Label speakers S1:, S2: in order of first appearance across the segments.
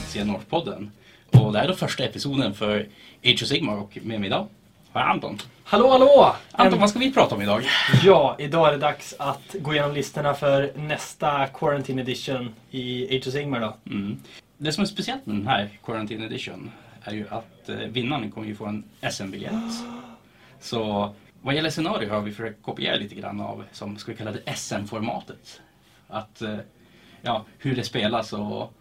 S1: Sigmar-podden. Och det här är då första episoden för Age of Sigmar och med mig idag har jag Anton.
S2: Hallå, hallå!
S1: Anton,
S2: Äm-
S1: vad ska vi prata om idag?
S2: Ja, idag är det dags att gå igenom listorna för nästa Quarantine Edition i Age of Sigmar då.
S1: Mm. Det som är speciellt med den här Quarantine Edition är ju att eh, vinnaren kommer ju få en SM-biljett. Så vad gäller scenario har vi försökt kopiera lite grann av som ska vi kalla det SM-formatet. Att eh, ja, hur det spelas och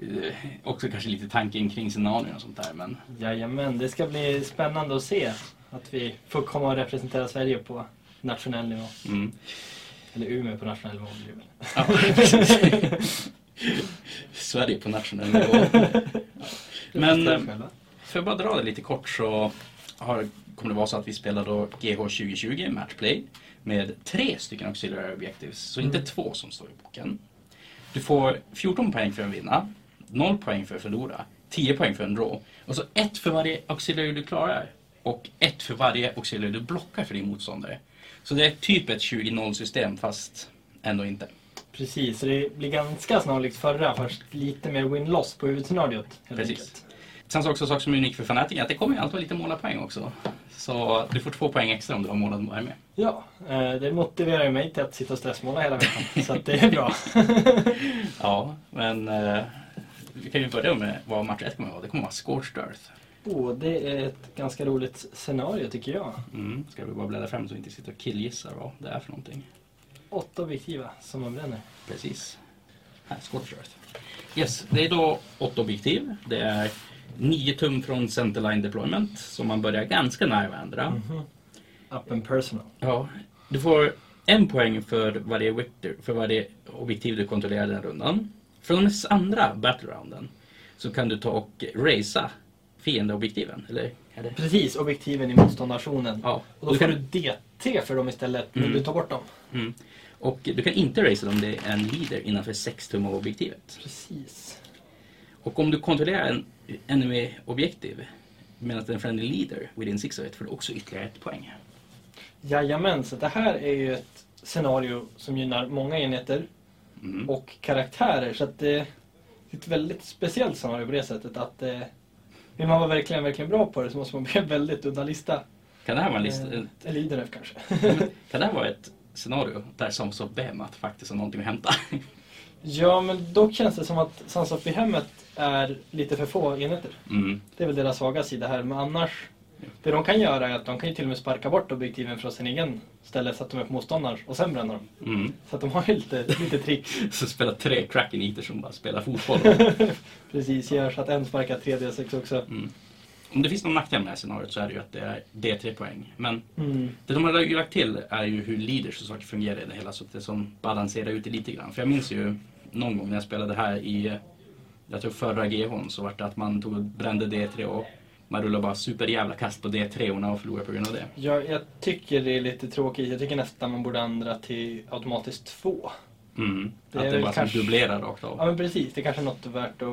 S1: eh, också kanske lite tanken kring scenarion och sånt där. Men
S2: Jajamän, det ska bli spännande att se att vi får komma och representera Sverige på nationell nivå.
S1: mm.
S2: Eller Umeå på nationell nivå. blir det väl.
S1: Ja, precis. Sverige på nationell nivå.
S2: Det
S1: Men
S2: förstår
S1: eh,
S2: vi själva.
S1: för att bara dra det lite kort så har, kommer det vara så att vi spelar då GH 2020 Matchplay med tre stycken auxiliary objectives, så inte två som står i boken. Du får 14 poäng för en vinna, 0 poäng för att förlora, 10 poäng för en draw och så ett för varje auxiliary du klarar och ett för varje auxiliary du blockar för din motståndare. Så det är typ ett 20-0 system fast ändå inte.
S2: Precis, så det blir ganska snarlikt förra, fast lite mer win-loss på huvudscenariot. helt
S1: Precis.
S2: enkelt.
S1: Sen så också en sak som är unik för Fanatic är att det kommer ju alltid vara lite målarpoäng också. Så du får två poäng extra om du har målad är med.
S2: Ja, eh, det motiverar ju mig till att sitta och stressmåla hela veckan, så att det är bra.
S1: Ja, men eh, vi kan ju börja med vad match 1 kommer att vara. Det kommer att vara Scorched Earth.
S2: Åh, det är ett ganska roligt scenario tycker jag.
S1: Mm. Ska vi bara bläddra fram så vi inte sitter och killgissar vad det är för någonting.
S2: Åtta objektiva som man bränner.
S1: Precis. Här, Scorched Earth. Yes, det är då åtta objektiv. Det är 9 tum från Centerline Deployment, så man börjar ganska nära varandra.
S2: Up and personal.
S1: Ja, du får en poäng för varje, victor, för varje objektiv du kontrollerar den rundan. Från den andra battlerounden så kan du ta och racea fiendeobjektiven. Eller? Är det?
S2: Precis, objektiven i motståndarzonen.
S1: Ja.
S2: Och då får du DT för dem istället när du tar bort dem.
S1: Mm. Och du kan inte racea om det är en leader innanför 6 tum av objektivet.
S2: Precis.
S1: Och om du kontrollerar en enemy-objektiv medan det är en friendly leader within 6 of it får du också ytterligare ett poäng.
S2: Jajamän, så det här är ju ett scenario som gynnar många enheter
S1: Mm.
S2: och karaktärer. Så att eh, det är ett väldigt speciellt scenario på det sättet att eh, vill man vara verkligen, verkligen bra på det så måste man bli en väldigt udda lista.
S1: Kan det här vara en lista?
S2: Eh, Eller IDRF kanske.
S1: Kan det här vara ett scenario där som så Bemat faktiskt har någonting att hämta?
S2: Ja, men dock känns det som att Sons of hemmet är lite för få enheter.
S1: Mm.
S2: Det är väl deras svaga sida här, men annars... Det de kan göra är att de kan ju till och med sparka bort objektiven från sin egen ställe så att de är på motståndarens och sen bränner de.
S1: Mm.
S2: Så att de har ju lite, lite trick.
S1: Så spelar tre kracken eater som bara spelar fotboll.
S2: Precis, gör så att en sparkar 3D6 också.
S1: Mm. Om det finns någon nackdel med det här scenariot så är det ju att det är D3 poäng. Men
S2: Mm.
S1: det de har lagt till är ju hur leaders och saker fungerar i det hela så att det som balanserar ut det lite grann. För jag minns ju någon gång när jag spelade här i, jag tror förra GHn så var det att man tog och brände D3 och man rullade bara superjävla kast på D3 orna och förlorade på grund av det.
S2: Ja, jag tycker det är lite tråkigt. Jag tycker nästan man borde ändra till automatiskt 2.
S1: Mm.
S2: Det är
S1: att det
S2: väl
S1: bara
S2: kanske-
S1: som dubblerar rakt
S2: Ja,
S1: av.
S2: men precis. Det kanske är något värt att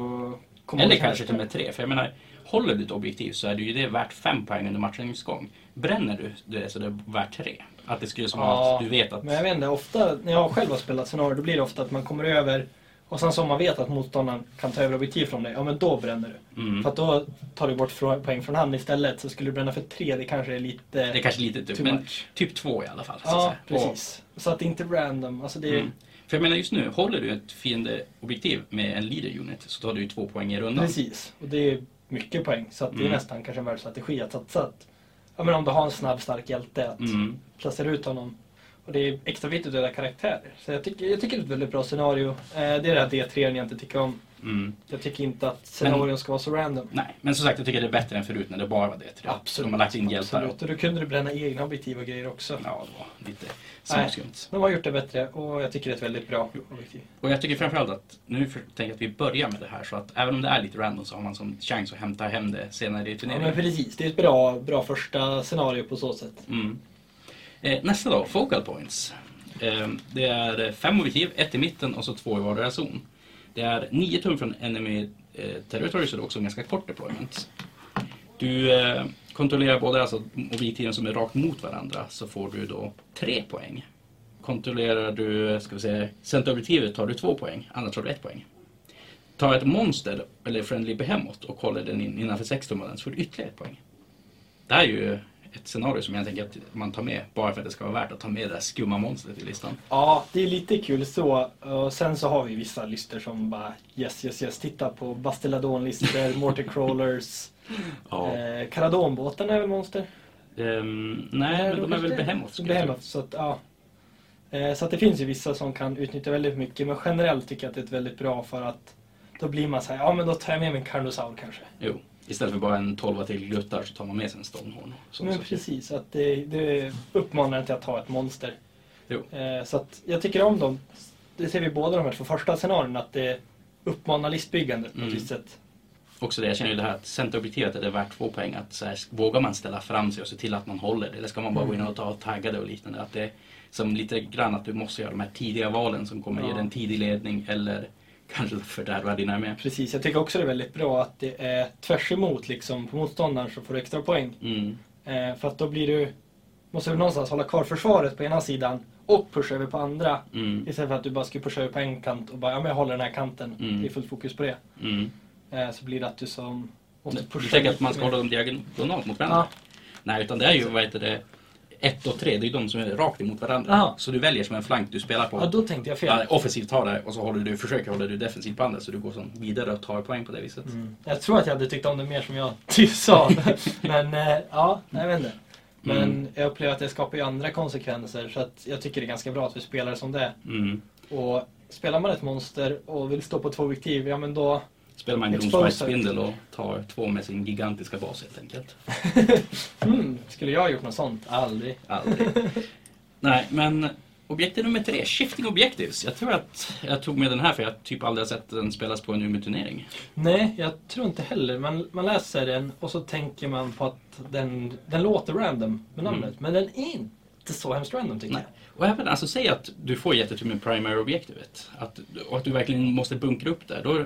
S2: komma
S1: Eller
S2: ihåg.
S1: kanske till och med tre. För jag menar, håller du ett objektiv så är det ju det värt fem poäng under matchens gång. Bränner du det så är det värt tre. Att det skulle som
S2: Ja,
S1: att du vet att...
S2: Men jag vet inte, ofta när jag själv har spelat scenario då blir det ofta att man kommer över och sen så om man vet att motståndaren kan ta över objektiv från dig, ja men då bränner du.
S1: Mm.
S2: För att då tar du bort frå- poäng från han istället. Så skulle du bränna för tre, det kanske är lite...
S1: Det är kanske lite typ,
S2: Too
S1: men
S2: much.
S1: typ två i alla fall. så att
S2: Ja,
S1: säga.
S2: precis. Så att det inte är random. Alltså det är...
S1: Mm. För jag menar just nu, håller du ett fiendeobjektiv med en leader unit så tar du ju två poäng i rundan.
S2: Precis. Och det är mycket poäng. Så att det är
S1: Mm.
S2: nästan kanske en värd strategi att satsa. Att, ja men om du har en snabb, stark hjälte, att
S1: Mm.
S2: placera ut honom. Och det är extra viktigt att döda karaktärer. Så jag tycker, jag tycker det är ett väldigt bra scenario. Eh, det är det här D3 n jag inte tycker om.
S1: Mm.
S2: Jag tycker inte att scenarion ska vara så random.
S1: Nej, men som sagt jag tycker det är bättre än förut när det bara var det. tre.
S2: Absolut.
S1: De har lagt in hjältar.
S2: Absolut. Och då kunde du bränna egna objektiv och grejer också.
S1: Ja, det var lite
S2: Nej.
S1: småskumt.
S2: De har gjort det bättre och jag tycker det är ett väldigt bra objektiv.
S1: Och jag tycker framförallt att nu för, tänker jag att vi börjar med det här så att även om det är lite random så har man som chans att hämta hem det senare i
S2: Ja,
S1: turneringen.
S2: men precis, det är ett bra, bra första scenario på så sätt.
S1: Mm. Eh, nästa då, focal points. Eh, det är fem objektiv, ett i mitten och så två i vardera zon. Det är nio tum från enemy eh, territory så det är också en ganska kort deployment. Du eh, kontrollerar båda alltså objektiven som är rakt mot varandra så får du då tre poäng. Kontrollerar du, ska vi säga, centerobjektivet tar du två poäng, annars tar du ett poäng. Tar jag ett monster eller Friendly Behemoth och håller den in innanför 6 tummaren så får du ytterligare ett poäng. Det här är ju ett scenario som jag tänker att man tar med bara för att det ska vara värt att ta med det där skumma monstret i listan.
S2: Ja, det är lite kul så. Och sen så har vi vissa listor som bara yes, yes, yes. Titta på Bastiladon-listor, Mortarcrawlers. eh, Caradonbåtarna är väl monster?
S1: Ehm, nej, men de är väl liksom. Behemoth skulle jag tro.
S2: Behemoth, så att, ja. Eh, Så att det finns ju vissa som kan utnyttja väldigt mycket men generellt tycker jag att det är ett väldigt bra för att då blir man så här, ja men då tar jag med mig en Carnosaur kanske.
S1: Jo. Istället för bara en 12 till gluttar så tar man med sig en Stonehorn. och sånt
S2: men
S1: sorts.
S2: precis, att det, det uppmanar en till att ta ett monster.
S1: Jo.
S2: Eh, Så att jag tycker om dem, det ser vi båda de här två första scenarierna, att det uppmanar listbyggandet på ett
S1: Mm.
S2: visst sätt.
S1: Också det, jag känner ju det här att centerobjektivet är det värt två poäng. Att så här, vågar man ställa fram sig och se till att man håller det? Eller ska man bara
S2: Mm.
S1: gå in och ta taggade och liknande? Att det är som lite grann att du måste göra de här tidiga valen som kommer ge
S2: Ja.
S1: dig en tidig ledning eller kanske fördärva dina med.
S2: Precis, jag tycker också det är väldigt bra att det är tvärs emot liksom, på motståndaren så får du extra poäng.
S1: Mm.
S2: Eh, för att då blir du, måste du någonstans hålla kvar försvaret på ena sidan och pusha över på andra.
S1: Mm.
S2: Istället för att du bara ska pusha över på en kant och bara, ja men jag håller den här kanten.
S1: Mm.
S2: Det är fullt fokus på det.
S1: Mm.
S2: Eh, så blir det att du som måste pusha
S1: Du tänker att
S2: lite
S1: man ska
S2: mer.
S1: hålla dem diagonalt mot varandra?
S2: Ja,
S1: Nej, utan det är ju vad heter det, ett och tre, det är ju de som är rakt emot varandra.
S2: Aha.
S1: Så du väljer som en flank du spelar på.
S2: ja, då tänkte jag fel.
S1: Ja, offensivt har det och så håller du, försöker hålla du defensivt på andra så du går som vidare och tar poäng på det viset.
S2: Mm. Jag tror att jag hade tyckt om det mer som jag tyst sa. men eh, ja, jag vet inte. Men
S1: Mm.
S2: jag upplever att det skapar ju andra konsekvenser så att jag tycker det är ganska bra att vi spelar som det är.
S1: Mm.
S2: Och spelar man ett monster och vill stå på två objektiv, ja men då
S1: Spelar man
S2: Exposed.
S1: gronspajsspindel och tar två med sin gigantiska bas helt enkelt.
S2: hmm, skulle jag ha gjort något sånt? Aldrig.
S1: Aldrig. Nej, men objektiv nummer tre, Shifting Objectives. Jag tror att jag tog med den här för jag typ aldrig har sett den spelas på en Umeå-turnering.
S2: Nej, jag tror inte heller. Man, man läser den och så tänker man på att den, den låter random med namnet. Men den är inte så hemskt random tycker
S1: Nej. Och även alltså säg att du får jättetur med primary objektivet att, och att du verkligen måste bunkra upp där. Då,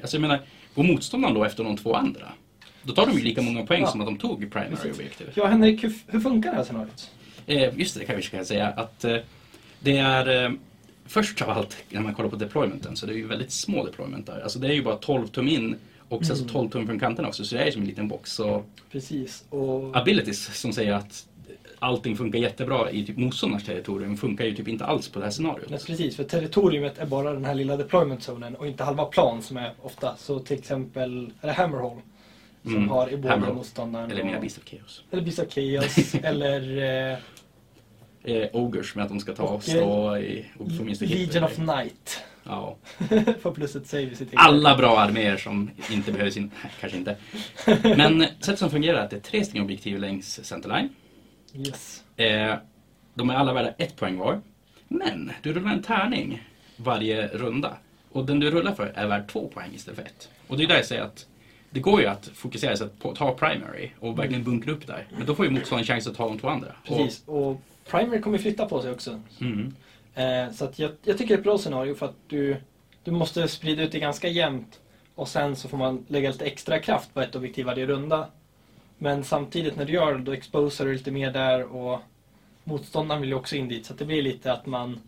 S1: alltså jag menar, går motståndaren då efter de två andra, då tar de ju lika många poäng
S2: Ja.
S1: som att de tog primary
S2: Precis.
S1: objektivet.
S2: jag. Ja, Henrik, hur, hur funkar det här scenariot?
S1: Eh, just det, det kanske jag kan säga. Att, eh, det är eh, först av allt när man kollar på deploymenten så det är ju väldigt små deploymentar. Alltså det är ju bara 12 tum in och
S2: Mm.
S1: sen så 12 tum från kanten också så det är ju som en liten box. Så
S2: Precis, och...
S1: abilities som säger att allting funkar jättebra i typ motståndarens territorium funkar ju typ inte alls på det här
S2: Nej,
S1: scenariot.
S2: precis, för territoriumet är bara den här lilla deployment-zonen och inte halva plan som är ofta. Så till exempel är det Hammerhall som
S1: Mm,
S2: har i både
S1: Hammerhall.
S2: motståndaren
S1: Eller mina
S2: och-
S1: Beast of Chaos.
S2: Eller Beast of Chaos, eller eh,
S1: Eh, ogers med att de ska ta och
S2: Och, eh,
S1: stå i... Och få minsta hit.
S2: Legion of Night.
S1: Ja.
S2: Får plus ett save i sitt eget.
S1: alla bra arméer som inte behöver sin... Kanske inte. Men sättet som fungerar är att det är tre stycken objektiv längs centerline.
S2: Yes.
S1: Eh, de är alla värda ett poäng var. Men du rullar en tärning varje runda. Och den du rullar för är värd två poäng istället för ett. Och det är där jag säger att det går ju att fokusera sig på att ta primary och verkligen bunkra upp där. Men då får ju motståndaren chans att ta de två andra.
S2: Precis, och Primary kommer flytta på sig också.
S1: Och, mm,
S2: Eh, så att jag, jag tycker det är ett bra scenario för att du, du måste sprida ut det ganska jämnt och sen så får man lägga lite extra kraft på ett objektiv varje runda. Men samtidigt när du gör det då exposar du lite mer där och motståndaren vill ju också in dit så att det blir lite att man...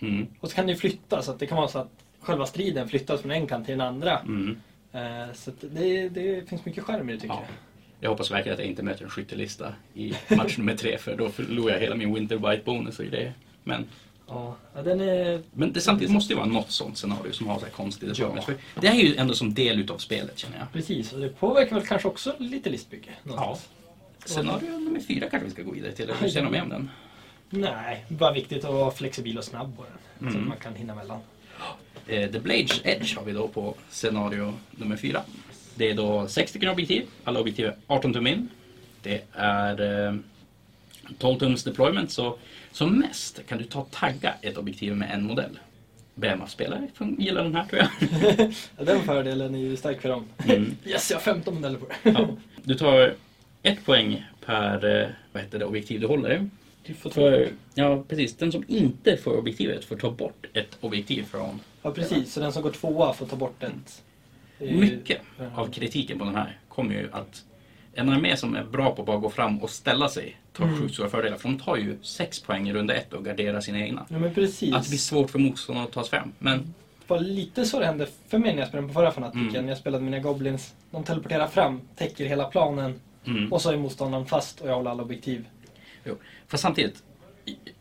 S1: mm,
S2: Och så kan det ju flytta så att det kan vara så att själva striden flyttas från en kant till den andra.
S1: mm.
S2: Eh, så att det, det finns mycket skärm i det tycker
S1: Ja. Jag hoppas verkligen att jag inte möter en skyttelista i match nummer tre för då förlorar jag hela min Winter White bonus och det. Men
S2: jag. Ja, den är...
S1: Men det samtidigt måste ju vara något sånt scenario som har så här konstigt ja. För det är ju ändå som del utav spelet känner jag.
S2: Precis, och det påverkar väl kanske också lite listbygge. någonstans.
S1: Scenario nummer fyra kanske vi ska gå vidare till. Eller hur känner du med om den?
S2: Nej, bara viktigt att vara flexibel och snabb på den. Så att man kan hinna mellan.
S1: Eh, The Blades Edge har vi då på scenario nummer fyra. Det är då sex stycken objektiv. Alla objektiv är 18 tum in. Det är eh, 12 tums deployment så som mest kan du ta och tagga ett objektiv med en modell. BMF-spelare gillar den här tror jag.
S2: Ja, den fördelen är ju stark för dem.
S1: Mm.
S2: Yes, jag har 15 modeller på det.
S1: Ja. Du tar ett poäng per eh, vad heter det, objektiv du håller.
S2: Du får
S1: För, ja, precis. Den som inte får objektivet får ta bort ett objektiv från.
S2: Ja, precis. Så den som går tvåa får ta bort ett. Det är ju-
S1: Mycket
S2: Ja.
S1: av kritiken på den här kommer ju att en armé som är bra på att bara gå fram och ställa sig tar
S2: Mm.
S1: sjukt stora fördelar. För de tar ju sex poäng i runda ett och garderar sina egna.
S2: Ja, men precis.
S1: Att det blir svårt för motståndarna att ta sig fram. Men
S2: var lite så det hände för mig när jag spelade på förra fanatiken.
S1: Mm.
S2: Jag spelade mina goblins. De teleporterar fram, täcker hela planen
S1: Mm.
S2: och så är motståndaren fast och jag håller alla objektiv.
S1: Jo. För samtidigt,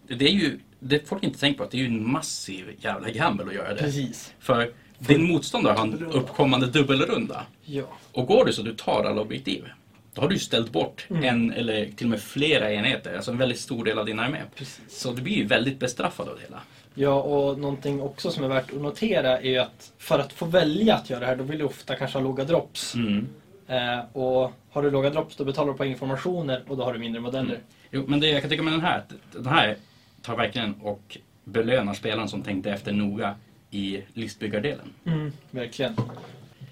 S1: det är ju, det folk inte tänker på, att det är ju en massiv jävla gamble att göra det.
S2: Precis.
S1: För din motståndare har en uppkommande dubbelrunda.
S2: Ja.
S1: Och går det så att du tar alla objektiv, då har du ju ställt bort
S2: Mm.
S1: en eller till och med flera enheter, alltså en väldigt stor del av din armé.
S2: Precis.
S1: Så du blir ju väldigt bestraffad av det hela.
S2: Ja, och någonting också som är värt att notera är ju att för att få välja att göra det här, då vill du ofta kanske ha låga drops.
S1: Mm.
S2: Eh, och har du låga drops, då betalar du på informationer och då har du mindre modeller.
S1: Jo, men det jag kan tycka med den här, att den här tar verkligen och belönar spelaren som tänkte efter noga i listbyggardelen.
S2: Verkligen.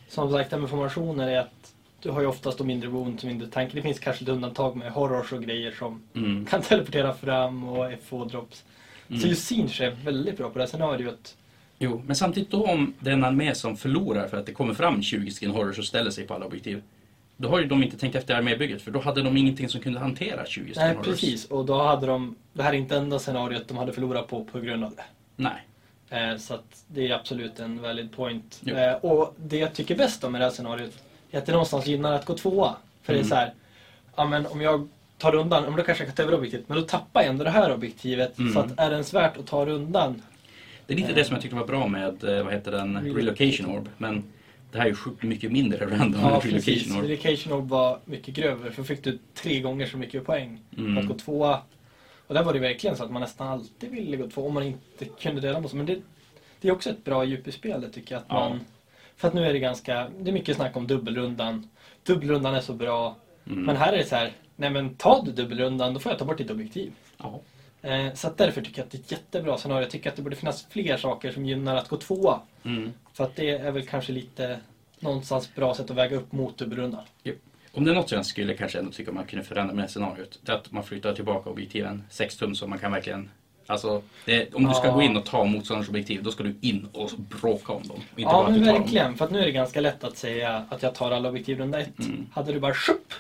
S2: Som sagt, det här med formationer är att du har ju oftast de mindre wounds och mindre tanker. Det finns kanske ett undantag med horrors och grejer som
S1: Mm.
S2: kan teleportera fram och FO-drops. Så just Sinch är väldigt bra på det här scenariot.
S1: Jo, men samtidigt då om den armé som förlorar för att det kommer fram 20 skin horrors och ställer sig på alla objektiv. Då har ju de inte tänkt efter armébygget för då hade de ingenting som kunde hantera 20 skin
S2: Nej,
S1: horrors.
S2: precis. Och då hade de... Det här är inte enda scenariot de hade förlorat på på grund av det.
S1: Nej.
S2: Eh, Så att det är absolut en valid point.
S1: Jo.
S2: Eh, Och det jag tycker bäst om i det här scenariot är att det någonstans gynnar att gå tvåa. För
S1: Mm.
S2: det är så här, ja men om jag tar undan, om då kanske jag kan ta över objektivet, men då tappar jag ändå det här objektivet.
S1: Mm.
S2: Så att är det ens värt att ta rundan?
S1: Det är
S2: Eh.
S1: lite det som jag tyckte var bra med, eh, vad heter den,
S2: Relocate.
S1: relocation orb. Men det här är ju sjukt mycket mindre random än
S2: Ja precis,
S1: relocation orb.
S2: relocation orb var mycket grövre för då fick du tre gånger så mycket poäng
S1: Mm.
S2: för att gå tvåa. Och där var det verkligen så att man nästan alltid ville gå tvåa om man inte kunde dela på sig. Men det, det är också ett bra djup i spelet tycker jag. Att
S1: Ja.
S2: man, För att nu är det ganska, det är mycket snack om dubbelrundan. Dubbelrundan är så bra.
S1: Mm.
S2: Men här är det så här, nej men ta du dubbelrundan då får jag ta bort ditt objektiv.
S1: Ja.
S2: Eh, så att därför tycker jag att det är ett jättebra scenario. Jag tycker att det borde finnas fler saker som gynnar att gå tvåa.
S1: Mm.
S2: För att det är väl kanske lite någonstans bra sätt att väga upp mot dubbelrundan.
S1: Jo. Om det är något jag skulle kanske ändå tycka man kunde förändra med det scenariot, det är att man flyttar tillbaka objektiven 6 tum så man kan verkligen Alltså, det, om du ska
S2: Ja.
S1: gå in och ta motståndarens objektiv, då ska du in och bråka om dem. Och inte bara
S2: Ja
S1: att
S2: men
S1: du tar dem.
S2: verkligen, för att nu är det ganska lätt att säga att jag tar alla objektiv runda ett.
S1: Mm.
S2: Hade du bara sjupp,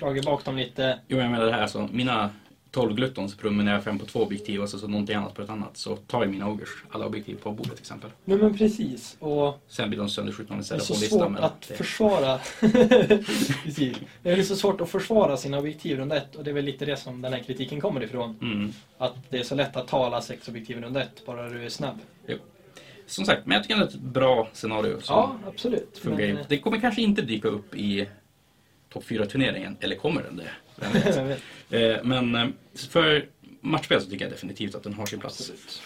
S2: dragit bak dem lite.
S1: Jo, men jag menar det här alltså. Mina 12 gluttons promenerar fem på två objektiv och så, så någonting annat på ett annat. Så tar ju mina ogers alla objektiv på bordet till exempel.
S2: Nej men precis, och
S1: Sen blir de sönderskjutna om vi
S2: det är
S1: ställer på
S2: så
S1: listan.
S2: svårt
S1: men
S2: att
S1: det-
S2: försvara. precis. Det är så svårt att försvara sina objektiv runda ett och det är väl lite det som den här kritiken kommer ifrån.
S1: Mm.
S2: Att det är så lätt att ta alla sex objektiv runda ett, bara du är snabb.
S1: Jo. Som sagt, men jag tycker ändå att det är ett bra scenario. Som
S2: Ja, absolut.
S1: funkar
S2: Men,
S1: ju. Det kommer kanske inte dyka upp i topp 4-turneringen, eller kommer den det? Vem vet.
S2: eh,
S1: Eh, Men eh, för matchspel så tycker jag definitivt att den har sin plats.
S2: absolut.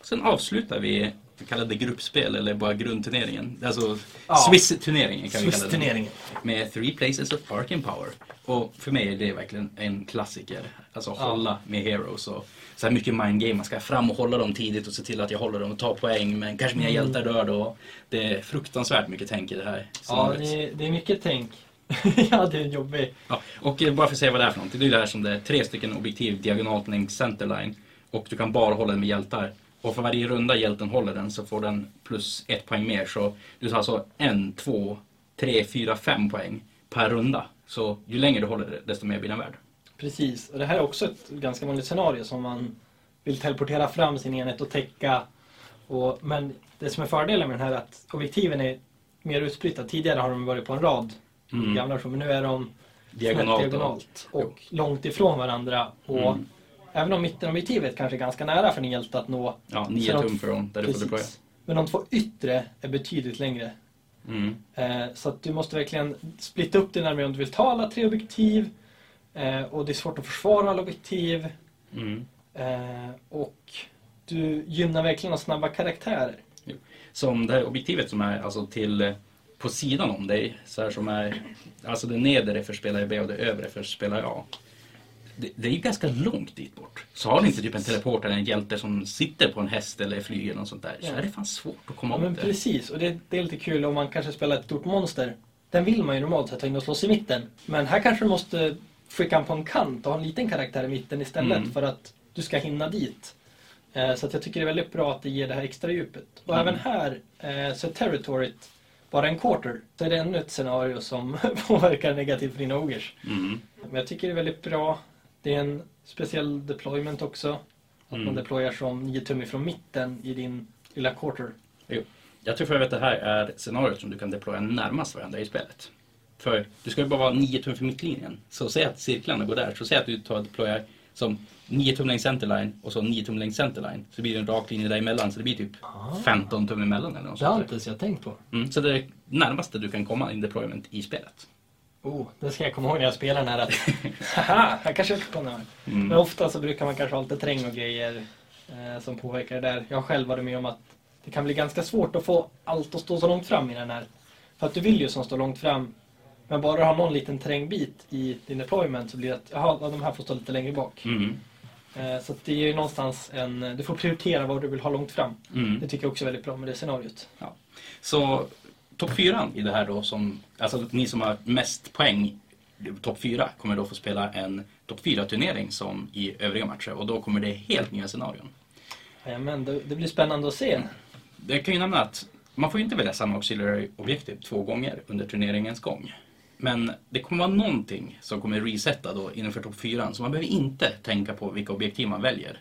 S1: Sen avslutar vi, vi kallar det gruppspel eller bara grundturneringen. Alltså
S2: Ja.
S1: Swiss-turneringen kan vi kalla den.
S2: Swiss-turneringen.
S1: Med Three Places of Parking Power. Och för mig är det verkligen en klassiker. Alltså
S2: Ja.
S1: hålla med Heroes och så här mycket mind game. Man ska fram och hålla dem tidigt och se till att jag håller dem och tar poäng. Men kanske mina hjältar dör då. Det är fruktansvärt mycket tänk i det här
S2: Mm. Ja,
S1: scenariot.
S2: det är, det är mycket tänk. ja, det är en jobbig.
S1: Ja, och eh, bara för att säga vad det är för någonting. Det är ju det här som det är tre stycken objektiv diagonalt längs centerline. Och du kan bara hålla den med hjältar. Och för varje runda hjälten håller den så får den plus ett poäng mer. Så du tar alltså en, två, tre, fyra, fem poäng per runda. Så ju längre du håller det, desto mer blir den värd.
S2: Precis, och det här är också ett ganska vanligt scenario som man vill teleportera fram sin enhet och täcka. Och, men det som är fördelen med den här är att objektiven är mer utspridda. Tidigare har de varit på en rad,
S1: Mm.
S2: gamla versioner, men nu är de
S1: Diagonalt.
S2: snett diagonalt och långt ifrån varandra. Och
S1: Mm.
S2: Även om mittenobjektivet kanske är ganska nära för din hjälte att nå.
S1: Ja, nio
S2: så de-
S1: tum från där du får deploya.
S2: Precis. Men de två yttre är betydligt längre.
S1: Mm.
S2: Eh, Så att du måste verkligen splitta upp din armé om du vill ta alla tre objektiv. Eh, Och det är svårt att försvara alla objektiv.
S1: Mm.
S2: Eh, Och du gynnar verkligen de snabba karaktärer.
S1: Som det här objektivet som är alltså till eh, på sidan om dig, så här som är, alltså det nedre för spelare B och det övre för spelare A. Det, det är ju ganska långt dit bort. Så har du inte typ en teleport eller en hjälte som sitter på en häst eller flyger eller något sånt där, så
S2: Ja.
S1: är det fan svårt att komma
S2: Ja,
S1: åt
S2: men
S1: det.
S2: precis, och det, det är lite kul om man kanske spelar ett stort monster. Den vill man ju normalt sett ha in och slåss i mitten. Men här kanske du måste skicka en på en kant och ha en liten karaktär i mitten istället
S1: Mm.
S2: för att du ska hinna dit. Eh, Så att jag tycker det är väldigt bra att det ger det här extra djupet. Och
S1: Mm.
S2: även här eh, så är territoriet bara en quarter. Så är det ännu ett scenario som påverkar negativt för dina ogers.
S1: Mm.
S2: Men jag tycker det är väldigt bra. Det är en speciell deployment också. Att
S1: Mm.
S2: man deployar som 9 tum ifrån mitten i din lilla quarter.
S1: Jo. Jag tror för övrigt att det här är scenariot som du kan deploya närmast varandra i spelet. För du ska ju bara vara 9 tum för mittlinjen. Så säg att cirklarna går där. Så säg att du tar och deployar som 9 tum längs centerline och så 9 tum längs centerline. Så blir det en rak linje däremellan. Så det blir typ
S2: Ah.
S1: 15 tum emellan eller något
S2: Det har
S1: sånt.
S2: inte ens jag tänkt på.
S1: där. Mm, så det är närmaste du kan komma in deployment i spelet.
S2: Oh, det ska jag komma ihåg när jag spelar den här. Att, haha, jag kanske inte på den här.
S1: Mm.
S2: Men ofta så brukar man kanske ha lite terräng och grejer eh, som påverkar det där. Jag själv varit med om att det kan bli ganska svårt att få allt att stå så långt fram i den här. För att du vill ju som står långt fram. Men bara du har någon liten terrängbit i din deployment så blir det att jaha, ja, de här får stå lite längre bak.
S1: Mm.
S2: Eh, Så att det är ju någonstans en... Du får prioritera vad du vill ha långt fram.
S1: Mm.
S2: Det tycker jag också är väldigt bra med det scenariot.
S1: Ja. Så topp fyran i det här då som, alltså ni som har mest poäng, topp fyra, kommer då få spela en topp fyra turnering som i övriga matcher och då kommer det helt nya scenarion.
S2: Jajamän, det, det blir spännande att se.
S1: Jag kan ju nämna att man får ju inte välja samma auxiliary objektiv två gånger under turneringens gång. Men det kommer vara någonting som kommer resetta då innanför topp fyran så man behöver inte tänka på vilka objektiv man väljer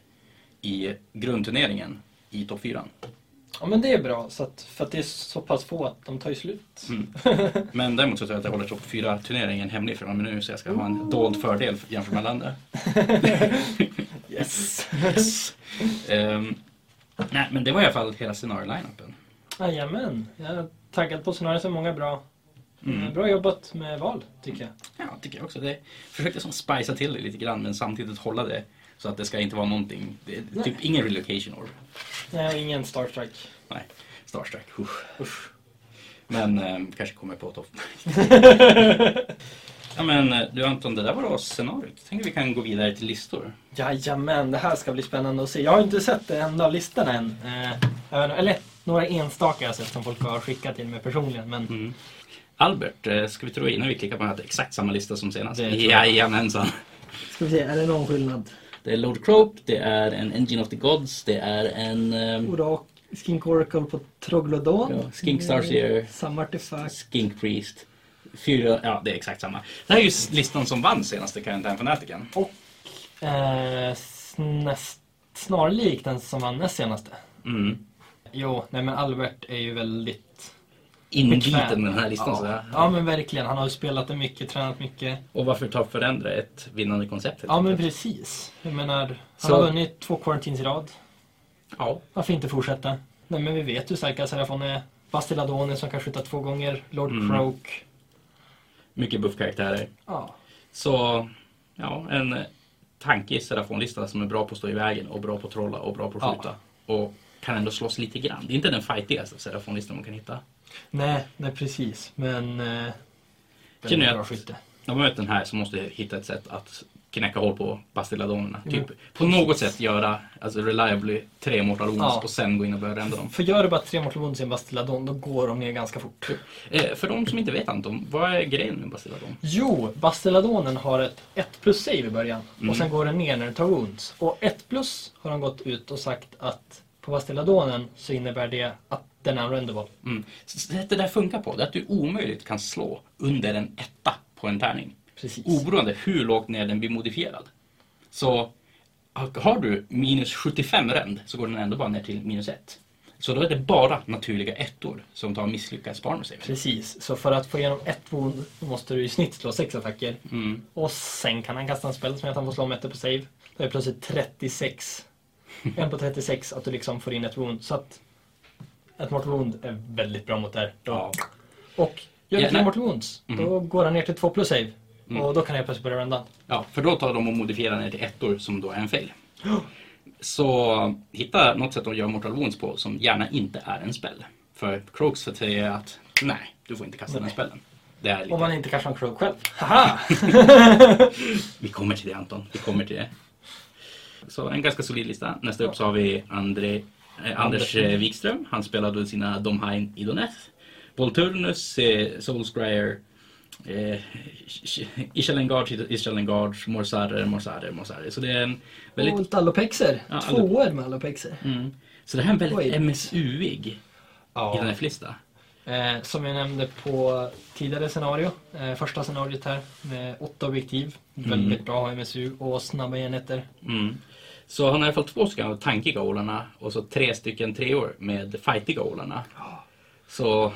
S1: i grundturneringen i topp fyran.
S2: Ja men det är bra, så att, för att det är så pass få att de tar ju slut.
S1: Mm. Men däremot så tror jag att jag håller topp 4-turneringen hemlig för några minuter så jag ska ha en dold fördel jämfört med alla andra.
S2: Yes!
S1: Yes. Ehm, nej, men det var i alla fall hela scenario-lineupen.
S2: Jajamän, jag är taggad på scenariot så många bra.
S1: Mm.
S2: Bra jobbat med val, tycker jag.
S1: Ja, tycker jag också. Det försökte som spicea till det lite grann men samtidigt hålla det så att det ska inte vara någonting, det är typ ingen relocation orb.
S2: Nej, ingen Star Strike.
S1: Nej, Starstruck. Usch. Men ehm, kanske kommer på topp. ja men eh, du Anton, det där var då scenariot. Tänker vi kan gå vidare till listor.
S2: Jajamän, det här ska bli spännande att se. Jag har inte sett en enda av listorna än. Eh, jag vet inte, eller några enstaka jag har sett som folk har skickat till mig personligen. Men
S1: Mm. Albert, eh, ska vi tro innan vi klickar på den här att det är exakt samma lista som senast?
S2: Det tror jag.
S1: Jajamensan.
S2: ska vi se, är det någon skillnad?
S1: Det är Lord Crope, det är en Engine of the Gods, det är en ehm,
S3: Orak, Skink Oracle på Troglodon.
S1: Ja, Skink Starseer.
S3: Eh, Samma artefakt.
S1: Skink Priest. Fyra, ja det är exakt samma. Det här är ju s- listan som vann senaste Quarantine Fanatiken.
S2: Eh, snäst, snarlik den som vann näst senaste.
S1: Mm.
S2: Jo, nej men Albert är ju väldigt
S1: Inbiten med den här listan.
S2: ja.
S1: Så jag-
S2: ja men verkligen, han har ju spelat det mycket, tränat mycket.
S1: Och varför ta och förändra ett vinnande koncept? helt
S2: Ja men
S1: enkelt?
S2: precis. Jag menar, han
S1: Så-
S2: har vunnit två quarantines i rad.
S1: ja.
S2: Varför inte fortsätta? Nej men vi vet hur starka Serafon är. Bastiladone som kan skjuta två gånger, Lord
S1: Mm.
S2: Croak.
S1: Mycket buffkaraktärer.
S2: Ja.
S1: Så, ja, en eh, tanke i Serafon-listan som är bra på att stå i vägen och bra på att trolla och bra på att
S2: Ja.
S1: skjuta. Och kan ändå slåss lite grann. Det är inte den fightigaste Serafon-listan man kan hitta.
S2: Nej, nej precis. Men... Eh,
S1: Känner jag
S2: bra
S1: att-
S2: skytte.
S1: När man möter den här så måste jag hitta ett sätt att knäcka hål på Bastilladonerna.
S2: Mm.
S1: Typ på något sätt göra, alltså reliably, tre Mortal Wounds
S2: Ja.
S1: och sen gå in och börja rända dem.
S2: För gör du bara tre Mortal Wounds i en Bastiladon, då går de ner ganska fort.
S1: Eh, för de som inte vet Anton, vad är grejen med Bastilladon?
S2: Jo, Bastiladonen har ett 1 plus save i början
S1: Mm.
S2: och sen går den ner när den tar wounds. Och 1 plus har de gått ut och sagt att på Bastiladonen så innebär det att den är unrendable.
S1: Mm. Så- så Det där funkar på, det är att du omöjligt kan slå under en etta på en tärning.
S2: Precis.
S1: Oberoende hur lågt ner den blir modifierad. Så har du minus 75 ränd så går den ändå bara ner till minus 1. Så då är det bara naturliga ettor som tar misslyckas barn
S2: Precis, så för att få igenom ett wound måste du i snitt slå sex attacker.
S1: mm.
S2: Och sen kan han kasta en spel som gör att han får slå om ettor på save. Då är det plötsligt 36. En på 36 att du liksom får in ett wound. Så att ett mortal wound är väldigt bra mot det här.
S1: ja.
S2: Och
S1: Ja,
S2: gör du tre
S1: nej. Mm.
S2: mortal wounds, då går han ner till 2 plus save. Och då kan jag plötsligt börja runda.
S1: Ja, för då tar de och modifierar ner till ettor som då är en fail. Så hitta något sätt att göra Mortal Wounds på som gärna inte är en spell. För Crokes för säger att nej, du får inte kasta den här spellen. Det är
S2: Om
S1: lite...
S2: man inte kanske har en croak själv. Haha!
S1: Vi kommer till det Anton, vi kommer till det. Så en ganska solid lista. Nästa upp så har vi André, eh, Anders eh, Wikström. Han spelade sina Domhain i Doneth. Volturnus, eh, Soulscryer, eh, Ishalengard, Ishalengard, Morsarer, Morsarer, Morsarer. Så det är en väldigt
S2: Oh.
S3: Och allopexer.
S1: Ja,
S3: Tvåor med allopexer.
S1: Mm. Så det här är en väldigt
S3: Oj.
S1: MSU-ig
S2: Ja.
S1: INF-lista.
S2: Eh, som jag nämnde på tidigare scenario, eh, första scenariot här med åtta objektiv. Väldigt bra MSU och snabba enheter.
S1: Mm. Så han har i alla fall två stycken av tankiga ålarna och så tre stycken treor med fightiga ålarna. Så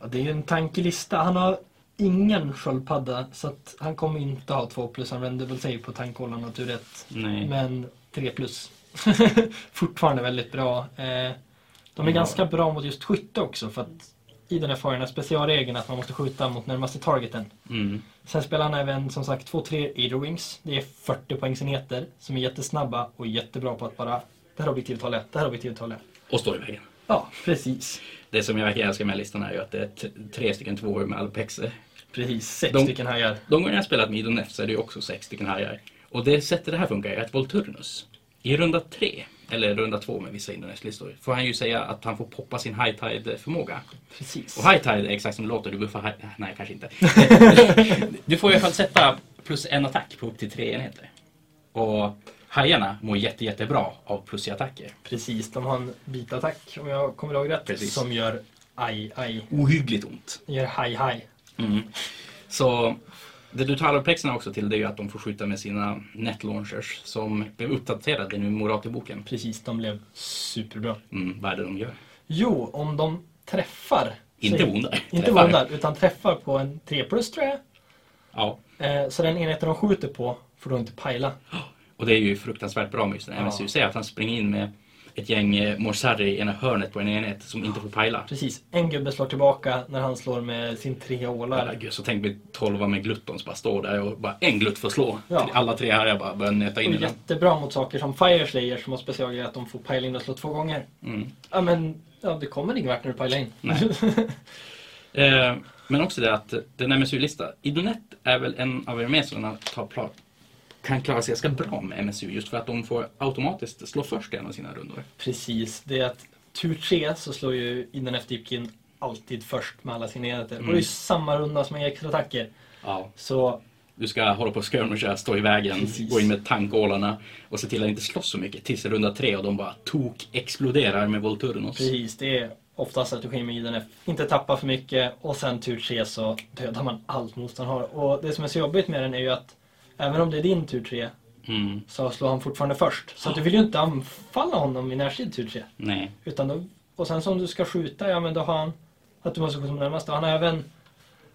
S2: Ja, det är ju en tankelista. Han har ingen sköldpadda så att han kommer inte ha 2 plus. Han vänder väl sig på tankhållaren och tur 1.
S1: nej.
S2: Men 3 plus. Fortfarande väldigt bra. Eh, De är
S1: Ja.
S2: ganska bra mot just skytte också för att i den här faren är specialregeln att man måste skjuta mot närmaste targeten.
S1: Mm.
S2: Sen spelar han även som sagt 2-3 Eaterwings. Det är 40 poängsenheter som är jättesnabba och jättebra på att bara det här objektivet håller, det här objektivet håller.
S1: Och står i vägen.
S2: Ja, precis.
S1: Det som jag verkligen älskar med den här listan är ju att det är t- tre stycken tvåor med alpexer.
S2: Precis, sex
S1: De-
S2: stycken hajar.
S1: De gånger jag spelat med Idon F så är det ju också sex stycken hajar. Och det sättet det här funkar är att Volturnus i runda tre, eller runda två med vissa Idon F-listor, får han ju säga att han får poppa sin High Tide-förmåga.
S2: Precis.
S1: Och High Tide är exakt som det låter, du buffar high... Nej, kanske inte. du får i alla fall sätta plus en attack på upp till tre enheter. Och hajarna mår jätte, jättebra av plus i attacker.
S2: Precis, de har en bitattack om jag kommer ihåg rätt.
S1: Precis.
S2: Som gör aj, aj.
S1: Ohyggligt ont.
S2: Gör haj, haj.
S1: Mm. Så det du tar alvplexerna också till det är ju att de får skjuta med sina netlaunchers som blev uppdaterade nu i Morati-boken.
S2: Precis, de blev superbra.
S1: Mm, vad är det de gör?
S2: Jo, om de träffar.
S1: Inte
S2: sig-
S1: vondar.
S2: Inte
S1: Träffar.
S2: vondar, utan träffar på en 3 plus tror jag.
S1: Ja.
S2: Eh, så den enheten de skjuter på får då inte pajla.
S1: Och det är ju fruktansvärt bra med just den här
S2: Ja.
S1: MSUC, att han springer in med ett gäng eh, morsarri i ena hörnet på en enhet som inte får pajla.
S2: Precis, en gubbe slår tillbaka när han slår med sin tre
S1: Jävla
S2: ålar.
S1: gud, Så tänk mig tolva med gluttons bara står där och bara en glutt får slå.
S2: Ja.
S1: Till Alla tre här jag bara börjar nöta in
S2: Och
S1: i den.
S2: jättebra mot saker som Fire Slayer som har specialgrejer att de får pajla in och slå två gånger.
S1: Mm.
S2: Ja men, ja, det kommer ingen vart när du pajlar in.
S1: Nej. Eh, men också det att den MSU-lista, Idonet är väl en av armésorna som tar pla- kan klara sig ganska bra med MSU just för att de får automatiskt slå först i en av sina rundor.
S2: Precis, det är att tur tre så slår ju innan efter Deepkin alltid först med alla sina enheter. Och det är
S1: Mm.
S2: ju samma runda som med extra-attacker.
S1: Ja.
S2: Så
S1: Du ska hålla på och skirmisha, stå i vägen,
S2: Precis.
S1: gå in med tankålarna och se till att inte slåss så mycket tills runda tre och de bara tok-exploderar med Volturnos.
S2: precis, det är ofta strategin med IDNF. Inte tappa för mycket och sen tur tre så dödar man allt motstånd har. Och det som är så jobbigt med den är ju att även om det är din tur tre
S1: Mm,
S2: så slår han fortfarande först. Så att du vill ju inte anfalla honom i närstrid tur tre.
S1: nej.
S2: Utan då, och sen som du ska skjuta, ja men då har han att du måste skjuta som närmast. Han har även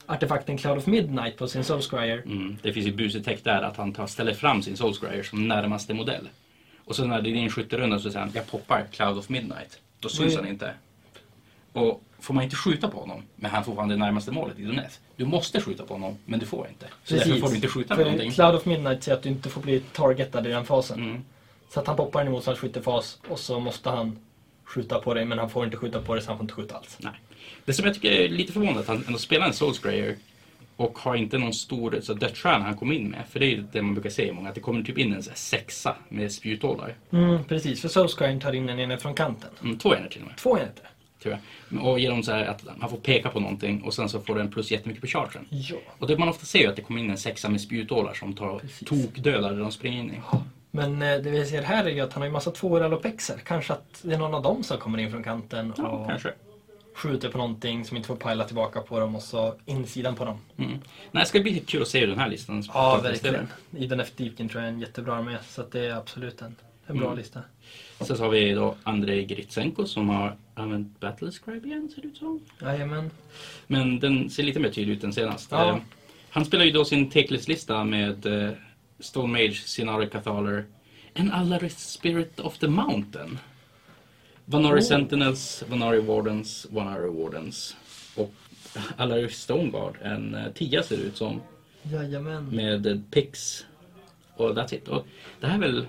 S2: artefakten Cloud of Midnight på sin Soulscryer.
S1: Mm. Det finns ju busig text där att han tar, ställer fram sin Soulscryer som närmaste modell. Och sen när det är din skytterunda så säger han jag poppar Cloud of Midnight. Då syns
S2: Mm.
S1: han inte. Och får man inte skjuta på honom, men han får fan det närmaste målet i Donetsk. Du måste skjuta på honom, men du får inte. Så därför får du inte skjuta med
S2: För
S1: någonting.
S2: Cloud of Midnight säger att du inte får bli targetad i den fasen.
S1: Mm.
S2: Så att han poppar en motståndarens skyttefas och så måste han skjuta på dig men han får inte skjuta på dig så han får inte skjuta alls.
S1: Nej. Det som jag tycker är lite förvånande är att han ändå spelar en Soulscrayer och har inte någon stor så dödsstjärna han kom in med. För det är ju det man brukar se i många, att det kommer typ in en så här sexa med spjutålar.
S2: Mm, precis, för Soulscrying tar in en enhet från kanten.
S1: Mm, två enheter till och med.
S2: Två enheter?
S1: tror jag. Och genom så här att man får peka på någonting och sen så får den plus jättemycket på chargen.
S2: Ja.
S1: Och det man ofta ser är att det kommer in en sexa med spjutålar som tar
S2: Precis.
S1: tokdödar där de springer in i.
S2: Men eh, det vi ser här är ju att han har ju massa tvåor alopexer. Kanske att det är någon av dem som kommer in från kanten och
S1: Ja, kanske.
S2: skjuter på någonting som inte får pajla tillbaka på dem och så insidan på dem.
S1: Mm. Nej, det ska bli kul att se hur den här listan
S2: Ja,
S1: tar sig
S2: verkligen.
S1: istället.
S2: I den efter Deepkin tror jag är en jättebra armé så att det är absolut en, en bra
S1: Mm.
S2: lista.
S1: Sen så har vi då Andrei Gritsenko som har använt Battlescribe igen, ser det ut som.
S2: Jajamän.
S1: Men den ser lite mer tydlig ut än senast.
S2: Ja.
S1: Eh, Han spelar ju då sin Teklis-lista med eh, Stone Mage, Sinari Cathaler, and Alaris Spirit of the Mountain. Vanari
S2: Oh.
S1: Sentinels, Vanari Wardens, Vanari Wardens och Alaris Stoneguard, en eh, tia ser det ut som,
S2: Jajamän.
S1: med eh, Pix och that's it. Och det här är väl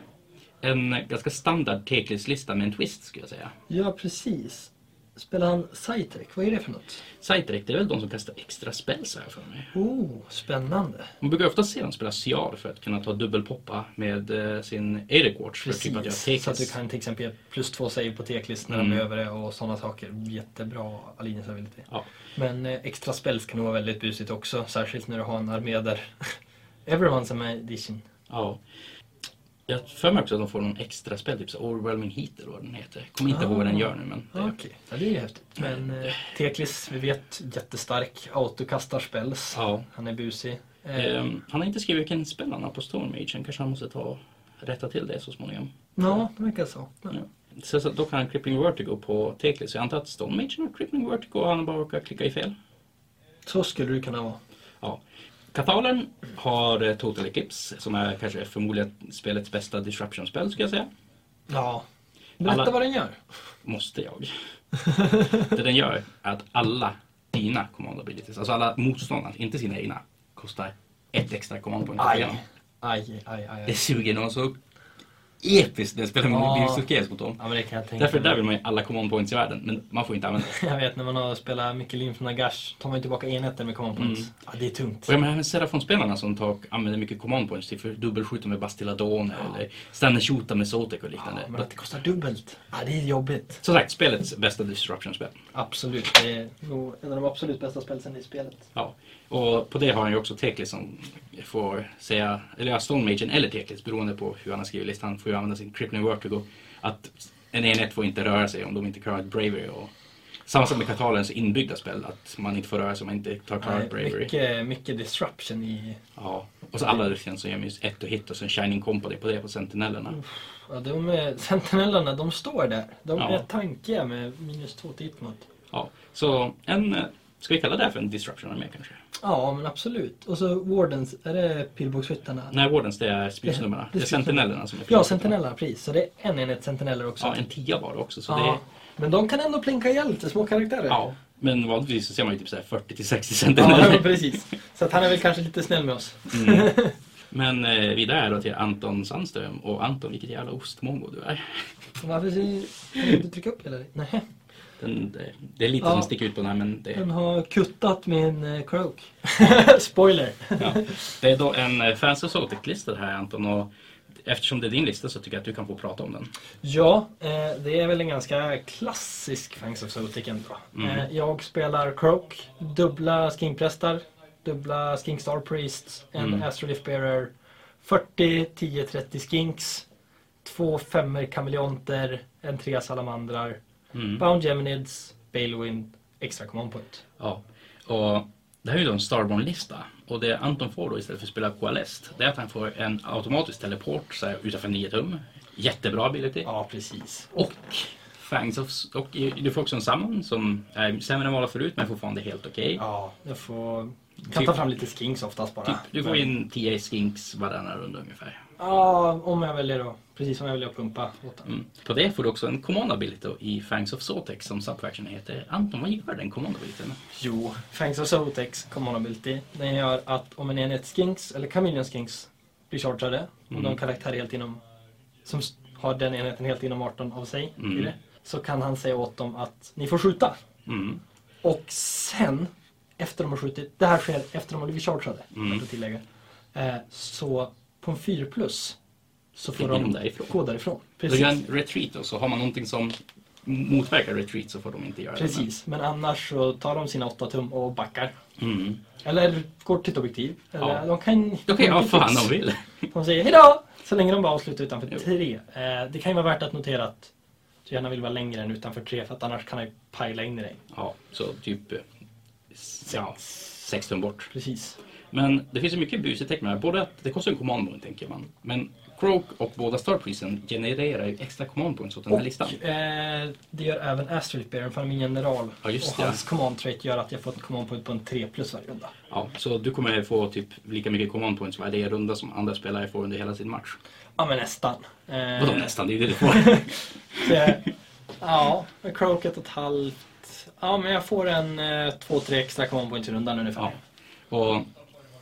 S1: en ganska standard Teklis-lista med en twist skulle jag säga.
S2: Ja, precis. Spelar han Cytrek? Vad är det för något?
S1: Sightrek, det är väl de som kastar extra spells här för mig.
S2: Oh, spännande.
S1: Man brukar ofta se dem spela Ciar för att kunna ta dubbelpoppa med eh, sin Eric Watch för typ att göra
S2: Precis. Så att du
S1: tekes.
S2: kan till exempel ge plus två save på teklist när de
S1: Mm.
S2: är över det och sådana saker. Jättebra Alinias ability.
S1: Ja.
S2: Men eh, extra spells kan nog vara väldigt busigt också. Särskilt när du har en armé där everyone's a magician.
S1: ja. Jag har för mig också att de får någon extra spel, typ så overwhelming heat eller vad den heter. Kommer inte
S2: Ah.
S1: ihåg vad den gör nu men.
S2: Ja, Okej, ja, det är ju häftigt. Men eh, Teklis, vi vet, jättestark. Autokastar spells.
S1: Ja.
S2: Han är busig. Eh,
S1: Ehm, han har inte skrivit vilken spel han har på Stormage, sen kanske han måste ta och rätta till det så småningom.
S2: ja, det verkar så.
S1: Ja. Så, så, då kan han Crippling Vertigo på Teklis. Så jag antar att Stone Mage har Crippling Vertigo och han bara råkar klicka i fel.
S2: Så skulle det kunna vara.
S1: Ja. Katalen har eh, Total Eclipse som är kanske förmodligen spelets bästa disruption-spel skulle jag säga.
S2: Ja. Berätta
S1: Alla-
S2: vad den gör.
S1: Måste jag. det den gör är att alla dina command abilities, alltså alla motståndarnas, inte sina egna, kostar ett extra command point.
S2: Aj. Aj, aj, aj.
S1: Det
S2: aj.
S1: suger någon så episkt när spelar
S2: Ja.
S1: med Bivsukes mot dem.
S2: Ja, men det kan jag tänka
S1: Därför
S2: mig.
S1: där vill man ju alla command points i världen, men man får inte använda det.
S2: Jag vet när man har spelat Mikkelin från Nagash tar man ju tillbaka enheter med command points.
S1: Mm.
S2: Ja, det är tungt.
S1: Och jag menar även Serafon-spelarna som tar, använder mycket command points till för dubbelskjuta med Bastiladone eller Stannershota med Zotek och
S2: Ja,
S1: liknande.
S2: men att det kostar dubbelt. Ja, det är jobbigt.
S1: Som sagt, spelets bästa disruption-spel.
S2: Absolut. Det är nog en av de absolut bästa spelsen i spelet.
S1: Ja. Och på det har han ju också Teklis som får säga, eller ja, Stone Magen eller Teklis beroende på hur han har skrivit listan, får ju använda sin Crippling Vertigo. Att en enhet får inte röra sig om de inte klarar ett Bravery. Och samma sak med Katalens inbyggda spel, att man inte får röra sig om man inte tar klarar ett
S2: Nej,
S1: Bravery.
S2: mycket, mycket disruption i...
S1: Ja. Och så alla rustningar som gör minst ett och hit och sen Shining Company på det på Sentinellerna.
S2: Ja, de är, sentinellerna, de står där. De
S1: Ja.
S2: är tankiga med minus två till hitmot.
S1: Ja, så en, eh, ska vi kalla det här för en disruption armé kanske?
S2: Ja, men absolut. Och så Wardens, är det pilbågskyttarna?
S1: Nej, Wardens det är spjutnummerna. Det är sentinellerna som är
S2: Ja, sentinella, precis. Så det är en enhet sentineller också.
S1: Ja, en tia var det också. Så
S2: Ja.
S1: det är,
S2: Men de kan ändå plinka ihjäl lite små karaktärer.
S1: ja. Men vanligtvis så ser man ju typ så här 40 till 60
S2: ja,
S1: centimeter.
S2: precis. Så att han är väl kanske lite snäll med oss.
S1: Mm. Men eh, vidare är då till Anton Sandström. Och Anton, vilket jävla ostmongo du är.
S2: Varför ser- kan du trycka upp hela det? Nej,
S1: Den, det, det är lite
S2: Ja.
S1: som sticker ut på den här men det,
S2: den har kuttat min eh, croak. Spoiler!
S1: ja. det är då en eh, Fancy Sotic-lista det här Anton. Och eftersom det är din lista så tycker jag att du kan få prata om den.
S2: Ja, eh, det är väl en ganska klassisk Fangs of Zotic ändå.
S1: Mm.
S2: Eh, jag spelar Croak, dubbla skinkprästar, dubbla Skink Star Priests, en
S1: Mm.
S2: Astrolift Bearer, 40, 10, 30 skinks, två femmer kameleonter, en trea salamandrar,
S1: Mm.
S2: Bound Geminids, Balewind, extra command point.
S1: Ja, och det här är ju då en Starborn-lista. Och det Anton får då istället för att spela Coalesce, det är att han får en automatisk teleport så här, utanför 9 tum. Jättebra ability.
S2: Ja, precis.
S1: Och Fangs of, och du får också en summon som är sämre än vad du har förut men fortfarande helt okej.
S2: Ja, jag får... Kan
S1: Typ-
S2: ta fram lite skinks oftast bara.
S1: Typ, du får in 10 skinks varannan runda ungefär.
S2: Ja, om jag väljer då. Precis som jag väljer att pumpa åt den.
S1: Mm. På det får du också en command ability då i Fangs of Sotex som subfaction heter. Anton, vad gör den command abilityn?
S2: Jo, Fangs of Zotex Command Ability. Den gör att om en enhet skinks, eller Chameleon skinks, blir chargade och de
S1: Mm.
S2: karaktär helt inom... Som s- har den enheten helt inom 18 av sig,
S1: Mm.
S2: i det, så kan han säga åt dem att ni får skjuta.
S1: Mm.
S2: Och sen, efter de har skjutit, det här sker efter de har blivit chargeade,
S1: Mm.
S2: värt att tillägga. Eh, så på en 4 plus så får
S1: Flyttar
S2: de
S1: de därifrån.
S2: gå därifrån.
S1: Då gör
S2: Precis.
S1: en retreat och så har man någonting som motverkar retreat så får de inte göra
S2: Precis, men annars så tar de sina 8 tum och backar.
S1: det. Mm.
S2: Eller går till ett objektiv. Eller
S1: Ja.
S2: de kan...
S1: Då kan jag ha
S2: de
S1: fan de vill.
S2: De säger hejdå! Så länge de bara avslutar utanför
S1: Jo.
S2: tre. Eh, det kan ju vara värt att notera att du gärna vill vara längre än utanför tre för att annars kan han ju pajla in i dig.
S1: Ja, så typ eh, s- ja, sex tum bort.
S2: Precis.
S1: Men det finns ju mycket busigt tecken här. Både att det kostar en command point, tänker man. Men Croak och båda Star Prison genererar ju extra command points åt den här listan.
S2: Och eh, det gör även Astrolith Baron för han är min general.
S1: Ja, just
S2: och
S1: det.
S2: hans command trait gör att jag får ett command point på en 3 plus varje runda.
S1: Ja, så du kommer få typ lika mycket command points varje runda som andra spelare får under hela sin match.
S2: Ja men nästan. Eh,
S1: Vadå nästan? Det är ju det du får.
S2: det- ja, Croak ett och ett halvt. Ja men jag får en 2-3 extra command points i rundan ungefär.
S1: Ja. Och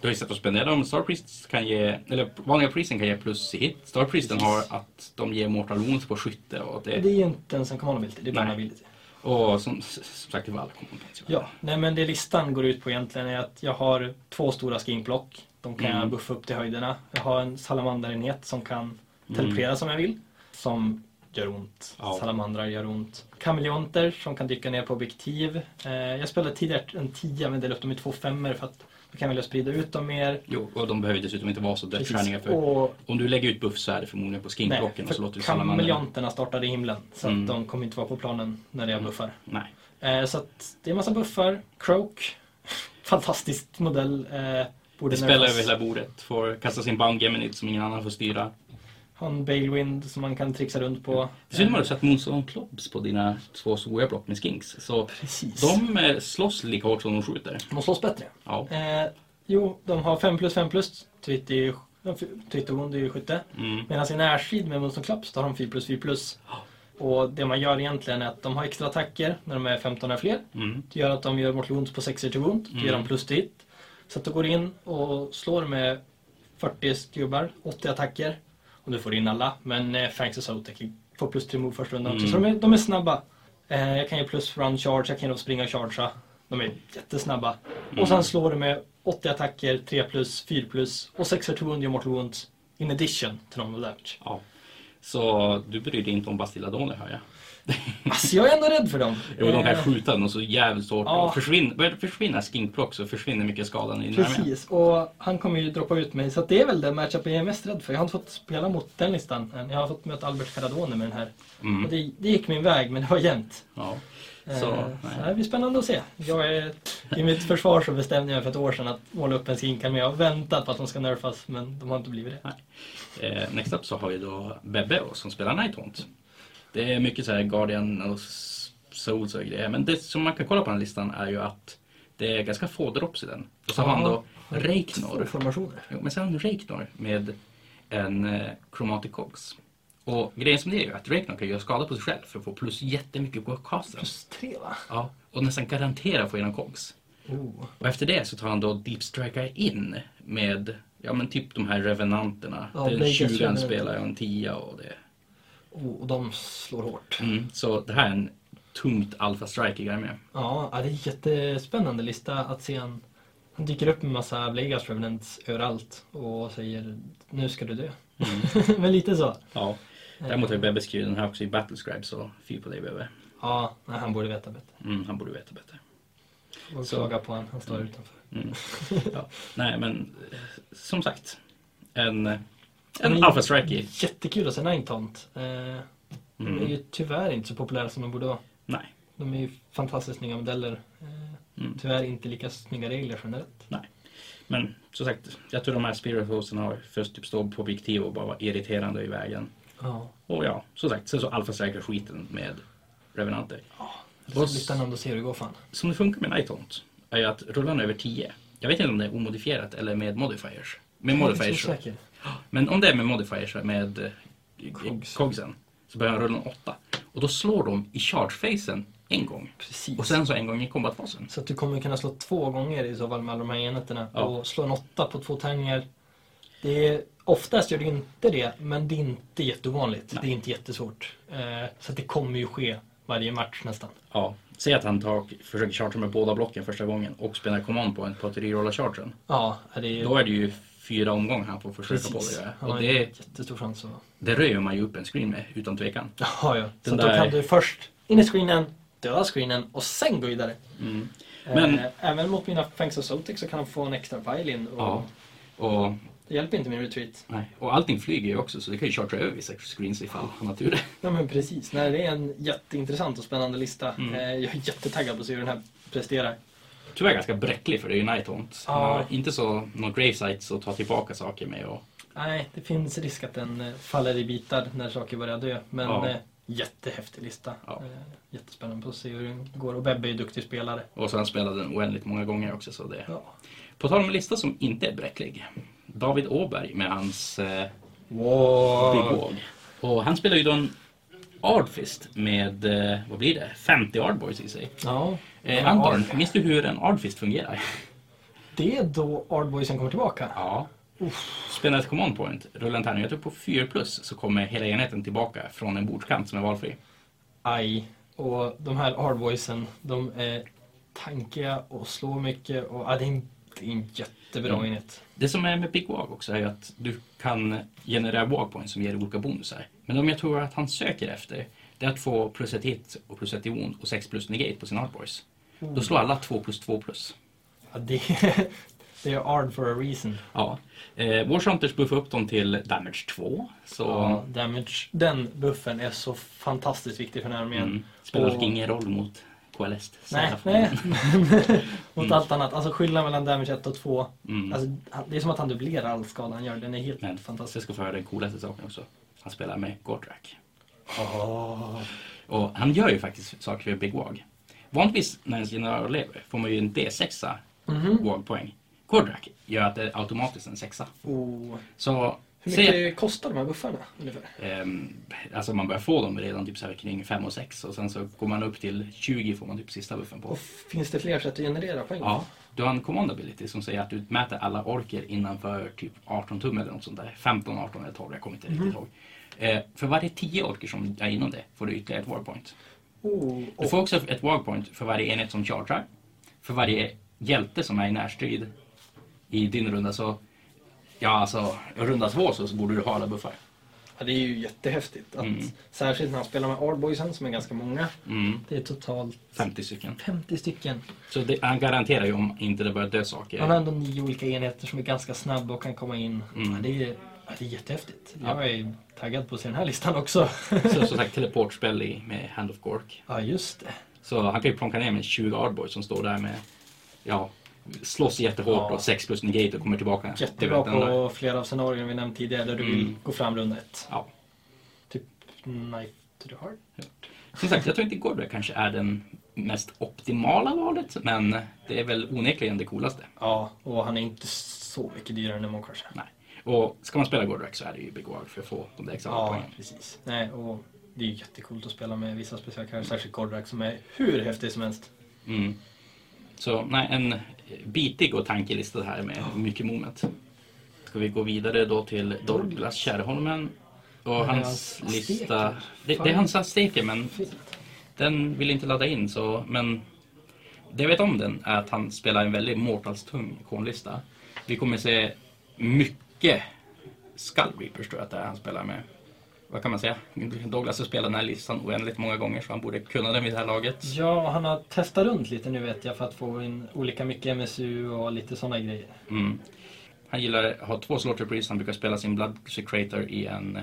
S1: du har ju sett att spendera dem. Star Priests kan ge, eller vanliga Priesten kan ge plus i hit. Star Priesten har att de ger Mortal Wounds på skytte och att det
S2: Det är ju inte ens en command ability, det är bara en
S1: Nej.
S2: ability.
S1: Och som, som sagt, det var alla command points.
S2: Ja, nej men det listan går ut på egentligen är att jag har två stora skinkblock. De kan
S1: Mm.
S2: jag buffa upp till höjderna. Jag har en salamanderenhet som kan teleportera som jag vill. Som gör ont.
S1: Ja.
S2: Salamandrar gör ont. Kameleonter som kan dyka ner på objektiv. Eh, jag spelade tidigare en 10 men delade upp dem i två femmer för att då kan jag vilja sprida ut dem mer.
S1: Jo, och de behöver dessutom inte vara så dödsstjärniga för
S2: Och,
S1: om du lägger ut buff så är det förmodligen på
S2: nej,
S1: skinkblocken och så låter
S2: för
S1: du salamandern...
S2: kameleonterna startade i himlen. Så
S1: Mm.
S2: att de kommer inte vara på planen när jag
S1: Mm.
S2: buffar.
S1: Nej.
S2: Eh, så att det är en massa buffar. Croak, fantastisk modell. Eh, borde
S1: Det spelar
S2: nerfas.
S1: över hela bordet. Får kasta sin bound geminid som ingen annan får styra.
S2: ha en Balewind som man kan trixa runt på. Eh,
S1: Dessutom har du satt motståndaren Klobs på dina två stora block med skinks. Så
S2: Precis.
S1: de eh, slåss lika hårt som de skjuter.
S2: De slåss bättre.
S1: Ja.
S2: Eh, jo, de har 5 plus 5 plus. Twitt är ju- ja, Twitt och Wound är ju skytte.
S1: Mm.
S2: Medan i närstrid med Monster Klaps då har de 4 plus 4 plus.
S1: Ah.
S2: Och det man gör egentligen är att de har extra attacker när de är 15 eller fler.
S1: Mm.
S2: Det gör att de gör Mortal Wounds på 6 till Wound. Det
S1: Mm.
S2: gör de plus till hit. Så att du går in och slår med 40 gubbar, 80 attacker. Och du får in alla. Men eh, Fangs och Zotek får plus 3 move första rundan också.
S1: Mm.
S2: Så de är, de är snabba. Eh, jag kan ge plus run charge, jag kan då springa och chargea. De är jättesnabba. Och
S1: Mm.
S2: sen slår du med 80 attacker, 3 plus, 4 plus och 6 till Wound gör Mortal Wounds. In addition till normal damage.
S1: Ja. Så du bryr dig inte om Bastilladoner hör jag.
S2: Alltså jag är ändå rädd för dem.
S1: Jo, de kan
S2: Eh,
S1: skjuta något så jävligt hårt.
S2: Ja.
S1: Och försvinner, börjar det försvinna skinkplock så försvinner mycket skadan i den armén.
S2: Precis, och han kommer ju droppa ut mig. Så att det är väl den matchup jag är mest rädd för. Jag har inte fått spela mot den listan än. Jag har fått möta Albert Caradone med den här.
S1: Mm.
S2: Och det, det gick min väg, men det var jämnt.
S1: Ja.
S2: Eh,
S1: Så,
S2: så
S1: nej.
S2: det här blir spännande att se. Jag är, I mitt försvar så bestämde jag för ett år sedan att måla upp en skinkan, men jag har väntat på att de ska nerfas, men de har inte blivit det.
S1: Eh, next up så har vi då Bebbe då, som spelar Night Haunt. Det är mycket så här Guardian och S- Souls och grejer. Men det som man kan kolla på den här listan är ju att det är ganska få drops i den. Och så har han då
S2: Två
S1: Reiknor.
S2: formationer.
S1: Jo, men så har han Reiknor med en eh, Chromatic Cogs. Och grejen som det är ju att Reiknor kan göra skada på sig själv för att få plus jättemycket på casten.
S2: Plus tre, va?
S1: Ja, och nästan garantera få igenom Cogs.
S2: Oh.
S1: Och efter det så tar han då Deep Striker in med ja, men typ de här revenanterna.
S2: Ja,
S1: det är en
S2: Vegas
S1: 20 han
S2: Revenant.
S1: spelar och en 10 och det.
S2: Oh, och de slår hårt.
S1: Mm, så det här är en tungt alfa striker jag med.
S2: Ja, ja, det är en jättespännande lista att se han. Han dyker upp med massa Vegas Revenants överallt och säger nu ska du dö. Men lite så.
S1: Ja. Mm. Däremot har ju Bebbe skrivit den här också i Battlescribe så fy på dig Bebbe.
S2: Ja, nej, han borde veta bättre.
S1: Mm, han borde veta bättre.
S2: Och
S1: Så.
S2: klaga på honom, han står utanför.
S1: Mm. Ja. Nej men eh, som sagt. En, eh,
S2: Men-
S1: en alfa striker.
S2: Jättekul att se Ninetont. Eh, De är
S1: Mm.
S2: ju tyvärr inte så populära som de borde vara.
S1: Nej.
S2: De är ju fantastiskt snygga modeller. Eh,
S1: Mm.
S2: Tyvärr inte lika snygga regler generellt.
S1: Men som sagt, jag tror de här spirit Horsen har först typ stå på objektiv och bara vara irriterande i vägen.
S2: Ja.
S1: Och ja, som sagt, sen så alfasäkra skiten med revenanter.
S2: Så
S1: Och s-
S2: listan om du ser hur det går fan.
S1: Som det funkar med Night Haunt är ju att rullarna över 10, jag vet inte om det är omodifierat eller med modifiers. Med
S2: Jag är
S1: modifiers.
S2: så säker.
S1: Men om det är med modifiers, med eh,
S2: Cogs.
S1: cogsen, så börjar han rulla en 8. Och då slår de i charge-facen en gång.
S2: Precis.
S1: Och sen så en gång i combat-fasen.
S2: Så att du kommer kunna slå två gånger i så fall med alla de här enheterna.
S1: Ja.
S2: Och slå en åtta på två tärningar. Det är, oftast gör du inte det, men det är inte jätteovanligt.
S1: Nej.
S2: Det är inte jättesvårt. Eh, så att det kommer ju ske varje match nästan.
S1: Ja, säg att han tar, försöker charge med båda blocken första gången och spelar command på en på att rerolla chargen.
S2: Ja, det är
S1: Då är det ju fyra omgångar han får försöka på det.
S2: Han
S1: Och
S2: har en
S1: det,
S2: jättestor chans att...
S1: det röjer man ju upp en screen med, utan tvekan.
S2: Ja, ja. Så
S1: Den
S2: att då
S1: där-
S2: kan du först in i screenen, döda screenen och sen gå vidare.
S1: Mm. Men-
S2: Eh, även mot mina Fangs och Zotic så kan han få en extra violin. Och
S1: Ja. Och,
S2: Det hjälper inte min retreat.
S1: nej. och allting flyger ju också så det kan ju chartra över vissa screens ifall han har tur.
S2: Ja men precis, Nej, det är en jätteintressant och spännande lista.
S1: Mm.
S2: Eh, Jag är jättetaggad på att se hur den här presterar.
S1: Tyvärr ganska bräcklig för det är ju Night Haunt. Han
S2: Ja.
S1: har Inte så någon gravesites att ta tillbaka saker med. Och,
S2: Nej, det finns risk att den eh, faller i bitar när saker börjar dö. Men
S1: Ja.
S2: eh, jättehäftig lista.
S1: Ja.
S2: Eh, Jättespännande att se hur den går. Och Bebbe är ju duktig spelare.
S1: och så har han spelat den oändligt många gånger också. Så det.
S2: Ja.
S1: På tal om en lista som inte är bräcklig. David Åberg med hans eh, Big
S2: Wow!
S1: Wog. Och han spelar ju då en Ardfist med, eh, vad blir det, 50 Ardboys i sig.
S2: Ja.
S1: Eh,
S2: Ja,
S1: Anton, minns du hur en Ardfist fungerar?
S2: Det är då Ardboysen kommer tillbaka.
S1: Ja. Spela ett command point, rulla en tärning. Jag tror på 4 plus så kommer hela enheten tillbaka från en bordskant som är valfri.
S2: Aj. Och de här Ardboysen, de är tankiga och slår mycket. Och, ja, det, är en, det är en jättebra
S1: Ja.
S2: enhet.
S1: Det som är med Big Wag också är ju att du kan generera Wag points som ger olika bonusar. Men de jag tror att han söker efter, det är att få plus ett hit och plus ett i wound och 6 plus negate på sina artboys. Då slår alla 2 plus 2 plus.
S2: Ja, det, är- det är Ard for a reason.
S1: Ja. Eh, Warshunters buffar upp dem till damage 2. Så
S2: Ja, damage. Den buffen är så fantastiskt viktig för den här armén.
S1: mm, spelar dock
S2: Och-
S1: ingen roll mot KLS.
S2: Nej,
S1: Så-
S2: nej. Mot allt annat. Alltså skillnaden mellan damage 1 och 2.
S1: Mm.
S2: Alltså, han- det är som att han dubblerar all skada han gör. Den är helt
S1: Men
S2: fantastisk.
S1: jag ska få höra den coolaste saken också. Han spelar med Gotrak. Ah.
S4: Oh.
S1: Och han gör ju faktiskt saker för Big Wag. Vanligtvis när ens general lever får man ju en D6
S2: Mhm.
S1: Wag-poäng. Gordrak gör att det är automatiskt en sexa.
S4: Oh.
S1: Så
S4: Hur mycket
S1: se,
S4: kostar de här buffarna ungefär?
S1: ehm, alltså man börjar få dem redan typ så här kring 5 och 6 och sen så går man upp till 20 får man typ sista buffen på.
S4: Och finns det fler sätt att generera poäng?
S1: Ja, du har en command ability som säger att du mäter alla orker innanför typ 18 tum eller något sånt där. 15, 18 eller 12, jag kommer inte riktigt ihåg. Eh, för varje 10 orker som är inom det får du ytterligare ett war point.
S4: Oh.
S1: Du
S4: Och,
S1: får också ett war point för varje enhet som chartrar. För varje hjälte som är i närstrid i din runda så... Ja, alltså runda två så, så borde du ha alla buffar.
S4: ja, det är ju jättehäftigt. Att,
S1: Mm.
S4: Särskilt när han spelar med Ardboysen som är ganska många.
S1: Mm,
S2: Det är totalt
S1: 50 stycken.
S2: 50 stycken.
S1: Så det, han garanterar ju om inte det börjar dö saker.
S2: Man har ändå nio olika enheter som är ganska snabba och kan komma in.
S1: Mm.
S2: Ja, det, är, ja, det är jättehäftigt.
S1: Ja.
S2: Jag är taggad på att se den här listan också.
S1: Så som sagt teleportspel i- med Hand of Gork.
S2: ja, just det.
S1: Så han kan ju plonka ner med 20 Ardboys som står där med... Ja, slåss jättehårt
S2: Ja.
S1: och 6 plus negate och kommer tillbaka.
S2: Jättebra
S1: Det vet han då.
S2: på flera av scenarierna vi nämnt tidigare där du vill
S1: Mm.
S2: gå fram runda ett.
S1: Ja.
S2: Typ Knife to the Heart.
S1: Som sagt, jag tror inte Gordra kanske är den mest optimala valet, men det är väl onekligen det coolaste.
S2: Ja, och han är inte så mycket dyrare än Monk kanske.
S1: Nej. Och ska man spela Gordrak så är det ju Begåvd för att få de där extra
S2: Ja,
S1: poängen.
S2: precis. Nej, och det är ju jättekult att spela med vissa specialkaraktärer, särskilt Gordrak som är hur häftig som helst.
S1: Mm. Så nej, en bitig och tankelista här med mycket moment. Ska vi gå vidare då till Douglas Kärrholmen och
S2: Men
S1: hans
S2: hans
S1: lista.
S2: azteker.
S1: Det, det är hans azteker men den vill inte ladda in så men det jag vet om den är att han spelar en väldigt Mortals-tung ikonlista. Vi kommer se mycket Skull Reapers tror jag att det är han spelar med. Vad kan man säga? Douglas har spelat den här listan oändligt många gånger så han borde kunna den vid det här laget.
S2: Ja, han har testat runt lite nu vet jag för att få in olika mycket MSU och lite sådana grejer.
S1: Mm. Han gillar att ha två slaughter priests. Han brukar spela sin Blood Secretor i en...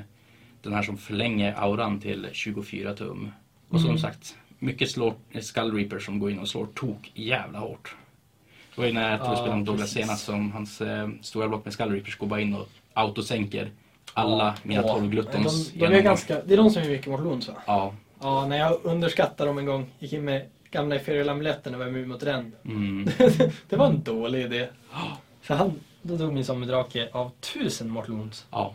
S1: Den här som förlänger auran till 24 tum. Och som
S4: Mm.
S1: sagt, mycket slår, Skull Reaper som går in och slår tok jävla hårt. Det var ju när jag
S2: Ja,
S1: spelade med Douglas
S2: precis.
S1: senast som hans eh, stora block med Skull Reapers går bara in och autosänker alla mina 12 gluttons
S4: de, de är
S1: genom-
S4: ganska, Det är de som är mycket mot Loons va?
S1: Ja.
S4: Ja, när jag underskattade dem en gång, gick in med gamla Ethereal amuletten och var immun mot den.
S1: Mm.
S4: det var en dålig idé.
S2: För han, då dog min sommardrake av tusen mortlons.
S1: Ja.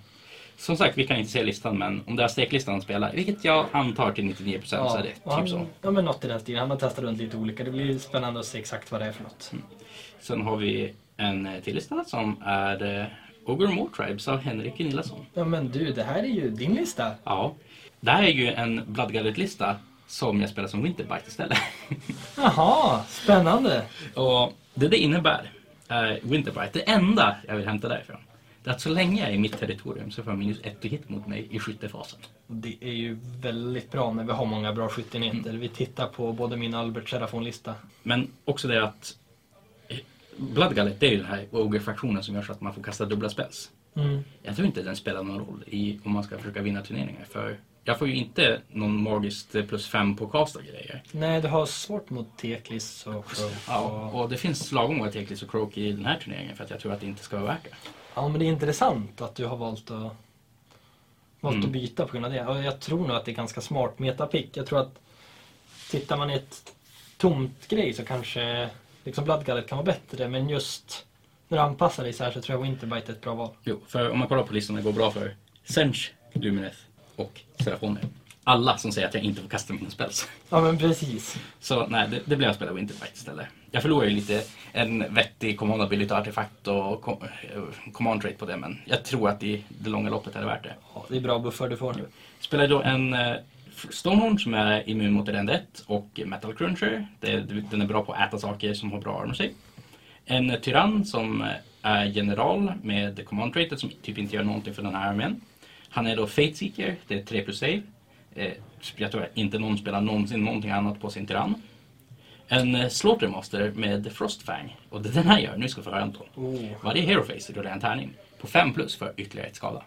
S1: Som sagt, vi kan inte se listan men om det är steklistan han spelar, vilket jag antar till 99% så är det
S2: och han,
S1: typ så.
S2: Ja, men något i den stilen. Han har testat runt lite olika. Det blir spännande att se exakt vad det är för något.
S1: Mm. Sen har vi en eh, till lista som är eh, Ogre More Tribes av Henrik Gunillasson.
S2: Ja, men du, det här är ju din lista.
S1: Ja. Det här är ju en Blood Gullet-lista som jag spelar som Winterbite istället.
S2: Jaha, spännande.
S1: Och det det innebär, är Winterbite, det enda jag vill hämta därifrån, det är att så länge jag är i mitt territorium så får jag minus ett hit mot mig i skyttefasen.
S2: Det är ju väldigt bra när vi har många bra skyttenheter.
S1: Mm.
S2: Vi tittar på både min och Alberts Serafon-lista.
S1: Men också det att eh, Blood Gullet, det är ju den här Ogre-fraktionen som gör så att man får kasta dubbla spells.
S4: Mm.
S1: Jag tror inte den spelar någon roll i om man ska försöka vinna turneringar. För jag får ju inte någon magiskt eh, plus fem på casta grejer.
S2: Nej, du har svårt mot Teklis och
S1: Ja,
S2: Ja.
S1: och det finns lagom många Teklis och Croak i den här turneringen för att jag tror att det inte ska vara värt det.
S2: ja, men det är intressant att du har valt att, valt
S1: Mm.
S2: att byta på grund av det. Ja, Jag tror nog att det är ganska smart metapick. Jag tror att tittar man i ett tomt grej så kanske liksom Bloodgullet kan vara bättre. Men just när du anpassar dig så här så tror jag Winterbite är ett bra val.
S1: Jo, för om man kollar på listan det går bra för Sench, Lumineth och Serafoner. Alla som säger att jag inte får kasta mina spells.
S2: Ja, men precis.
S1: Så nej, det, det blev att spela Winterfight istället. Jag förlorar ju lite en vettig command ability artefakt och kom, eh, command rate på det men jag tror att i det långa loppet är det värt det.
S2: Ja, det är bra buffar du får.
S1: Spelar då en eh, Stonehorn som är immun mot rend 1 och Metal Cruncher. Det, den är bra på att äta saker som har bra armor sig. En eh, Tyrann som eh, är general med command traitet som typ inte gör någonting för den här armén. Han är då Fate Seeker, det är 3 plus save. Eh, jag tror inte någon spelar någonsin någonting annat på sin Tyrann. En eh, Slaughtermaster med Frostfang. Och det den här gör, nu ska du få höra Anton.
S2: Oh.
S1: Varje Hero Face rullar en tärning på 5 plus för ytterligare ett skada.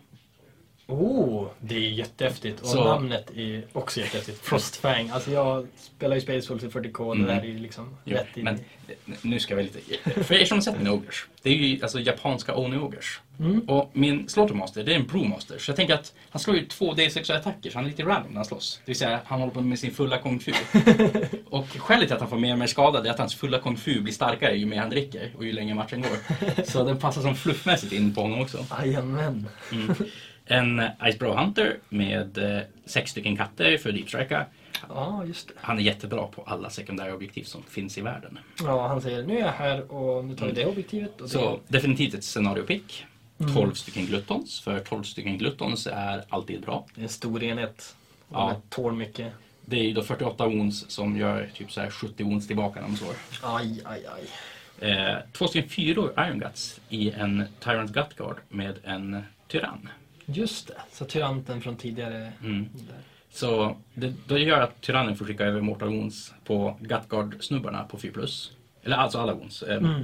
S2: Oh, det är jättehäftigt. Och
S1: Så-
S2: namnet är också jättehäftigt. Frostfang. Alltså jag spelar ju Spaceworld till 40K och det där är ju liksom
S1: Jo,
S2: rätt in.
S1: men eh, nu ska vi lite... För er som har sett mina ogers, det är ju alltså japanska Oni-ogers.
S2: Mm.
S1: Och min Slaughtermaster, det är en Brewmaster. Så jag tänker att han slår ju två D6-attacker, så han är lite random när han slåss. Det vill säga, han håller på med sin fulla kung fu. och skälet till att han får mer och mer skada, det är att hans fulla kung fu blir starkare ju mer han dricker och ju längre matchen går. så den passar som fluffmässigt in på honom också.
S2: Jajamän.
S1: Mm. En eh, Icebrow Hunter med eh, sex stycken katter för Deep Striker.
S2: Ja, just det.
S1: Han är jättebra på alla sekundära objektiv som finns i världen.
S2: Ja, han säger nu är jag här och nu tar vi det objektivet. Och det.
S1: Så definitivt ett scenariopick. 12 stycken gluttons, för 12 stycken gluttons är alltid bra.
S2: det är en stor enhet. Och
S1: Ja.
S2: Den tål mycket.
S1: Det är ju då 48 ons som gör typ så här 70 ons tillbaka när de slår.
S2: Aj, aj, aj.
S1: Eh, två stycken fyror Iron Guts i en Tyrant Gut Guard med en Tyrann.
S2: Just det. Så tyranten från tidigare.
S1: Mm.
S2: Där.
S1: Så det, det gör att Tyrannen får skicka över Mortal Wounds på Gut Guard snubbarna på 4+. Eller alltså alla Wounds. Eh,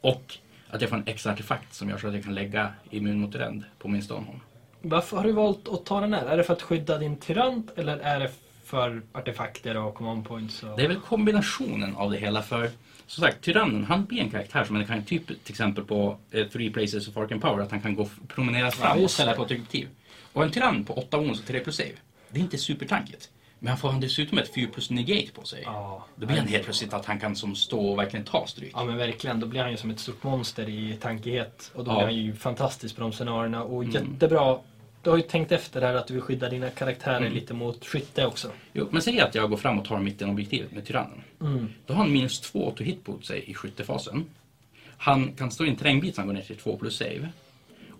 S1: Och att jag får en extra artefakt som gör så att jag kan lägga immun mot rend på min Stormhorn.
S2: Varför har du valt att ta den här? Är det för att skydda din tyrant eller är det för artefakter och command points? Och...
S1: Det är väl kombinationen av det hela för som sagt, tyrannen han blir en karaktär som man kan typ till exempel på eh, Three Places of Arkham Power att han kan gå f- promenera
S2: Ja,
S1: fram och
S2: just
S1: ställa
S2: det.
S1: på ett objektiv. Och en tyrann på 8 ons och 3 plus save, det är inte supertankigt. Men han får han dessutom ett 4 plus negate på sig.
S2: Ja.
S1: Då blir han helt plötsligt att han kan som stå och verkligen ta stryk.
S2: Ja men verkligen, då blir han ju som ett stort monster i tankighet. Och då
S1: Ja. Mm.
S2: blir han ju fantastisk på de scenarierna och jättebra. Du har ju tänkt efter här att du vill skydda dina karaktärer
S1: Mm.
S2: lite mot skytte också.
S1: Jo, men säg att jag går fram och tar mittenobjektivet med tyrannen.
S2: Mm.
S1: Då har han minus 2 to hit på sig i skyttefasen. Han kan stå i en terrängbit så han går ner till 2 plus save.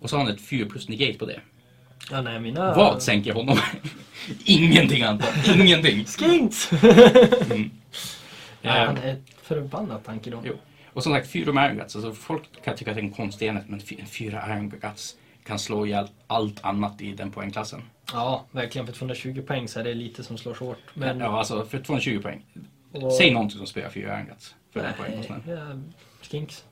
S1: Och så har han ett 4 plus negate på det.
S2: Ja, nej, mina...
S1: Vad sänker honom? Ingenting Anton, ingenting.
S2: Skinks!
S1: Eh,
S2: Han är ett förbannat tanke då.
S1: jo. Och som sagt, fyra Iron Guts. Alltså, folk kan tycka att det är en konstig enhet, men fy- fyra Iron Guts kan slå ihjäl allt annat i den poängklassen.
S2: Ja, verkligen. För 220 poäng så är det lite som slår så hårt. Men...
S1: Ja, alltså för 220 poäng.
S2: och-
S1: Säg någonting som spelar fyra Iron Guts för den
S2: Nej,
S1: poängkostnaden.
S2: eh, Skinks.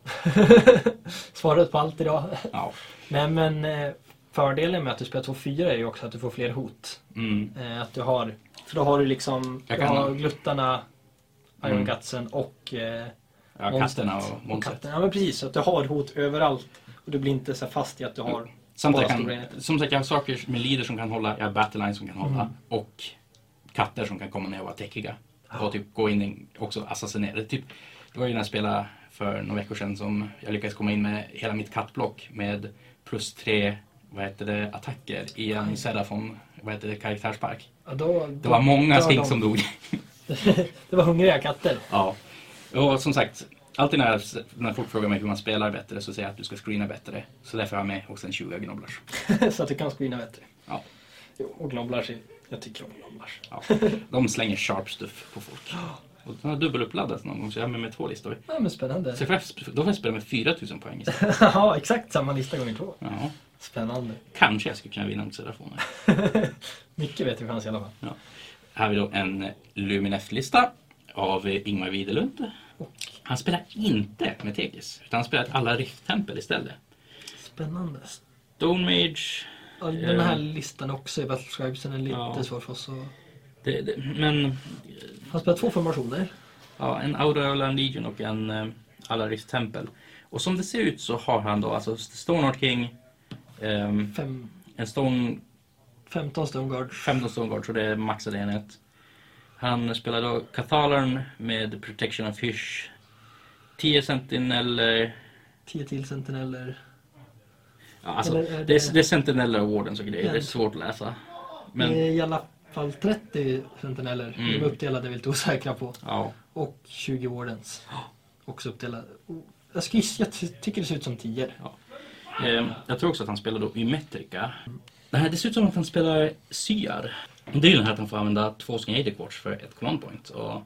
S2: Svaret på allt idag.
S1: Ja.
S2: Nej men eh, fördelen med att du spelar 2-4 är ju också att du får fler hot.
S1: Mm.
S2: Eh, Att du har, för då har du liksom
S1: Jag
S2: du
S1: kan-
S2: har gluttarna, Iron
S1: Mm.
S2: Gutsen och eh,
S1: ja
S2: monstret.
S1: katterna och monstret.
S2: katten. Ja men precis, så att du har hot överallt. Och du blir inte så fast i att du har...
S1: Samt
S2: Bara
S1: jag
S2: stora
S1: kan,
S2: enheter.
S1: som sagt, jag har saker med leader som kan hålla, jag har battlelines som kan hålla och katter som kan komma ner och vara täckiga. Och typ gå in i- också assassinera. Det, är typ, det var ju när jag spelade för några veckor sedan som jag lyckades komma in med hela mitt kattblock med plus tre vad heter det, attacker i en Serafon vad heter det, karaktärspark.
S2: Ja, då,
S1: Det var många
S2: då-
S1: skink
S2: de-
S1: som dog.
S2: det var hungriga katter.
S1: Ja. Och som sagt, alltid när, när folk frågar mig hur man spelar bättre så säger jag att du ska screena bättre. Så därför har jag med också en 20 gnobblers.
S2: så att du kan screena bättre.
S1: Ja.
S2: Jo, Och glomblars, är- jag tycker om glomblars.
S1: Ja, de slänger sharp stuff på folk. Och den har dubbeluppladdats någon gång så jag har med mig två listor.
S2: Ja men spännande.
S1: Så jag får, sp- då får jag spela med 4000 poäng istället.
S2: ja, exakt samma lista gånger två.
S1: Ja,
S2: Spännande.
S1: kanske jag skulle kunna vinna mot Serafoner.
S2: Mycket vet vi fanns i alla fall.
S1: Ja. Här har vi då en Lumineft-lista av eh, Ingmar Widerlund. Han spelar inte med Tekis, utan han spelar ett alla rifttempel istället.
S2: Spännande.
S1: Stone Mage,
S2: Ja, Den här listan också i Battlescribesen är lite
S1: Ja.
S2: svår för oss att...
S1: det, det, men
S2: Han spelar två formationer.
S1: Ja, en Aureolan Legion och en eh, Alaris Tempel. Och som det ser ut så har han då alltså Stoneheart King, ehm,
S2: Fem,
S1: en Stone,
S2: 15 Stone Guard.
S1: 15 Stoneguard, så det är maxad enhet. Han spelar då Cathalarn med Protection of Fish, 10 Sentineller,
S2: 10 till sentineller.
S1: ja, alltså det
S2: Eller är
S1: är,
S2: det-
S1: det är Sentineller och Wardens och grejer, det är
S2: Men-
S1: svårt att läsa.
S2: Men...
S1: Men,
S2: Eh, I alla fall 30 sentineller.
S1: Mm.
S2: De är uppdelade, är vi lite osäkra på.
S1: ja.
S2: Och 20 Wardens. Också uppdelade. Och Jag, ska gissa, jag ty- tycker det ser ut som 10.
S1: Ehm, Jag tror också att han spelar då Ymetrica. Det här det ser ut som att han spelar Syar. Dealen är att han får använda två stycken Aderquarts för ett command point. Och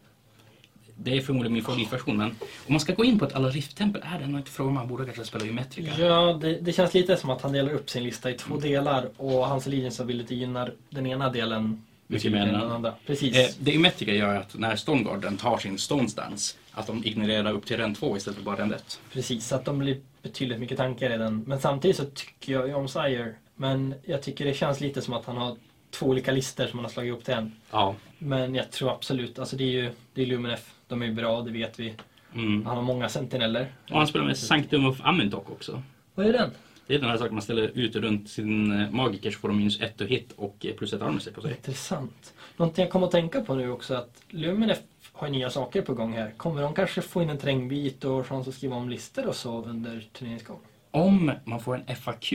S1: det är förmodligen min favoritversion men om man ska gå in på ett alla rift-tempel är det nog inte fråga om man borde kanske spela Ymetrica.
S2: Ja, det, det känns lite som att han delar upp sin lista i två delar och hans Allegiance Ability gynnar den ena delen
S1: Mycket mer än den
S2: andra. Precis.
S1: Eh, Det Ymetrica gör är att när Stonegarden tar sin Stone Stance att de ignorerar upp till rend 2 istället för bara rend 1.
S2: Precis, så att de blir betydligt mycket tankigare i den. Men samtidigt så tycker jag ju om Sire. Men jag tycker det känns lite som att han har två olika listor som han har slagit ihop till en.
S1: Ja.
S2: Men jag tror absolut, alltså det är ju det är Luminef, de är ju bra, det vet vi.
S1: Mm.
S2: Han har många sentineller.
S1: Och han spelar med Sanctum of Amundok också.
S2: Vad är den?
S1: Det är den här saken man ställer ut runt sin eh, magiker så får de minus ett och hit och eh, plus ett armor på sig.
S2: Intressant. Någonting jag kommer att tänka på nu också är att Luminef har ju nya saker på gång här. Kommer de kanske få in en trängbit och chans att skriva om listor och så under turneringens gång?
S1: Om man får en FAQ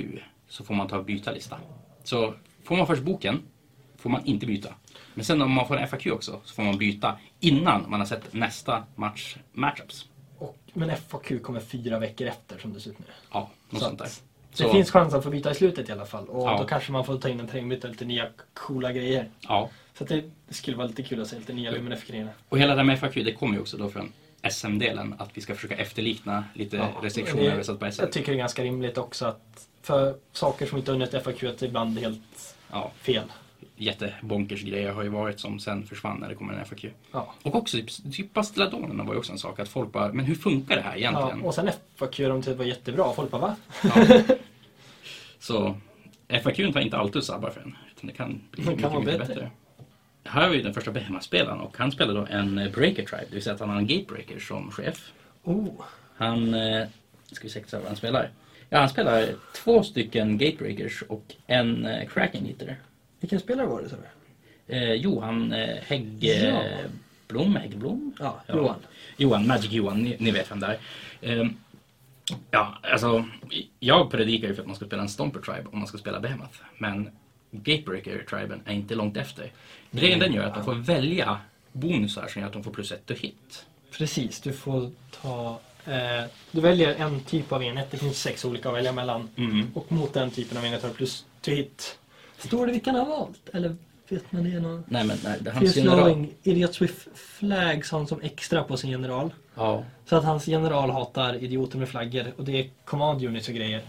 S1: så får man ta och byta lista. Så får man först boken får man inte byta. Men sen om man får en FAQ också så får man byta innan man har sett nästa match matchups.
S2: Och, men FAQ kommer fyra veckor efter som det ser ut nu.
S1: Ja, något
S2: Så
S1: sånt där.
S2: att
S1: Så,
S2: Det finns chans att få byta i slutet i alla fall. Och
S1: Ja.
S2: då kanske man får ta in en trängbit och lite nya coola grejer.
S1: Ja.
S2: Så att det skulle vara lite kul att se lite nya
S1: Mm.
S2: Luminef-grejerna.
S1: Och hela det här med FAQ det kommer ju också då från SM-delen att vi ska försöka efterlikna lite restriktioner
S2: Det-
S1: översatt på SM.
S2: Jag tycker det är ganska rimligt också att för saker som inte har hunnit FAQ att det är ibland helt
S1: Ja,
S2: fel.
S1: jättebonkers grejer har ju varit som sen försvann när det kommer en FAQ.
S2: Ja.
S1: Och också typ, typ Bastiladonerna var ju också en sak att folk bara, men hur funkar det här
S2: Ja,
S1: egentligen?
S2: och sen FAQ de tyckte det var jättebra. Folk bara va?
S1: Så FAQ tar inte alltid sabbar för en, utan det kan bli
S2: Det kan
S1: mycket,
S2: vara
S1: mycket
S2: bättre.
S1: bättre. Här har vi den första Behema-spelaren och han spelar då en eh, breaker tribe, det vill säga att han har en gatebreaker som chef.
S2: Oh,
S1: Han, eh, ska vi se exakt vad han spelar. Ja, han spelar två stycken gatebreakers och en eh, cracking hitter.
S2: vilken spelare var det? sa du?
S1: Eh, Johan eh, Hägg... eh,
S2: Ja.
S1: Blom, Häggblom?
S2: Ja, Johan.
S1: Johan, Magic Johan, ni, ni vet vem det är. Ehm, ja, alltså, jag predikar ju för att man ska spela en Stomper Tribe om man ska spela Behemoth. Men Gatebreaker-triben är inte långt efter. Grejen den gör att de får välja bonusar som gör att de får plus ett och hit.
S2: Precis, du får ta... Eh, du väljer en typ av enhet. Det finns sex olika att välja mellan.
S1: Mm.
S2: Och mot den typen av enhet har du plus to hit. Står det vilka han har valt? Eller vet man det? Någon...
S1: Nej men nej, det är hans
S2: Chris
S1: general.
S2: Lowing, Idiot Swift Flags har han som extra på sin general.
S1: Ja,
S2: Så att hans general hatar idioter med flaggor och det är command units och grejer.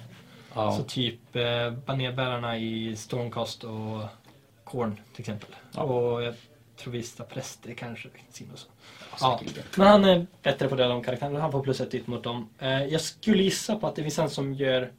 S1: ja.
S2: Så typ eh, banerbärarna i Stormcast och Korn till exempel. Och jag tror vissa präster kanske. Sin och så. Ja.
S1: säkerligen.
S2: Men han är bättre på det de karaktärerna. Han får plus ett hit mot dem. Eh, jag skulle gissa på att det finns en som gör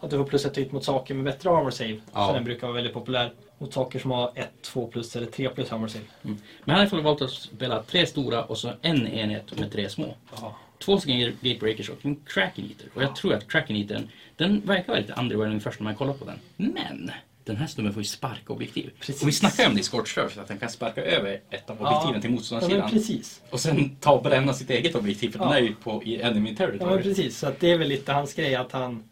S2: att du får plus ett hit mot saker med bättre armor save.
S1: Ja.
S2: Så den brukar vara väldigt populär. Mot saker som har 1, 2 plus eller 3 plus armor save.
S1: Mm. Men här har vi valt att spela tre stora och så en enhet med tre små.
S2: Ja.
S1: två stycken gatebreakers och en Kraken Eater. Och jag tror att Kraken Eatern, den verkar vara lite underwhelming först när man kollar på den. Men! Den här snubben får ju sparka objektiv.
S2: Precis.
S1: Och vi snackade om det i Scorch Earth, att den kan sparka över ett av objektiven till
S2: Ja, men
S1: motståndarsidan.
S2: precis.
S1: och sen ta och bränna sitt eget objektiv, för den
S2: Ja.
S1: är ju på, i enemy
S2: Ja men
S1: territory.
S2: precis, så att det är väl lite hans grej att han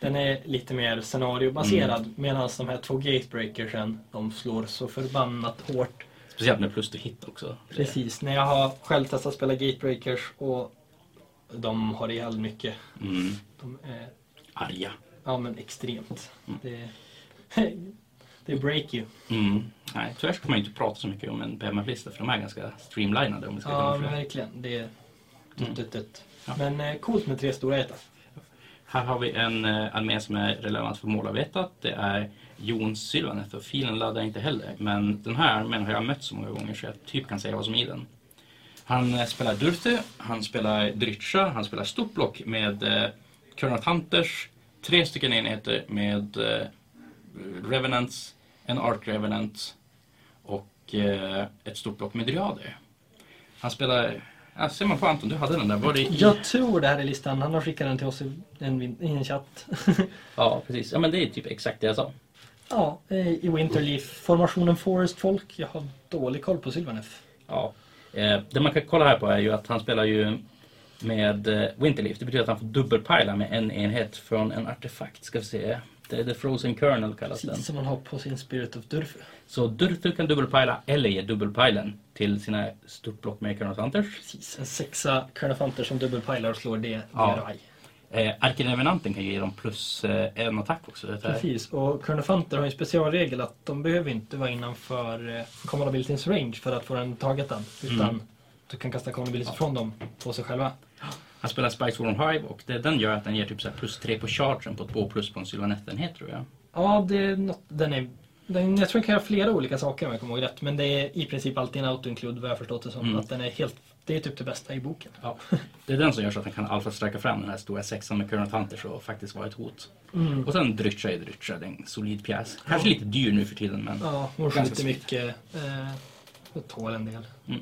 S2: den är lite mer scenariobaserad
S1: Mm.
S2: medan de här två gatebreakersen de slår så förbannat hårt.
S1: Speciellt med plus to hit också. Det-
S2: Precis, när jag har själv testat att spela gatebreakers och de har ihjäl mycket.
S1: Mm.
S2: De är
S1: Arga.
S2: ja, men extremt. Det, det är break you.
S1: Mm. Nej, tyvärr så kan man ju inte prata så mycket om en PMF-lista för de är ganska streamlinade om vi ska
S2: Ja
S1: kalla
S2: men
S1: dem för det.
S2: verkligen. Det är
S1: Mm.
S2: dutt, dutt, dutt.
S1: Ja.
S2: Men eh, coolt med tre stora äta.
S1: Här har vi en eh, armé som är relevant för målarbetet. Det är Jon Sylvaneth och filen laddar jag inte heller. Men den här armén har jag mött så många gånger så jag typ kan säga vad som är i den. Han eh, spelar Durthu, han spelar Drytscha, han spelar stort block med eh, Colonel Hunters, tre stycken enheter med eh, Revenants, en Ark Revenant och eh, ett stort block med Dryader. Han spelar... Ja, ser man på Anton, du hade den där. Var det i...
S2: Jag tror det här är listan, han har skickat den till oss i en, vin- i en chatt.
S1: ja, precis. Ja, men det är typ exakt det jag sa.
S2: Ja, eh, i Winterleaf. Formationen Forest Folk. Jag har dålig koll på Sylvaneth.
S1: Ja. Eh, det man kan kolla här på är ju att han spelar ju med eh, Winterleaf. Det betyder att han får dubbelpajla med en enhet från en artefakt. Ska vi se. Det är The Frozen Kernel kallas den.
S2: Precis som man har på sin Spirit of Durfu.
S1: Så Durthu kan dubbelpajla eller ge dubbelpajlen till sina stort block med Colonel Hunters.
S2: Precis, en sexa Kernafanter som dubbelpilar och slår det.
S1: Ja.
S2: det är raj.
S1: Eh, Arkinevenanten kan ge dem plus eh, en attack också. Det här.
S2: Precis, och Kernafanter har ju en specialregel att de behöver inte vara innanför eh, Commandabilitins range för att få den targetad.
S1: Mm.
S2: Utan du kan kasta Commandability från dem på sig själva.
S1: Han spelar Spikes Warm Hive och det den gör att den ger typ så här plus 3 på chargen på 2 plus på en Sylvanett-enhet tror jag.
S2: Ja, det är något, den är... Den, jag tror den kan göra flera olika saker om jag kommer ihåg rätt. Men det är i princip alltid en auto-include vad jag har förstått det som.
S1: Mm.
S2: Att den är helt Det är typ det bästa i boken.
S1: Ja. Det är den som gör så att han kan alfa-sträcka fram den här stora sexan med Current Hunters och faktiskt vara ett hot. Och sen Drytcha är Drytcha, det är en solid pjäs. Kanske lite dyr nu för tiden men
S2: Ja, hon
S1: Ganska
S2: skjuter
S1: smidigt.
S2: mycket. Eh, och tål en del.
S1: Mm.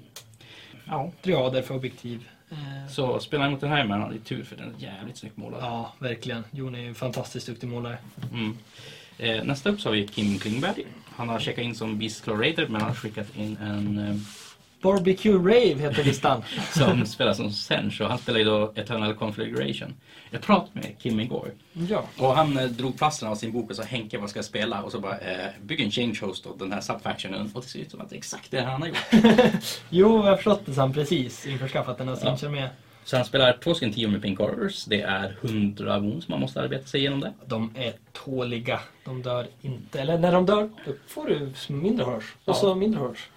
S2: Ja, triader för objektiv. Eh,
S1: så spelar emot den här med han har tur för den är jävligt snyggt målad.
S2: ja, verkligen. Jon är ju en fantastiskt duktig målare.
S1: Mm. Eh, nästa upp så har vi Kim Klingberg. Han har checkat in som Beast Clorator men han har skickat in en eh,
S2: Barbecue Rave heter listan.
S1: som spelar som Sench och han spelar ju då Eternal Configuration. Jag pratade med Kim igår
S2: ja.
S1: och han eh, drog plasten av sin bok och sa Henke vad ska jag spela? Och så bara eh, bygg en change host åt den här subfactionen och det ser ut som att det är exakt det han har gjort.
S2: Jo, jag har förstått det sen precis. Införskaffat den här Sincher med.
S1: Så han spelar två stycken tio med Pink Carvers. Det är 100 wounds man måste arbeta sig igenom det.
S2: De är tåliga. De dör inte. Eller när de dör, då får du mindre hörs. Och så mindre hörs.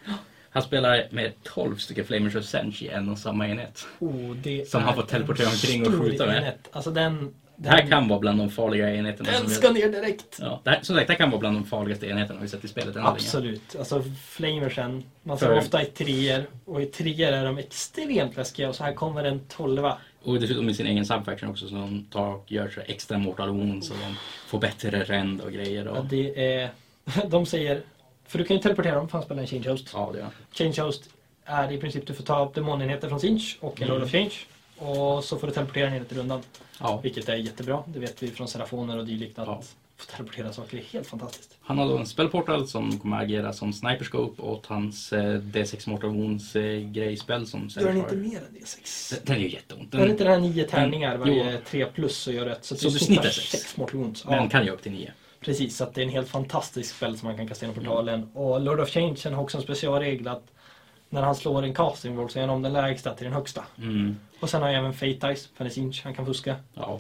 S1: Han spelar med 12 stycken Flamers of Sench i en och samma enhet.
S2: Oh, det
S1: Som han
S2: är
S1: får teleportera
S2: en
S1: omkring och
S2: stor
S1: skjuta med.
S2: enhet. Alltså den...
S1: Det här kan vara bland de farliga enheterna.
S2: Den
S1: vi-
S2: ska ner direkt.
S1: Ja, det här, som sagt, det här kan vara bland de farligaste enheterna vi sett i spelet än så länge.
S2: Absolut. Alltså flamersen. Man
S1: För-
S2: ser ofta i trier. Och i trier är de extremt läskiga. Och så här kommer en tolva.
S1: Och dessutom med sin egen subfaction också som de tar och gör så här extra mortal wounds så de får bättre ränd och grejer. Och,
S2: Ja. Det är... De säger... För du kan ju teleportera dem, fan spela en change host.
S1: ja, det gör han.
S2: Change host är i princip du får ta upp demonenheter från Sinch och en
S1: Mm.
S2: roll of change. Och så får du teleportera en enhet i rundan.
S1: ja.
S2: Vilket är jättebra. Det vet vi från Serafoner och dylikt att
S1: Ja.
S2: få teleportera saker är helt fantastiskt.
S1: Han har då en spellportal som kommer agera som sniperscope åt hans eh, D6 mortal wounds eh, grejspel som
S2: Gör den
S1: Sench har.
S2: inte mer än D6?
S1: Den- Den gör jätteont.
S2: Är det
S1: Den,
S2: inte det här nio tärningar
S1: Jo.
S2: varje tre plus så gör rätt? Så,
S1: Så
S2: du snittar sex mot ont. Ja,
S1: den kan ju upp till nio.
S2: precis. Så att det är en helt fantastisk spel som man kan kasta genom portalen. Och Lord of Change har också en specialregel att när han slår en casting roll så är han om den lägsta till den högsta.
S1: Mm.
S2: Och sen har jag även Fate Dice, Fanny Inch, han kan fuska.
S1: Ja.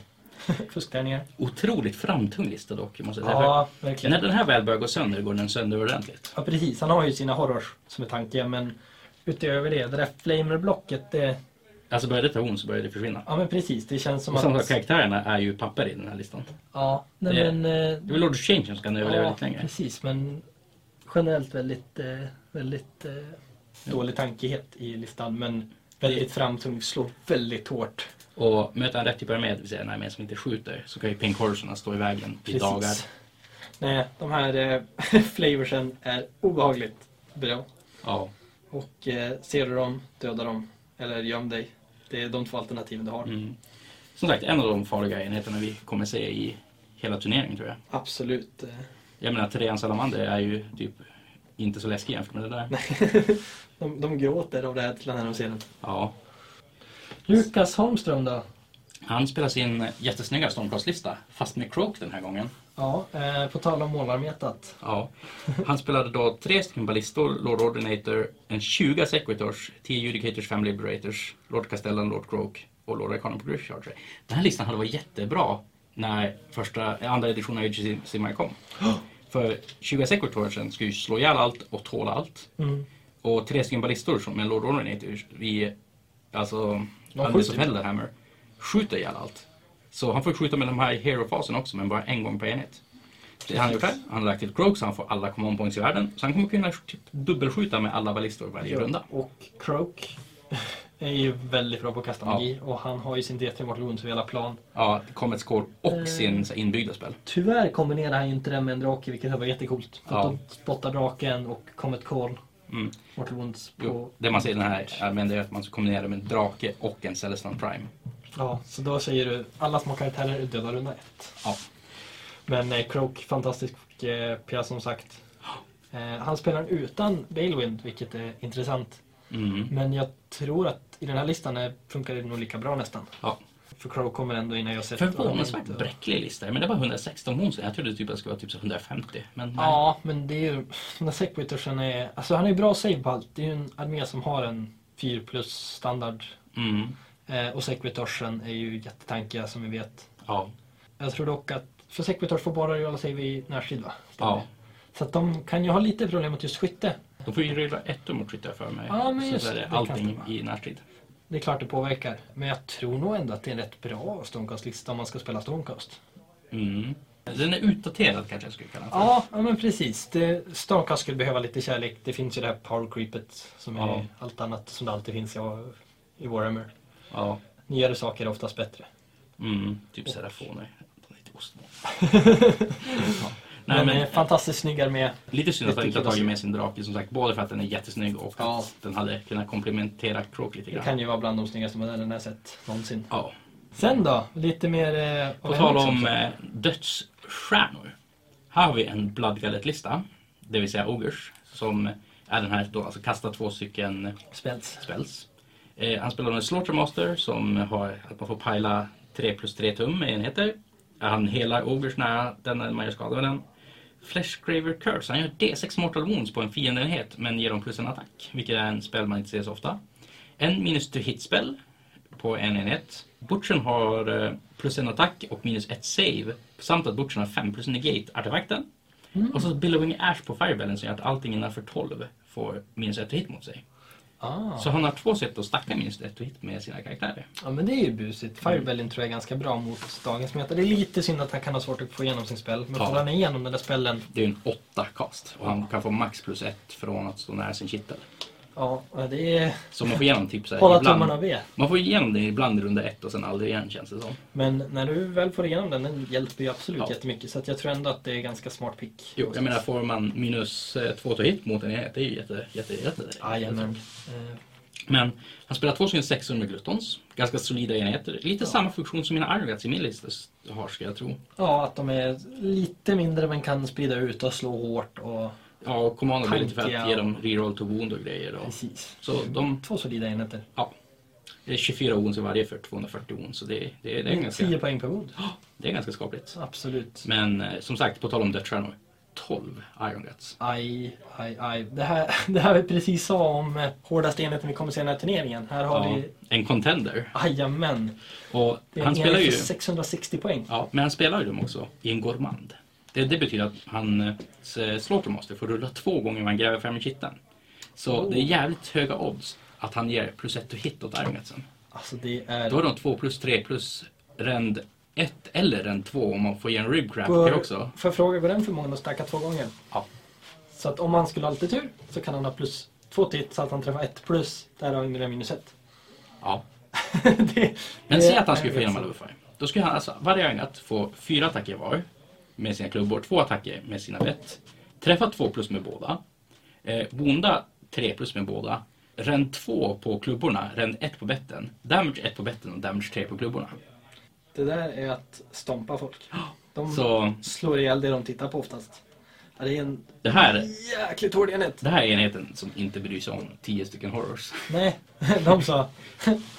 S2: Fusktärningar.
S1: Otroligt framtung lista dock, måste jag säga.
S2: Ja,
S1: För När
S2: verkligen.
S1: den här väl börjar gå sönder går den sönder ordentligt.
S2: Ja, precis. Han har ju sina horrors som är tanken men utöver det, det där flamer-blocket, det...
S1: Alltså börjar det ta wounds så börjar det försvinna.
S2: Ja men precis, det känns som
S1: Och samma
S2: att...
S1: sak, karaktärerna är ju papper i den här listan.
S2: Ja, nej,
S1: Det-
S2: men... eh,
S1: Det är väl Lord of Change som kan överleva
S2: ja,
S1: lite längre.
S2: precis. Men generellt väldigt, eh, väldigt eh, dålig tankighet i listan. Men väldigt framtung, slår väldigt hårt.
S1: Och möter han rätt typ av armé, det vill säga en armé som inte skjuter, så kan ju Pink Horsorna stå i vägen i dagar.
S2: Nej, de här eh, flavorsen är obehagligt bra.
S1: Ja.
S2: Och eh, ser du dem, döda dem eller göm dig. Det är de två alternativen du har.
S1: Mm. Som sagt, en av de farliga enheterna vi kommer se i hela turneringen tror jag.
S2: Absolut. eh,
S1: Jag menar, Tyrean Salamander är ju typ inte så läskig jämfört med det där.
S2: De, de gråter av rädsla när de ser den.
S1: Ja.
S2: Lukas Holmström då?
S1: Han spelar sin jättesnygga stormcast-lista, fast med Croak den här gången.
S2: Ja, eh, på tal om målarmetat.
S1: Ja. Han spelade då tre stycken ballistor, Lord Ordinator, en 20 Secretors, 10 Judicators, 5 Liberators, Lord Castellan, Lord Croak och Lord Arcanum Progress Charger. Den här listan hade varit jättebra när första, eh, andra editionen av Age of Sigmar kom. För 20 Secretorsen skulle ju slå ihjäl allt och tåla allt.
S2: Mm.
S1: Och tre stycken ballistor som en Lord Ordinator i, alltså,
S2: De
S1: Andes of
S2: skjuter ju.
S1: Hellhammer, skjuter ihjäl allt. Så han får skjuta med de här Hero-fasen också, men bara en gång per enhet. Det han har gjort här, han har lagt till Croak så han får alla command points i världen. Så han kommer kunna typ dubbelskjuta med alla ballistor varje runda.
S2: Och Croak är ju väldigt bra på att kasta
S1: Ja.
S2: magi och han har ju sin DT mot Lons över hela plan.
S1: Ja, Comets Core och sin så här inbyggda spel.
S2: Tyvärr kombinerar han ju inte den med en drake vilket hade varit jättecoolt. För att
S1: Ja.
S2: de spottar draken och kommer ett kol.
S1: Mm.
S2: Mot Lons på...
S1: Jo, det man ser i den här armén det är att man kombinerar med en drake och en Celestan Prime.
S2: Ja, så då säger du alla små karaktärer är döda runda ett.
S1: Ja.
S2: Men eh, Croak, fantastisk eh, pjäs som sagt. Eh, han spelar den utan Balewind vilket är intressant.
S1: Mm.
S2: Men jag tror att i den här listan eh, funkar det nog lika bra nästan.
S1: Ja.
S2: För Croak kommer ändå innan jag sett...
S1: Förvånansvärt bräcklig lista, men det var 116 monster. Jag trodde typ att det skulle vara typ så 150. Men nej.
S2: Ja, men det är ju... Den Secwittersen är... Alltså han är ju bra save på allt. Det är ju en armé som har en 4 plus standard.
S1: Mm.
S2: Eh, och Secwittersen är ju jättetankiga som vi vet.
S1: Ja.
S2: Jag tror dock att... För Secwitters får bara göra save i närstrid va? Stämmer
S1: ja.
S2: det? Så att de kan ju ha lite problem mot just skytte.
S1: De får ju rulla ett mot skyttar för mig.
S2: Ja, men
S1: så
S2: just
S1: där är
S2: det, det kan
S1: allting
S2: stämma.
S1: i närstrid.
S2: Det är klart det påverkar. Men jag tror nog ändå att det är en rätt bra Stormcast-lista om man ska spela Stormcast.
S1: Mm. Den är utdaterad kanske jag skulle kalla den för.
S2: Ja, ja men precis. Det, Stormcast skulle behöva lite kärlek. Det finns ju det här Power Creepet som är
S1: Ja.
S2: allt annat som det alltid finns. Jag i Warhammer.
S1: Ja.
S2: Nyare saker är oftast bättre.
S1: Mm, typ serafoner. Lite ostmål. ja.
S2: Nej,
S1: Nej,
S2: men,
S1: men,
S2: eh, fantastiskt snygg armé.
S1: lite synd att han inte har
S2: jättekul att
S1: tagit
S2: se.
S1: med sin drake som sagt. Både för att den är jättesnygg och
S2: Ja.
S1: att den hade kunnat komplementera Croak lite
S2: Det
S1: grann.
S2: kan ju vara bland de snyggaste modellerna jag sett någonsin.
S1: Ja.
S2: Sen då, lite mer... eh, av
S1: På tal
S2: Henrik
S1: om
S2: också.
S1: eh, dödsstjärnor. Här har vi en Blood Gullet-lista. Det vill säga Ogers. Som är den här då, alltså kasta två stycken
S2: Spets.
S1: spells. Eh, han spelar med Slaughtermaster som har att man får pajla 3 plus 3 tum med enheter. Han helar Ogers när den, man gör skada med den. Fleshgraver Curse, han gör D6 Mortal Wounds på en fiendeenhet men ger dem plus en attack. Vilket är en spel man inte ser så ofta. En minus 2 hitspel på en enhet. Butchen har eh, plus en attack och minus ett save. Samt att Butchen har 5 plus negate artefakten. Och så Billowing Ash på Firebellen som gör att allting innanför 12 får minus ett hit mot sig.
S2: Ah.
S1: Så han har två sätt att stacka minst ett hit med sina karaktärer.
S2: Ja men det är ju busigt. Firebellin tror jag är ganska bra mot dagens meta. Det är lite synd att han kan ha svårt att få igenom sin spel. Men
S1: Ja.
S2: får han igenom den där spelen,
S1: Det är ju en åtta kast och han kan få max plus ett från att stå nära sin kittel.
S2: ja det är...
S1: Så man får igenom typ så här
S2: Hålla
S1: ibland.
S2: tummarna och be.
S1: Man får igenom det ibland i runda ett och sen aldrig igen känns det som.
S2: Men när du väl får igenom den, den hjälper ju absolut
S1: Ja.
S2: jättemycket. Så att jag tror ändå att det är ganska smart pick.
S1: Jo, jag menar får man minus eh, två till hit mot en enhet, det är ju jätte, jätte, jätte,
S2: Jajamän. Eh,
S1: Men han spelar två stycken 600 med gluttons. Ganska solida enheter. Lite samma funktion som mina Arvats i min lista s- har ska jag tro.
S2: Ja, att de är lite mindre men kan sprida ut och slå hårt och...
S1: Ja, och Commander blir lite för
S2: Tankiga
S1: att ge
S2: och-
S1: dem reroll to wound och grejer. Och,
S2: Precis.
S1: så de
S2: Två solida enheter.
S1: Ja. Det är 24 ons i varje för 240 ons, så det, det, det, är, ganska,
S2: 10 poäng per god.
S1: det är ganska skapligt.
S2: Absolut.
S1: Men eh, som sagt, på tal om dödsstjärnor. 12 Iron Guts.
S2: Aj, aj, aj. Det här, det här vi precis sa om eh, hårdaste enheten vi kommer se i den här turneringen. Här har
S1: Ja,
S2: vi...
S1: en contender.
S2: Jajamän.
S1: Och
S2: Det är
S1: han
S2: en
S1: spelar ju...
S2: enhet för 660 poäng.
S1: Ja, men han spelar ju dem också i en gourmand. Det, det betyder att hans eh, Slaughtermaster får rulla två gånger när han gräver fram i kitteln. Så det är
S2: Oh.
S1: jävligt höga odds att han ger plus ett to hit åt Iron Gutsen.
S2: Alltså det är...
S1: Då är de 2 plus 3 plus rend 1 eller rend 2 om man får ge en ribcraft
S2: Går-
S1: också.
S2: Får jag fråga, går den förmågan att stacka två gånger?
S1: Ja.
S2: Så att om han skulle ha lite tur så kan han ha plus två till så att han träffar ett plus. Där har han ju minus ett.
S1: ja.
S2: det,
S1: Men
S2: det
S1: säg att han
S2: är liksom-
S1: skulle få igenom
S2: så.
S1: alla buffar. Då skulle han alltså varje ögat få fyra attacker var med sina klubbor, två attacker med sina bett, träffa två plus med båda, eh, bonda tre plus med båda, rend två på klubborna, rend ett på betten, damage ett på betten och damage tre på klubborna.
S2: Det där är att stompa folk. De
S1: Så
S2: slår ihjäl det de tittar på oftast. Ja, det är en
S1: det här,
S2: jäkligt hård enhet.
S1: det här är enheten som inte bryr sig om tio stycken horrors.
S2: Nej, de sa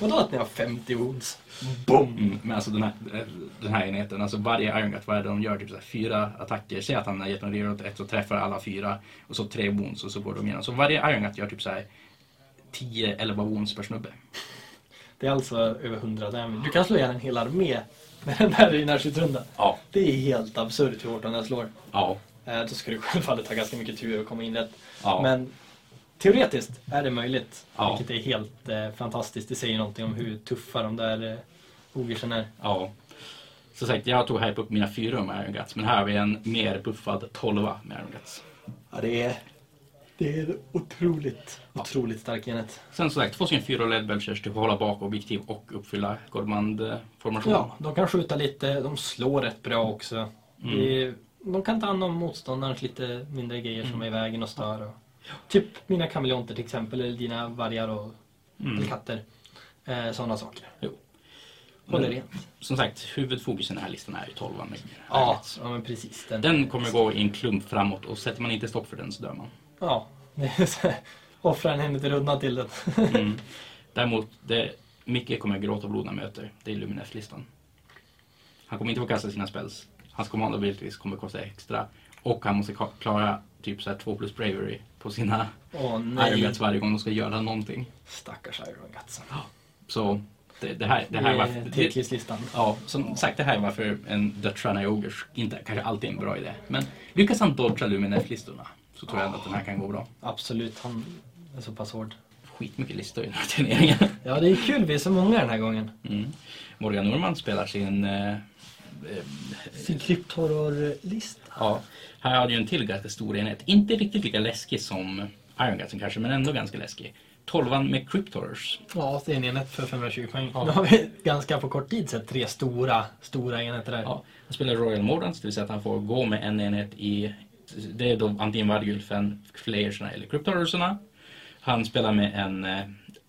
S2: Vadå att ni har 50 wounds? Boom!
S1: Mm, men alltså den här, den här enheten, alltså varje Irongat, vad är det de gör? Typ så här, fyra attacker, säg att han har gett en reroll ett så träffar alla fyra och så tre wounds och så går de igenom. Så varje Irongat gör typ så här 10-11 wounds per snubbe.
S2: Det är alltså över 100 damage. Du kan slå ihjäl en hel armé med den där i närstridsrunda.
S1: Ja.
S2: Det är helt absurt hur hårt den där slår.
S1: Ja.
S2: Eh, Då ska du självfallet ha ganska mycket tur att komma in rätt.
S1: Ja.
S2: Men teoretiskt är det möjligt.
S1: Ja.
S2: Vilket är helt eh, fantastiskt. Det säger någonting om hur tuffa de där eh, ogirsen är.
S1: ja. Som sagt, jag tog hype upp mina fyra med Ironguts, men här har vi en mer buffad 12 med Ironguts.
S2: Ja, det är, det är otroligt, otroligt stark enhet.
S1: Sen som sagt, två stycken fyra led belchers till att hålla bak objektiv och uppfylla Gormand-formationen.
S2: Ja, de kan skjuta lite, de slår rätt bra också.
S1: Mm.
S2: Det är- De kan ta hand om motståndarens lite mindre grejer som
S1: Mm.
S2: är i vägen och stör. Och, typ mina kameleonter till exempel, eller dina vargar och eller katter. Eh, Sådana saker.
S1: Mm. Jo. Mm.
S2: Håller
S1: Men-
S2: rent.
S1: Som sagt, huvudfokus i den här listan är ju 12 med
S2: Ja,
S1: Ironguts.
S2: ja men precis. Den,
S1: Den kommer gå i en klump framåt och sätter man inte stopp för den så dör man.
S2: Ja, det är så här, offra en henne till runda till den.
S1: Mm. Däremot, det, Micke kommer gråta blod när han möter. Det är Luminef-listan. Han kommer inte få kasta sina spells. Hans kommando abilities kommer kosta extra. Och han måste ka- klara typ så här 2 plus bravery på sina
S2: Åh nej,
S1: Ironguts varje gång de ska göra någonting.
S2: stackars Iron Guts.
S1: Så det, det här, det
S2: Det
S1: här var...
S2: är
S1: Det,
S2: Teklis-listan.
S1: ja, som sagt, det här är varför en dödsstjärna i Ogers inte kanske alltid är en bra idé. Men lyckas han dodga Luminef-listorna så tror jag ändå att den här kan gå bra.
S2: Absolut, han är så pass hård.
S1: Skitmycket listor i den här turneringen.
S2: Ja, det är kul, vi är så många den här gången.
S1: Mm. Morgan Norman spelar sin... Eh, eh,
S2: Sin krypthorror-lista.
S1: ja, här har du ju en till ganska stor enhet. Inte riktigt lika läskig som Iron Guts kanske, men ändå ganska läskig. Tolvan med Cryptors.
S2: Ja, det är en enhet för 520 poäng. Nu har vi ganska på kort tid sett tre stora, stora enheter där.
S1: Ja, han spelar Royal Mordants, det vill säga att han får gå med en enhet i... Det är då antingen Vargulfen, Flayersarna eller Cryptorserna. Han spelar med en eh,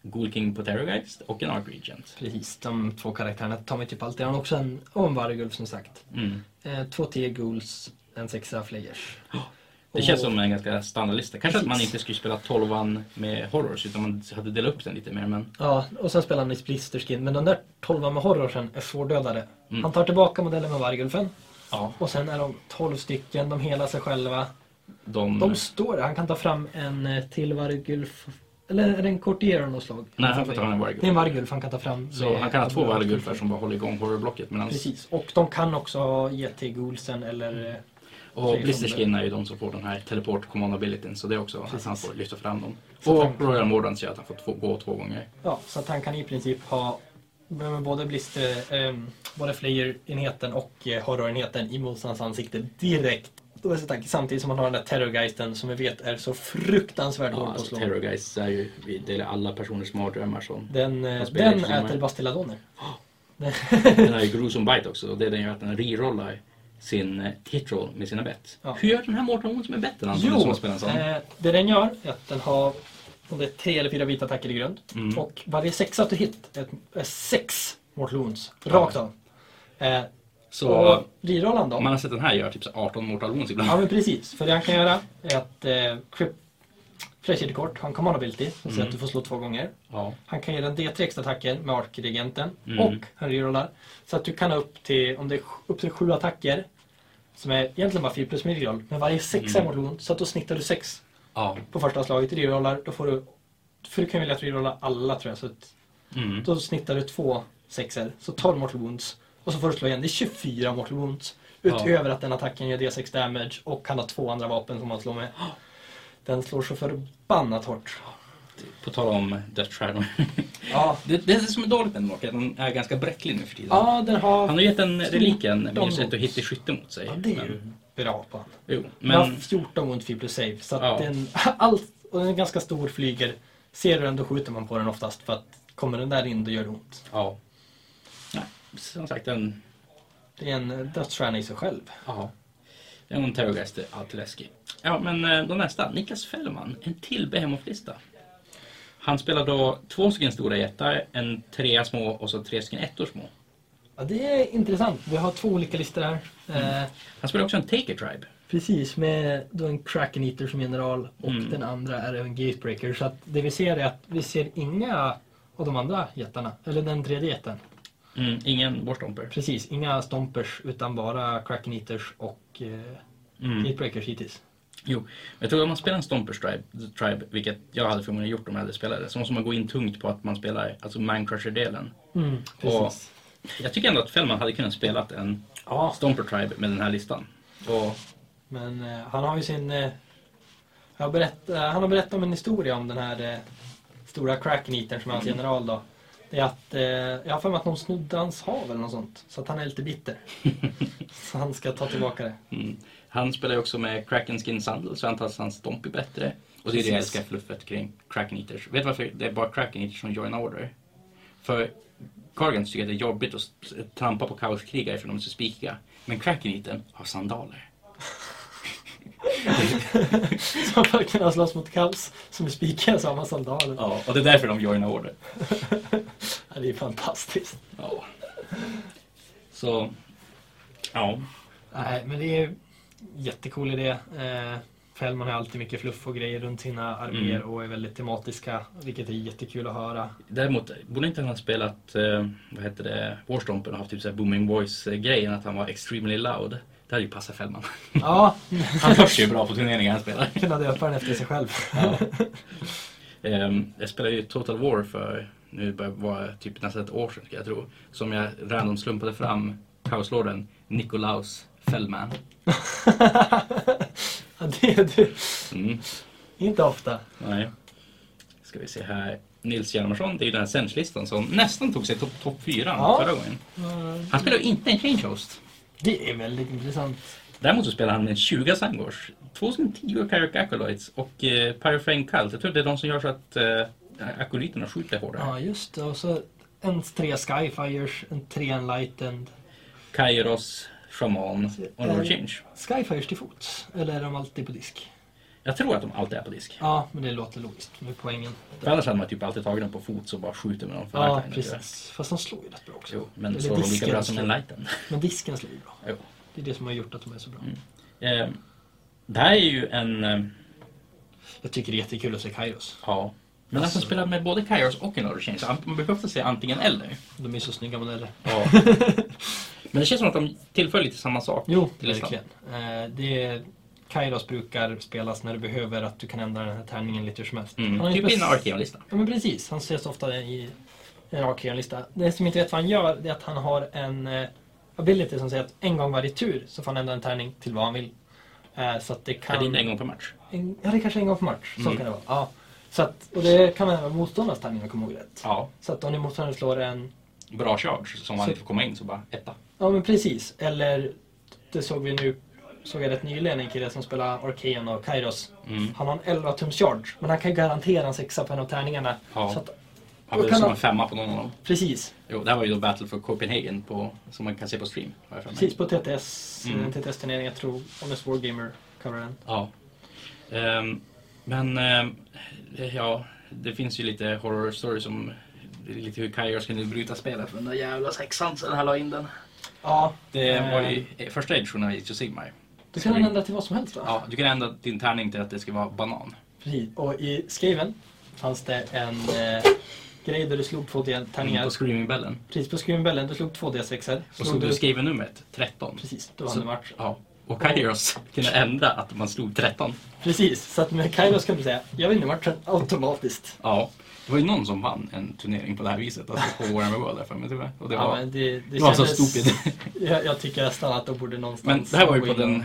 S1: Ghoul King på Terrorgeist och en Ark Regent.
S2: Precis, de två karaktärerna tar mig typ alltid. Han har också en, och en vargulv som sagt.
S1: Mm.
S2: Eh, två t ghouls, en sexa flayers.
S1: Det
S2: Och-
S1: känns som en ganska standardlista. Kanske att man
S2: Precis.
S1: inte skulle spela tolvan med Horrors utan man hade delat upp den lite mer. Men
S2: Ja, och sen spelar han i Splisterskin. Men den där 12 med horrorsen är svårdödade.
S1: Mm.
S2: Han tar tillbaka modellen med vargulfen.
S1: ja,
S2: Och sen är de 12 stycken, de helar sig själva.
S1: de...
S2: De står där. Han kan ta fram en eh, till vargulf. Eller är det en kortier av något slag?
S1: Nej, han får ta en
S2: Det är en
S1: vargulf.
S2: vargulf han kan ta fram.
S1: Så han kan ha två vargulfar som bara håller igång horrorblocket. Medan...
S2: Precis, och de kan också ha GT Gulsen eller... eh,
S1: Och
S2: Precis.
S1: Blisterskin är ju de som får den här teleport command abilityn så det är också att han
S2: Precis.
S1: får lyfta fram dem.
S2: Så att
S1: Och
S2: han-
S1: Royal Mordants gör att han får två, gå två gånger.
S2: Ja, så att han kan i princip ha men både, blister, eh, både Flayer-enheten och eh, Horror-enheten i motståndarens ansikte direkt. Då är det så tack, samtidigt som han har den där Terrorgeisten som vi vet är så fruktansvärt hård
S1: Ja,
S2: på att
S1: alltså,
S2: slå.
S1: Terror Guys är ju vi delar alla personers mardrömmar. Så.
S2: Den, eh,
S1: Han spelar
S2: den
S1: ju som-
S2: äter Bastilladoner.
S1: Den har ju gruesome bite också och det den gör att den rerollar sin eh, hit roll med sina bett.
S2: Ja.
S1: Hur gör den här mardrömmen som är bättre än Anton som spelar en sån?
S2: eh, det den gör är att den har om det är tre eller fyra vita attacker i grund.
S1: Mm.
S2: Och varje sexa du hit är, ett, är sex mortal wounds, rakt av. Eh,
S1: Så
S2: och rirollan då?
S1: om man har sett den här gör typ så 18 mortal wounds ibland.
S2: Ja men precis, för det han kan göra är att eh, Crip Flashkidkort har en command ability som
S1: Mm.
S2: säger att du får slå två gånger.
S1: Ja.
S2: Han kan ge den D3 extra attacker med arkregenten
S1: Mm.
S2: och han rerollar. Så att du kan ha upp till, om det är sj- upp till sju attacker som är egentligen bara 4 plus midroll, men varje
S1: Mm.
S2: sexa är mot wound, så att då snittar du sex
S1: ja.
S2: på första slaget, rerollar, då får du, för du kan vilja att rerolla alla tror jag, så att
S1: Mm.
S2: då snittar du två sexer, så 12 mortal wounds. Och så får du slå igen, det är 24 mortal wounds. Utöver att den attacken gör D6 damage och kan ha två andra vapen som man slår med. Den slår så förbannat hårt.
S1: På tal om Death Shadow.
S2: Ja,
S1: det, det är som är dåligt med den Walker, den är ganska bräcklig nu för tiden.
S2: ja den har...
S1: Han har gett en reliken
S2: Fjorton
S1: minus ett och
S2: wounds.
S1: hit i skytte mot sig.
S2: Ja, det är ju
S1: Men-
S2: bra på han.
S1: Jo,
S2: Den har
S1: men
S2: 14 wounds 4 plus save. Så att
S1: Ja.
S2: den, allt, och den är ganska stor, flyger. Ser du den då skjuter man på den oftast för att kommer den där in då gör det ont.
S1: ja. Nej, som sagt en...
S2: Det är en dödsstjärna i sig själv.
S1: Ja. En terrorgeist är alltid läskig. Ja, men eh, då nästa. Niklas Fällman. En till Behemoth-lista. Han spelar då två stycken stora jättar, en trea små och så tre stycken ettor små.
S2: Ja, det är intressant. Vi har två olika listor här.
S1: Mm.
S2: Eh,
S1: Han spelar också en Taker Tribe.
S2: Precis, med då en Kraken Eater som general och
S1: Mm.
S2: den andra är en Gatebreaker. Så att det vi ser är att vi ser inga av de andra jättarna, eller den tredje jätten.
S1: Mm, ingen Borstomper.
S2: Precis, inga Stompers utan bara Kraken Eaters och eh,
S1: Mm.
S2: Gatebreakers hittills.
S1: Jo, jag tror att om man spelar en Stompers tribe, tribe, vilket jag hade förmodligen gjort om jag hade spelat det, så måste man gå in tungt på att man spelar alltså Mancrusher-delen.
S2: precis.
S1: Jag tycker ändå att Fällman hade kunnat spela en
S2: Ja,
S1: Stomper Tribe med den här listan. Och,
S2: men eh, han har ju sin... Eh, jag har berätt, eh, han har berättat om en historia om den här eh, stora Kraken Eatern som är hans general då. Det är att, eh, jag har för mig att någon snodde hans hav eller något sånt. Så att han är lite bitter. så han ska ta tillbaka det.
S1: mm, han spelar ju också med Kraken Skin Sandal så jag antar att hans Stomp är bättre. Och det är det jag
S2: Precis.
S1: älskar fluffet kring Kraken Eaters. Vet du varför det är bara Kraken Eaters som joinar order? För Cargans tycker att det är jobbigt att s- trampa på kaoskrigare för de är så spikiga. Men Kraken Eatern har sandaler.
S2: Som för att kunna slåss mot kaos som är spikiga i samma sandaler. Ja.
S1: och det är därför de joinar order.
S2: Det är fantastiskt.
S1: Ja. Så, ja.
S2: Nej, men det är jättecool idé. Eh, Fällman har alltid mycket fluff och grejer runt sina arméer
S1: Mm.
S2: och är väldigt tematiska, vilket är jättekul att höra.
S1: Däremot borde inte han ha spelat, eh, vad heter det, Warstompen och haft typ så här Booming Voice-grejen, att han var extremely loud. Det hade ju passat Fällman.
S2: Ja,
S1: Han hörs ju bra på turneringar han spelar.
S2: kunna döpa den efter sig själv.
S1: Ehm, jag spelade ju Total War för, nu börjar det vara typ nästan ett år sedan ska jag tro, som jag random slumpade fram kaoslorden Nikolaus Fällman.
S2: Ja, det är du.
S1: Mm.
S2: Inte ofta.
S1: Nej. Ska vi se här. Nils Hjalmarsson, det är ju den här Sench-listan som nästan tog sig topp top 4
S2: Ja.
S1: förra gången. Han spelar ju inte en Change Host.
S2: Det är väldigt intressant.
S1: Däremot så spelar han med 20 Sangors, 2 stycken 10 Carrick Acolytes och eh, Pyroframe Cult. Jag tror det är de som gör så att eh, akoliterna skjuter hårdare.
S2: Ja, just det. Och så en tre Skyfires, en tre Enlightened.
S1: Kairos, Shaman och
S2: Eh,
S1: Lord Change.
S2: Skyfires till fots? Eller är de alltid på disk?
S1: Jag tror att de alltid är på disk.
S2: Ja, men det låter logiskt med poängen.
S1: För annars hade man typ alltid tagit dem på fot så bara skjuter med dem för
S2: Ja,
S1: verkligen.
S2: precis. Fast de slår ju rätt bra också.
S1: Jo, men
S2: Eller
S1: slår de lika
S2: disken
S1: bra som
S2: slår.
S1: en lighten.
S2: Men disken slår ju bra.
S1: Jo.
S2: Det är det som har gjort att de är så bra.
S1: Eh, det här är ju en... Eh,
S2: Jag tycker det är jättekul att se Kairos.
S1: ja. Men alltså, spelar med både Kairos och en Lord Change, så man behöver ofta säga antingen eller.
S2: De är så snygga modeller.
S1: Ja. men det känns som att de tillför lite samma sak.
S2: Jo,
S1: till listan.
S2: verkligen. Eh, det är, Kairos brukar spelas när du behöver att du kan ändra den här tärningen lite hur som helst.
S1: Mm.
S2: Han är
S1: Typ
S2: spec-
S1: i en Archeon-lista.
S2: Ja men precis, han ses ofta i en Archeon-lista. Det som inte vet vad han gör det är att han har en eh, ability som säger att en gång varje tur så får han ändra en tärning till vad han vill. Eh, så att det
S1: Är det
S2: kan...
S1: inte en gång per match?
S2: en, ja, det är kanske en gång per match. Så
S1: Mm.
S2: kan det vara. Ja. Så att, och det kan även vara motståndarens tärning om jag kommer ihåg rätt.
S1: Ja.
S2: Så att om din motståndare slår en
S1: Bra charge, som man
S2: Så-
S1: inte får komma in, så bara etta.
S2: Ja men precis, eller det såg vi nu, såg jag rätt nyligen en kille som spelar Arkean och Kairos.
S1: Mm.
S2: Han har en 11 tums charge, men han kan garantera en sexa på en av tärningarna.
S1: Ja.
S2: Så att,
S1: Han blev
S2: kan
S1: som
S2: man-
S1: en femma på någon av dem.
S2: precis,
S1: Jo, det här var ju då Battle for Copenhagen på, som man kan se på stream. har jag för mig.
S2: precis på TTS,
S1: Mm.
S2: en TTS-turnering jag tror, om en Wargamer coverar den.
S1: Ja. Ehm, men ehm, ja, det finns ju lite horror stories om lite hur Kairos kunde bryta spelet. Men den där jävla sexan sen han la in den.
S2: Ja,
S1: Det var
S2: eh,
S1: ju eh, första editionen av Age of Sigmar.
S2: Då kan han ändra till vad som helst va?
S1: Ja, du kan ändra din tärning till att det ska vara banan.
S2: Precis. Och i Skaven fanns det en eh, grej där du slog två d tärningar.
S1: Mm, På Screamingbellen.
S2: Precis på Screamingbellen, du slog två D6-er.
S1: Och så du skrev numret 13.
S2: Precis, då vann du matchen.
S1: Ja. Och Kairos kunde ändra att man slog 13.
S2: Precis, så att med Kairos kan du säga jag vinner matchen automatiskt.
S1: Ja. Det var ju någon som vann en turnering på det här viset, alltså på Warhammer World där för mig tyvärr. Och det
S2: Ja,
S1: var,
S2: men det, det,
S1: det var så
S2: kändes-
S1: stupid.
S2: Jag, jag tycker nästan att de borde
S1: Men
S2: någonstans...
S1: det här var ju på
S2: gå in och-
S1: den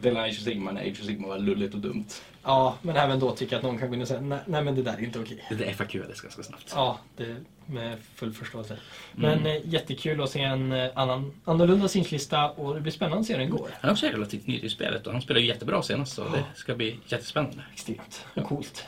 S1: delen av Age of Sigmar när Age of Sigmar var lulligt och dumt.
S2: Ja, men även då tycker jag att någon kan gå in och säga nej, nej men det där är inte okej.
S1: Det FAQades ganska snabbt.
S2: Ja, det med full förståelse. Men
S1: Mm.
S2: eh, jättekul att se en eh, annan, annorlunda synslista och det blir spännande att se hur den går.
S1: Han är också relativt ny i spelet och han spelade ju jättebra senast så det ska bli jättespännande.
S2: Extremt och coolt.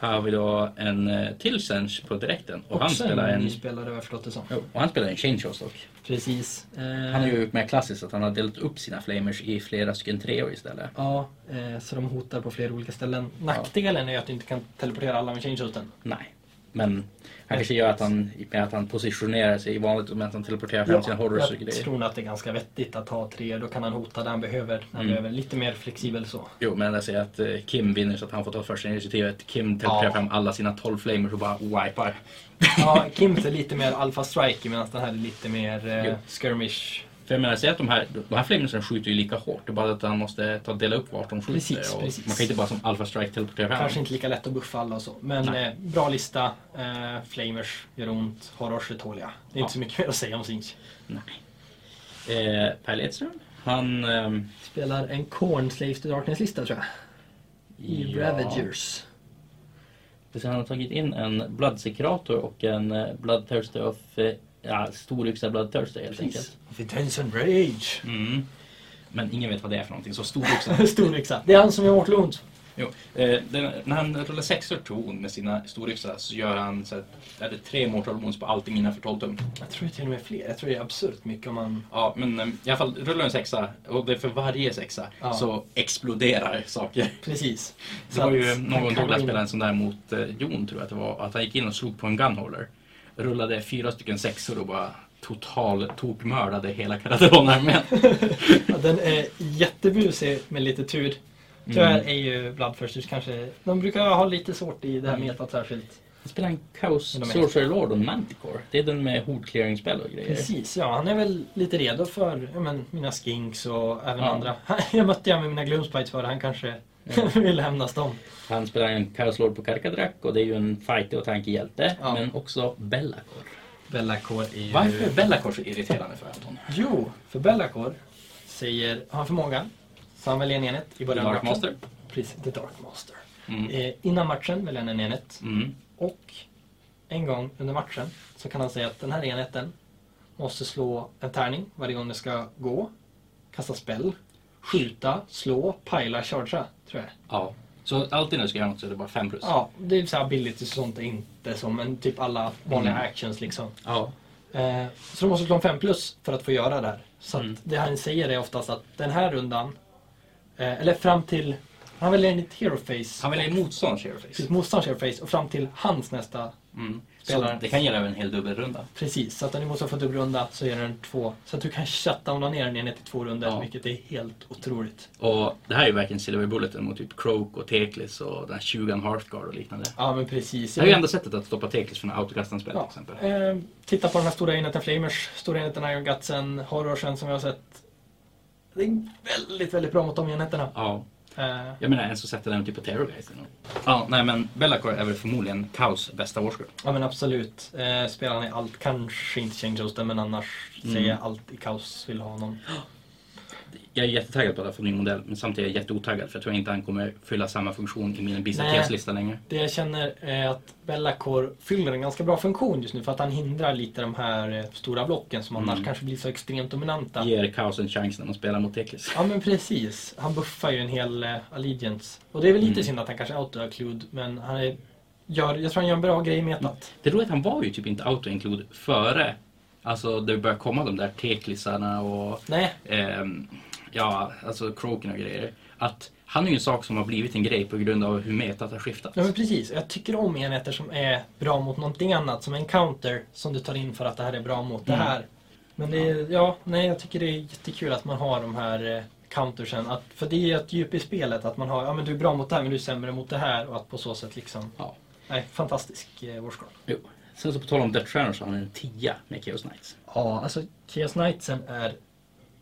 S1: Här har vi då en eh, till Sench på direkten och han
S2: Också en
S1: spelar en...
S2: ny spelare vad jag förstått det som.
S1: Jo, Och han spelar en change host dock.
S2: Precis. Eh,
S1: Han har ju gjort mer klassiskt att han har delat upp sina flamers i flera stycken treor istället.
S2: Ja, eh, så de hotar på flera olika ställen. Nackdelen är att du inte kan teleportera alla med changehoten.
S1: Nej. Men han kanske gör att han, med att han positionerar sig i vanligt medan han teleporterar fram sina horrors och
S2: jag
S1: grejer.
S2: tror nog att det är ganska vettigt att ha tre. Då kan han hota där han behöver. Han
S1: Mm.
S2: behöver lite mer flexibel så.
S1: Jo, men jag säger att eh, Kim vinner så att han får ta första initiativet. Kim teleporterar
S2: Ja.
S1: fram alla sina 12 flamers och bara wipar.
S2: Ja, Kims är lite mer alpha striker medan den här är lite mer
S1: Jo.
S2: eh, skirmish.
S1: För jag menar, säg att de här, de här flamersen skjuter ju lika hårt. Det är bara att han måste ta, dela upp vart de skjuter.
S2: Precis,
S1: och
S2: precis.
S1: Man kan inte bara som Alpha Strike teleportera fram.
S2: Kanske inte lika lätt att buffa alla och så. Men
S1: Nej.
S2: eh, bra lista. Eh, flamers gör ont. Horrors är tåliga. Det
S1: Ja.
S2: är inte så mycket mer att säga om Sinch.
S1: Nej. Eh, per Ledström, han... ehm,
S2: Spelar en Corn Slaves to Darkness-lista tror jag. I
S1: ja,
S2: Ravagers.
S1: precis, Han har tagit in en Bloodsekrator och en eh, Bloodthirster of... eh, Ja, Storyxa Bloodthirster helt enkelt.
S2: Vengeance and Rage.
S1: Mm. Men ingen vet vad det är för någonting, så Storyxa...
S2: Stor yxa. Det är han som gör Mortal ont.
S1: Jo, eh, den, när han rullar sexor ton med sina storyxar så gör han så att, är det tre mortal wounds på allting innanför 12 tum.
S2: Jag tror det är till och med fler. Jag tror det är absurt mycket om man...
S1: Ja, men eh, i alla fall rullar en sexa och det är för varje sexa
S2: Ja.
S1: så exploderar saker.
S2: Precis.
S1: Det
S2: Så
S1: var
S2: att
S1: ju
S2: han
S1: någon
S2: kan
S1: Douglas
S2: gå in-
S1: spelade en sån där mot eh, Jon tror jag att det var, att han gick in och slog på en gunholder. Rullade fyra stycken sexor och bara total tokmördade hela Karadron-armén.
S2: Ja, den är jättebusig med lite tur. Tyvärr är ju Bloodfirsters kanske... De brukar ha lite svårt i det här
S1: Mm.
S2: metat särskilt.
S1: Han spelade en Chaos
S2: Men de är-
S1: Sorcerer Lord och Manticore. Det är den med hord clearing spell och grejer.
S2: Precis, ja. Han är väl lite redo för ja, men, mina skinks och även
S1: Ja.
S2: andra. Jag mötte jag med mina gloomspites för han kanske
S1: Ja.
S2: vill hämnas dem.
S1: Han spelar en Chaos Lord på Karkadrak och det är ju en fighter och tankehjälte.
S2: Ja.
S1: Men också Bellacor.
S2: Bellacor är ju...
S1: Varför är Bellacor så irriterande för Anton?
S2: Jo, för Bellacor säger... Har han förmåga? Så han väljer en enhet i början av
S1: Dark
S2: matchen.
S1: Master.
S2: Precis, The Dark Master.
S1: Mm.
S2: Eh, innan matchen väljer han en enhet.
S1: Mm.
S2: Och en gång under matchen så kan han säga att den här enheten måste slå en tärning varje gång den ska gå, kasta spell, skjuta, slå, pajla, chargea, tror jag.
S1: Ja. Så alltid när du ska göra något så är det bara 5 plus?
S2: Ja, det är så här billigt och sånt är inte som, men typ alla vanliga
S1: Mm.
S2: actions liksom.
S1: Ja.
S2: Eh, så du måste slå en 5 plus för att få göra det här. Så att
S1: Mm.
S2: det han säger är oftast att den här rundan, eh, eller fram till, han väljer enligt hero face,
S1: Han väljer motståndarens shareface.
S2: precis motståndarens hero face och fram till hans nästa,
S1: Mm. Så
S2: Spelaren.
S1: det kan gälla över en hel dubbelrunda.
S2: precis. Så att när ni måste få dubblrunda så är den två. Så att du kan shutdowna ner den i till två runder
S1: Ja.
S2: vilket är helt otroligt.
S1: Och det här är ju verkligen Silver Bulleten mot typ Croak och Teklis och den här tjugan Hearthguard och liknande.
S2: Ja men precis.
S1: Det är ju enda sättet att stoppa Teklis från att autokasta en spel till
S2: Ja,
S1: exempel.
S2: eh, titta på de här stora enheten Flamers, stora enheten Iron Gutsen, Horrorsen som jag har sett. Det är väldigt, väldigt bra mot de enheterna.
S1: Ja,
S2: Eh,
S1: jag menar en som sätter den typ på Terrorgeist eller något. Ja, nej men Bellacor är väl förmodligen Kaos bästa Warscroll.
S2: ja men absolut. Eh, spelarna i allt, kanske inte Change Hosten men annars
S1: Mm.
S2: säger jag allt i kaos vill ha honom.
S1: Jag är jättetaggad på att få en ny modell men samtidigt är jag jätteotaggad för jag tror inte han kommer fylla samma funktion i min
S2: Nej.
S1: bisakeslista längre.
S2: Det jag känner är att Bellacor fyller en ganska bra funktion just nu för att han hindrar lite de här eh, stora blocken som
S1: Mm.
S2: annars kanske blir så extremt dominanta.
S1: Ger Kaos en chans när man spelar mot Teklis.
S2: Ja men precis. Han buffar ju en hel eh, Allegiance. Och det är väl lite
S1: Mm.
S2: synd att han kanske auto-occlude men han är, gör, jag tror han gör en bra grej i metat.
S1: Det roliga är att han var ju typ inte auto-include före Alltså det började komma de där Teklisarna och
S2: Nej,
S1: ehm, ja, alltså Kroken och grejer. Att han är ju en sak som har blivit en grej på grund av hur metat har skiftat.
S2: ja, men precis. Jag tycker om enheter som är bra mot någonting annat. Som en counter som du tar in för att det här är bra mot det
S1: Mm.
S2: här. Men det är, ja, nej jag tycker det är jättekul att man har de här eh, countersen. Att, för det är ju ett djup i spelet att man har, ja men du är bra mot det här men du är sämre mot det här. Och att på så sätt liksom,
S1: Ja.
S2: nej fantastisk eh, warscroll.
S1: Jo. Sen så på tal om Dödsstjärnor så har han en 10 med Chaos Knights.
S2: Ja, alltså Chaos Knightsen är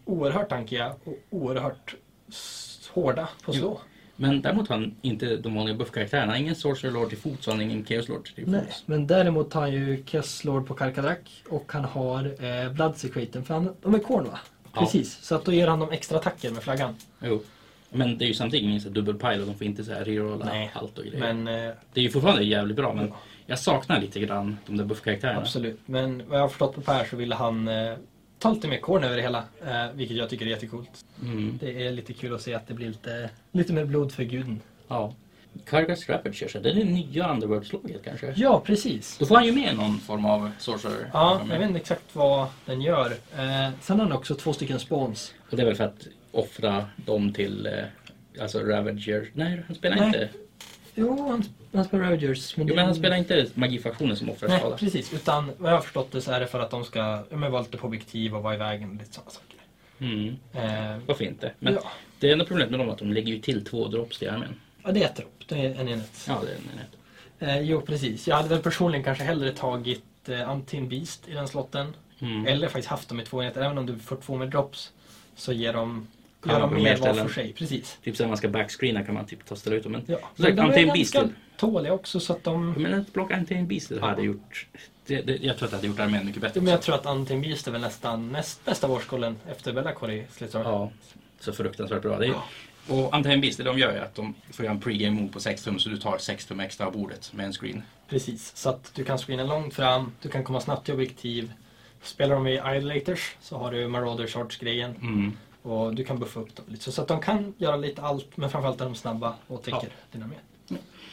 S2: oerhört tankiga och oerhört s- hårda på att slå.
S1: Men däremot har han inte de vanliga buffkaraktärerna. Han har ingen Sorcerer Lord till fots och han har ingen Chaos Lord till
S2: Nej,
S1: fots.
S2: men däremot har han ju Chaos Lord på Karkadak och han har eh, Blood Secretum för han, de är korn va?
S1: Ja.
S2: Precis, så att då ger han dem extra attacker med flaggan.
S1: Jo. Men det är ju samtidigt ingen så här dubbelpile och de får inte så här rerolla
S2: Nej.
S1: halt och grejer.
S2: Men eh,
S1: Det är ju fortfarande jävligt bra men jag saknar lite grann de där buffkaraktärerna.
S2: eh, absolut, men vad jag har förstått på Per så ville han eh, ta lite mer korn över det hela. Eh, vilket jag tycker är jättecoolt.
S1: Mm.
S2: Det är lite kul att se att det blir lite, lite mer blod för guden.
S1: Ja. Kargas Rapid kör sig. Det är det nya Underworld-slaget kanske.
S2: Ja, precis.
S1: Då får han ju med någon form av sorcerer.
S2: Ja, jag vet inte exakt vad den gör. Eh, sen har han också två stycken spawns.
S1: Och det är väl för att offra dem till eh, alltså Ravager. Nej, han spelar
S2: Nej.
S1: inte.
S2: Jo, han, han spelar Rogers. Men
S1: Jo,
S2: det-
S1: men han spelar inte magifaktionen som offrar
S2: Nej,
S1: skada.
S2: precis. Utan vad jag har förstått det så är det för att de ska ja, men, vara lite på objektiv och vara i vägen och lite sådana saker.
S1: Mm.
S2: Eh,
S1: Varför inte? Men
S2: ja.
S1: det enda problemet med dem är att de lägger ju till två drops till armén.
S2: ja, det är ett rop. Det är en enhet.
S1: Ja, det är en enhet.
S2: Eh, jo, precis. Jag hade väl personligen kanske hellre tagit eh, Antin Beast i den slotten.
S1: Mm.
S2: Eller faktiskt haft dem i två enheter. Även om du får två med drops så ger de,
S1: Kan
S2: gör
S1: man på
S2: de mer
S1: mer
S2: var
S1: ställen.
S2: för sig. Precis.
S1: Typ såhär man ska backscreena kan man typ ta och ställa ut dem. Men,
S2: Ja.
S1: så sagt, Mm.
S2: de är
S1: Antain Beast
S2: ganska
S1: till.
S2: tåliga också så att de...
S1: Men att plocka Antain Beast till
S2: Ja.
S1: hade gjort... Det, det, jag tror att det hade gjort armén mycket bättre.
S2: Men jag tror att Antin Beast är väl nästan näst bästa vårskollen efter Bellacor i slutsäsongen.
S1: Ja, så fruktansvärt bra. Det är, och Antain Beast, det de gör är att de får göra en pregame move på 6 tum så du tar 6 tum extra av bordet med en screen.
S2: Precis, så att du kan screena långt fram, du kan komma snabbt till objektiv. Spelar de i idolators så har du Marauder Charge-grejen
S1: Mm.
S2: och du kan buffa upp dem lite. Så- Så att de kan göra lite allt, men framförallt är de snabba och täcker
S1: Ja.
S2: dina med.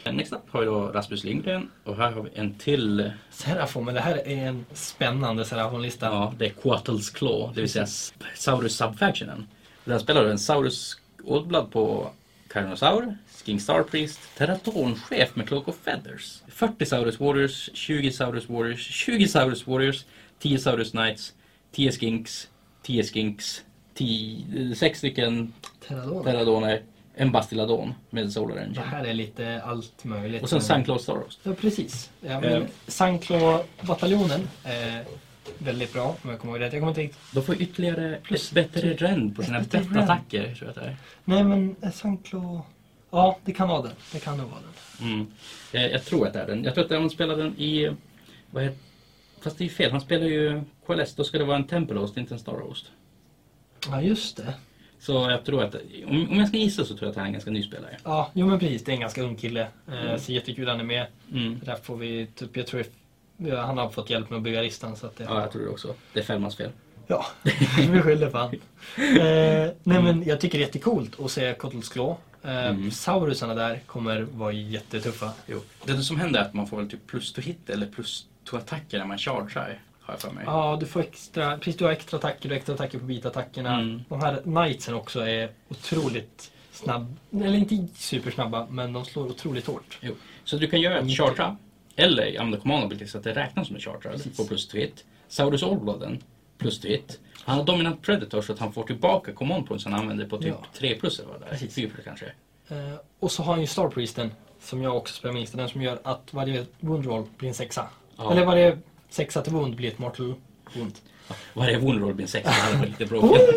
S1: Eh, Next up har vi då Rasmus Lindgren och här har vi en till. eh,
S2: Serafon, men det här är en spännande Serafon-lista.
S1: Ja, det är Quattles Claw, det vill säga S- Saurus Subfactionen. Den spelar en Saurus Oldblood på Carnosaur, King Star Priest, Teratonchef med Cloak of Feathers. 40 Saurus Warriors, 20 Saurus Warriors, 20 Saurus Warriors, 10 Saurus Knights, 10 Skinks, 10 Skinks, 10, 6 stycken
S2: Teradon.
S1: Teradoner, en Bastiladon med Solar
S2: Det
S1: Engine.
S2: här är lite allt möjligt.
S1: Och sen
S2: Men-
S1: Sunclaw Staros.
S2: Ja, precis. Ja,
S1: Eh.
S2: men Sanklo-bataljonen är väldigt bra, om jag kommer ihåg rätt. Jag kommer inte riktigt
S1: De får ytterligare plus bättre rend på sina
S2: Bättre
S1: bettattacker, tror jag att det är.
S2: Nej men eh, Sanklo... Ja, det kan vara den. Det kan nog vara den.
S1: Mm. Eh, Jag tror att det är den. Jag tror att han spelar den i... Vad heter, fast det är ju fel, han spelar ju KLS, då ska det vara en Temple Host, inte en Star Host.
S2: Ja, just det.
S1: Så jag tror att, om, om jag ska gissa så tror jag att han är en ganska ny spelare.
S2: Ja, jo men precis. Det är en ganska ung kille. Mm. Så jättekul han är med.
S1: Mm.
S2: Där får vi typ, jag tror vi- ja, han har fått hjälp med att bygga listan så att det...
S1: Ja, jag tror det också. Det är Fällmans fel.
S2: Ja, vi skyller på han. Eh, nej men jag tycker det är jättecoolt att se Kottles Claw. Eh,
S1: Mm.
S2: Saurusarna där kommer vara jättetuffa. Jo.
S1: Det som händer är att man får väl typ plus to hit eller plus to attacker när man chargear, har jag för mig.
S2: Ja, du får extra, precis du har extra attacker och extra attacker på bitattackerna.
S1: Mm.
S2: De här knightsen också är otroligt snabb, eller inte supersnabba, men de slår otroligt hårt.
S1: Jo. Så du kan göra
S2: Mm.
S1: ett chartra eller använda command ability så att det räknas som en chartra
S2: Precis.
S1: på plus to hit. Saurus Allbladen, plus to hit. Han har dominant predator så att han får tillbaka command points han använder på typ
S2: Ja.
S1: 3 plus eller vad det är.
S2: Precis.
S1: 4 plus kanske.
S2: Eh, och så har han ju Star Priesten, som jag också spelar minst, den som gör att varje wound roll blir en sexa.
S1: Ja.
S2: Eller varje sexa till wound blir ett mortal wound.
S1: Varje woundroll blir en 6, det här var lite
S2: Oh!
S1: bråkigt.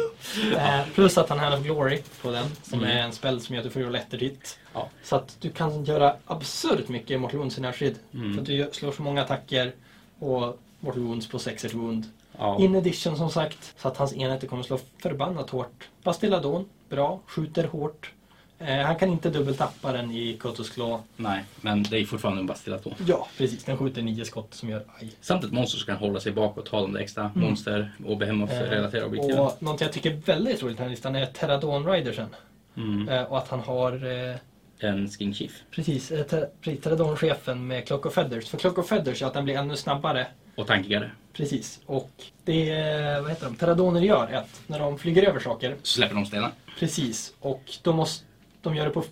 S2: Eh, plus att han har glory på den, som
S1: Mm.
S2: är en spel som gör att du får rulla ettor dit.
S1: Ja.
S2: Så att du kan göra absurt mycket i Mortal Wounds i närskydd.
S1: Mm.
S2: För att du gör- slår så många attacker och Mortal Wounds på 6 wound.
S1: Ja.
S2: In edition som sagt, så att hans enheter kommer slå förbannat hårt. Bastilladon, bra, skjuter hårt. Eh, han kan inte dubbeltappa den i Kotos Claw.
S1: Nej, men det är fortfarande en bastillaton.
S2: Ja, precis. Den skjuter nio skott som gör aj.
S1: Samt ett monster som kan hålla sig bakåt, ta de där extra monster och behemoth-relaterade objektiven.
S2: Mm. Eh, och någonting jag tycker är väldigt roligt i den här listan är Terradon Ridersen.
S1: Mm.
S2: Eh, och att han har eh,
S1: En skin chief.
S2: Precis, eh, ter- precis, Teradon-chefen med Clock of Feathers. För Clock of Feathers är att den blir ännu snabbare.
S1: Och tankigare.
S2: Precis. Och det eh, vad heter de, Teradoner gör är att när de flyger över saker,
S1: Så släpper de stenar.
S2: precis, och de, måste, de gör det på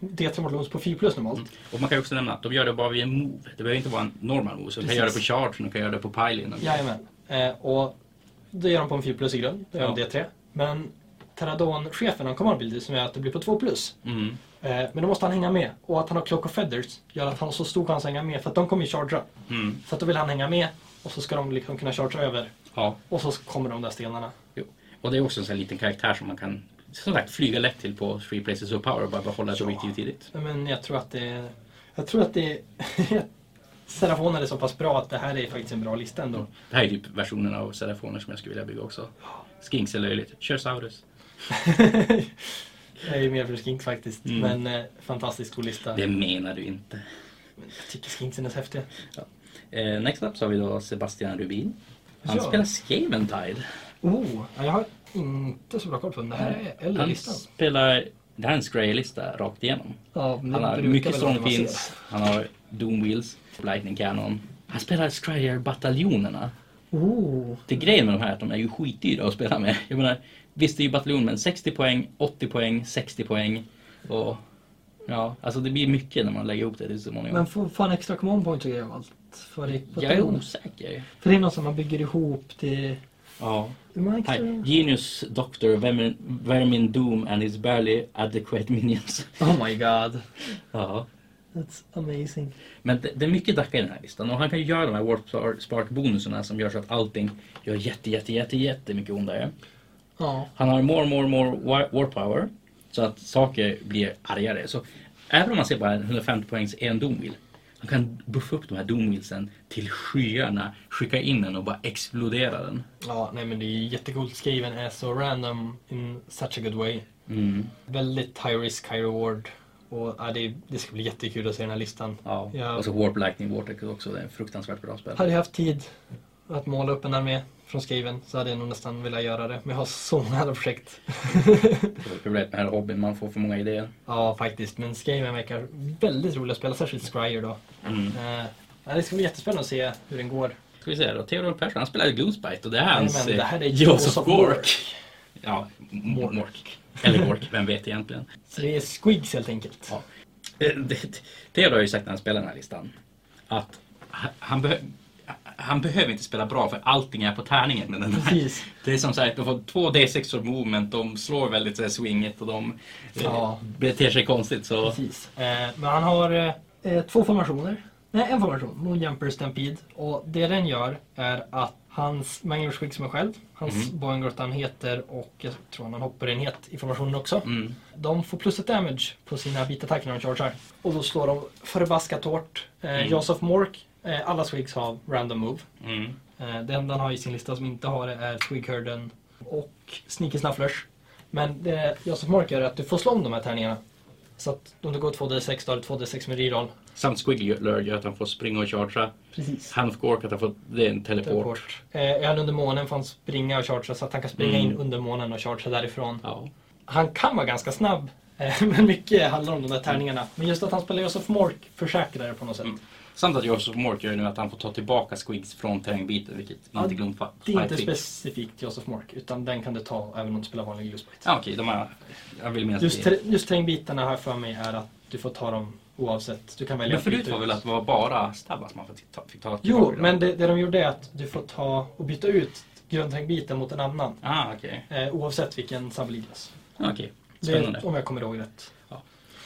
S2: D3 Mortlons på 4 plus normalt.
S1: Och man kan ju också nämna att de gör det bara vid en move. Det behöver inte vara en normal move. Så de kan
S2: Precis.
S1: göra det på charge, de kan göra det på pile.
S2: Jajamän. Eh, och det gör de på en 4 plus i grund, det gör de
S1: Ja.
S2: D3. Men Teradon-chefen, han kommer bilder som gör att det blir på 2 plus.
S1: Mm.
S2: Eh, men då måste han hänga med. Och att han har Clock of Feathers gör att han har så stor chans att hänga med, för att de kommer ju chargea.
S1: Mm.
S2: Så att då vill han hänga med och så ska de liksom kunna chargea över.
S1: Ja.
S2: Och så kommer de där stenarna.
S1: Jo. Och det är också en sån här liten karaktär som man kan som sagt, flyga lätt till på Three Places of Power och bara behålla ett
S2: Ja.
S1: objektiv tidigt.
S2: Men jag tror att det Jag tror att det Serafoner är så pass bra att det här är faktiskt en bra lista ändå.
S1: Det här är typ versionen av Serafoner som jag skulle vilja bygga också. Skinks är löjligt. Kör Saurus.
S2: jag är ju mer för Skinks faktiskt.
S1: Mm.
S2: Men eh, fantastiskt god lista.
S1: Det menar du inte.
S2: Men jag tycker Skinksen är så häftiga.
S1: Eh, next up så har vi då Sebastian Rubin. Han
S2: Ja.
S1: spelar Skaventide.
S2: Oh, ja, jag har inte så bra koll på den. Det här är äldre
S1: Han
S2: listan.
S1: spelar... Det här är en Scray-lista rakt igenom.
S2: Ja, men det
S1: Han har
S2: brukar
S1: mycket
S2: väl vara det man
S1: Stormfiends, han har Doom Wheels, Lightning Cannon. Han spelar Scryer-bataljonerna.
S2: ser. Oh,
S1: Det är grejen med de här är att de är ju skitdyra att spela med. Jag menar, visst det är ju bataljon men 60 poäng, 80 poäng, 60 poäng och... Ja, alltså det blir mycket när man lägger ihop det till så många.
S4: Men får får han extra command points och grejer av allt? För det,
S1: Jag är osäker.
S4: För det är något som man bygger ihop till...
S1: Ja.
S4: Hur många extra...
S1: Hi. Genius Doctor, Vermin, Vermin Doom and his barely adequate minions.
S2: oh my god.
S1: Ja.
S4: That's amazing.
S1: Men det, det är mycket Dacca i den här listan och han kan ju göra de här Warp Spark- Spark-bonuserna som gör så att allting gör jätte, jätte, jätte, jättemycket ondare.
S4: Ja.
S1: Han har more, more, more war, war power så att saker blir argare. Så även om man ser bara en 150 poängs en domwheel, han kan buffa upp de här domwheelsen till skyarna, skicka in den och bara explodera den.
S2: Ja, nej men det är jättecoolt. Skaven är så random in such a good way.
S1: Mm.
S2: Väldigt high risk, high reward. Och, ja, det, det ska bli jättekul att se den här listan.
S1: Ja.
S2: Ja.
S1: Och så Warp Lightning Vortex också, det är en fruktansvärt bra spel.
S2: Hade jag haft tid att måla upp en armé från Skaven så hade jag nog nästan velat göra det. Men jag har så många andra projekt.
S1: Det är Problemet med den här hobbyn, man får för många idéer.
S2: ja, faktiskt. Men Skaven verkar väldigt rolig att spela, särskilt Scryer då.
S1: Mm.
S2: Eh, ja, det ska bli jättespännande att se hur den går.
S1: Ska vi se då, Theodor Persson han spelar Gloomspite och det är hans
S2: Jajamän, det här är
S1: eh, Joseph
S2: Joseph
S1: Gork.
S2: Gork.
S1: Ja, Mork. Eller Gork, vem vet egentligen.
S2: Så det är Squigs helt enkelt.
S1: Ja. Eh, det- Theodor har ju sagt när han spelar den här listan att ha- han, behö- han behöver inte spela bra för allting är på tärningen med den här.
S2: Precis.
S1: Det är som sagt, de får två D6 av movement, de slår väldigt så här, swinget och de eh,
S2: Ja.
S1: beter sig konstigt. Så
S2: Precis. Eh, men han har eh, eh, två formationer. Nej, en formation. Moonjumper Stampede. Och det den gör är att hans Magnus Squig som är själv, hans mm. heter och jag tror han har en hopperenhet i formationen också.
S1: mm,
S2: De får plus ett damage på sina bitattacker när de chargear. Och då slår de förbaskat hårt. Eh,
S1: Mm.
S2: Joseph Mork, eh, alla Swigs har random move.
S1: mm,
S2: Eh, det enda han har i sin lista som inte har det är Twigherden och Sneaky Snufflers. Men det Josef Mark gör är att du får slå om de här tärningarna. Så att om det går 2D6 då har du 2D6 med reroll.
S1: samt Squiggler gör att han får springa och chargea.
S2: Precis.
S1: Han får Gork att han får, det är en teleport.
S2: Teleport. Eh, är han under månen får han springa och chargea så att han kan springa
S1: Mm.
S2: in under månen och chargea därifrån.
S1: Ja.
S2: Han kan vara ganska snabb. Eh, Eh, Men mycket handlar om de där tärningarna. Men just att han spelar Josef Mork försäkrar det på något sätt.
S1: Mm. Samt att Joseph Mork gör nu att han får ta tillbaka Squigs från terrängbiten, vilket
S2: Ja,
S1: inte Gloom Fight
S2: Det är inte
S1: fick.
S2: specifikt Josef Mork, utan den kan du ta även om du spelar vanlig Goosebyte.
S1: Ja, okej, de här... Jag vill minnas
S2: Just,
S1: det.
S2: ter- just terrängbitarna har jag för mig är att du får ta dem oavsett. Du kan välja
S1: Men
S2: att
S1: förut
S2: byta
S1: var
S2: ut.
S1: väl att det var bara stabbar som man fick ta, fick ta tillbaka
S2: Jo,
S1: dem?
S2: men det, det de gjorde är att du får ta och byta ut gröntängbiten mot en annan.
S1: Ah, okej.
S2: Eh, oavsett vilken sabbelglass.
S1: Ah, okej.
S2: Det är,
S1: Spännande.
S2: om jag kommer ihåg rätt.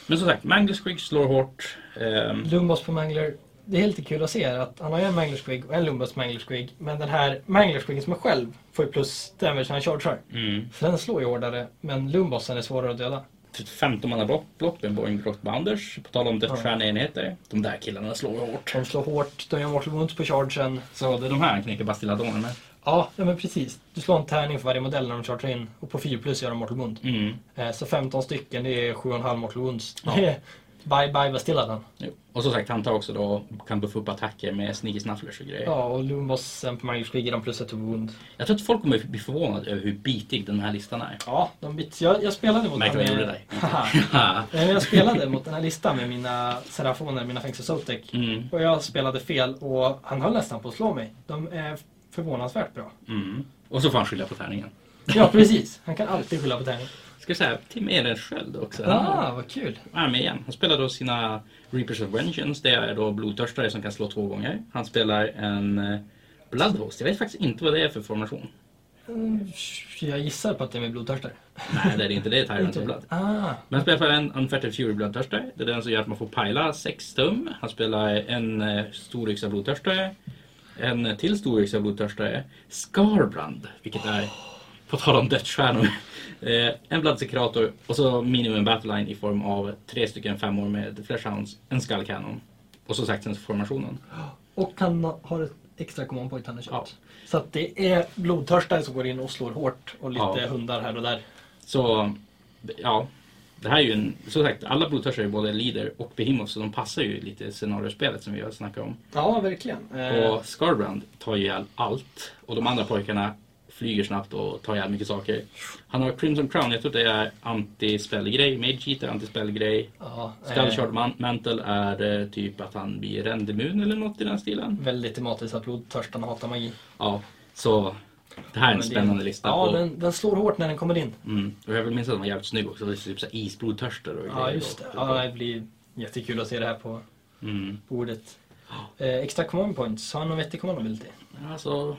S1: Men som sagt, Magnus Squig slår hårt. Ehm,
S2: Lumbas på Mangler. Det är lite kul att se att han har ju en Mangler Squig och en Lumbas Mangler Squig. Men den här Mangler Squiggen som är själv får ju plus damage när han chargear.
S1: mm.
S2: För den slår ju hårdare, men Lumbasen är svårare att döda.
S1: 15 manna block, block med Boeing Grottbounders. På tal om dödsstjärneenheter. De där killarna slår ju hårt.
S2: De slår hårt, de gör mortal wounds på chargen.
S1: Så det är de här han knäcker Bastilladonen med.
S2: Ja, ja, men precis. Du slår en tärning för varje modell när de chargear in. Och på 4 plus gör de mortal wound.
S1: Mm.
S2: Eh, Så 15 stycken, det är 7,5 mortal wounds.
S1: Ja.
S2: Det är bye bye Bastilladan.
S1: Jo. Och som sagt, han tar också då, kan buffa upp attacker med sneaky snufflers och grejer.
S2: Ja, och Lumbasen på Mangler Squig ger dem plus ett wound.
S1: Jag tror att folk kommer bli förvånade över hur bitig den här listan är.
S2: Ja, de bits. Jag, jag spelade mot
S1: Märkte vad jag
S2: med-
S1: gjorde där.
S2: Haha. Nej, men Eh, Jag spelade mot den här listan med mina serafoner, mina Fängelse Sotek.
S1: mm.
S2: Och jag spelade fel och han höll nästan på att slå mig. De är förvånansvärt bra.
S1: Mm. Och så får han skylla på tärningen.
S2: Ja, precis. Han kan alltid skylla på tärning.
S1: Ska jag säga, Tim Ehrensköld också.
S2: Ah, vad kul.
S1: Han är med igen. Han spelar då sina Reapers of Vengeance. Det är då blodtörstare som kan slå två gånger. Han spelar en eh, Bloodhost. Jag vet faktiskt inte vad det är för formation.
S2: Mm, Jag gissar på att det är med blodtörstare.
S1: Nej, det är det inte. Det är Tyrant of Blood.
S2: Ah,
S1: Men han spelar för en Unfettered Fury blodtörstare. Det är den som gör att man får pajla sex tum. Han spelar en eh, storyxa blodtörstare. En till storyxa blodtörstare. Scarbrand, vilket är, på tal om dödsstjärnor, eh, en bloodsekrator och så minimum battleline i form av tre stycken femmor med flashhounds, en skallkanon och som sagt sen formationen.
S2: och han har ett extra command point han har köpt.
S1: Ja.
S2: Så att det är blodtörstare som går in och slår hårt och lite
S1: Ja.
S2: hundar här och där.
S1: Så ja, det här är ju en, som sagt alla blodtörstare är både leader och behemoth så de passar ju lite scenariospelet som vi har snackat om.
S2: Ja, verkligen. Eh,
S1: Och Scarbrand tar ju ihjäl allt. Och de andra pojkarna flyger snabbt och tar ihjäl mycket saker. Han har Crimson Crown, jag tror det är anti-spellgrej. Mage Cheat är anti-spellgrej.
S2: ja, eh,
S1: Skullshard Man- Mantle är eh, typ att han blir rendemun eller något i den stilen.
S2: Väldigt tematiskt att blodtörstarna hatar magi.
S1: Ja, så det här är en
S2: Men det-
S1: spännande lista.
S2: Ja,
S1: och,
S2: den, den slår hårt när den kommer in.
S1: mm, och jag vill minnas att den var jävligt snygg också. Det är typ så här isblodtörstar och
S2: Ja, just det.
S1: och-
S2: Ja, det blir jättekul att se det här på
S1: Mm.
S2: bordet. Eh, extra command points, har han någon vettig command ability?
S1: Alltså,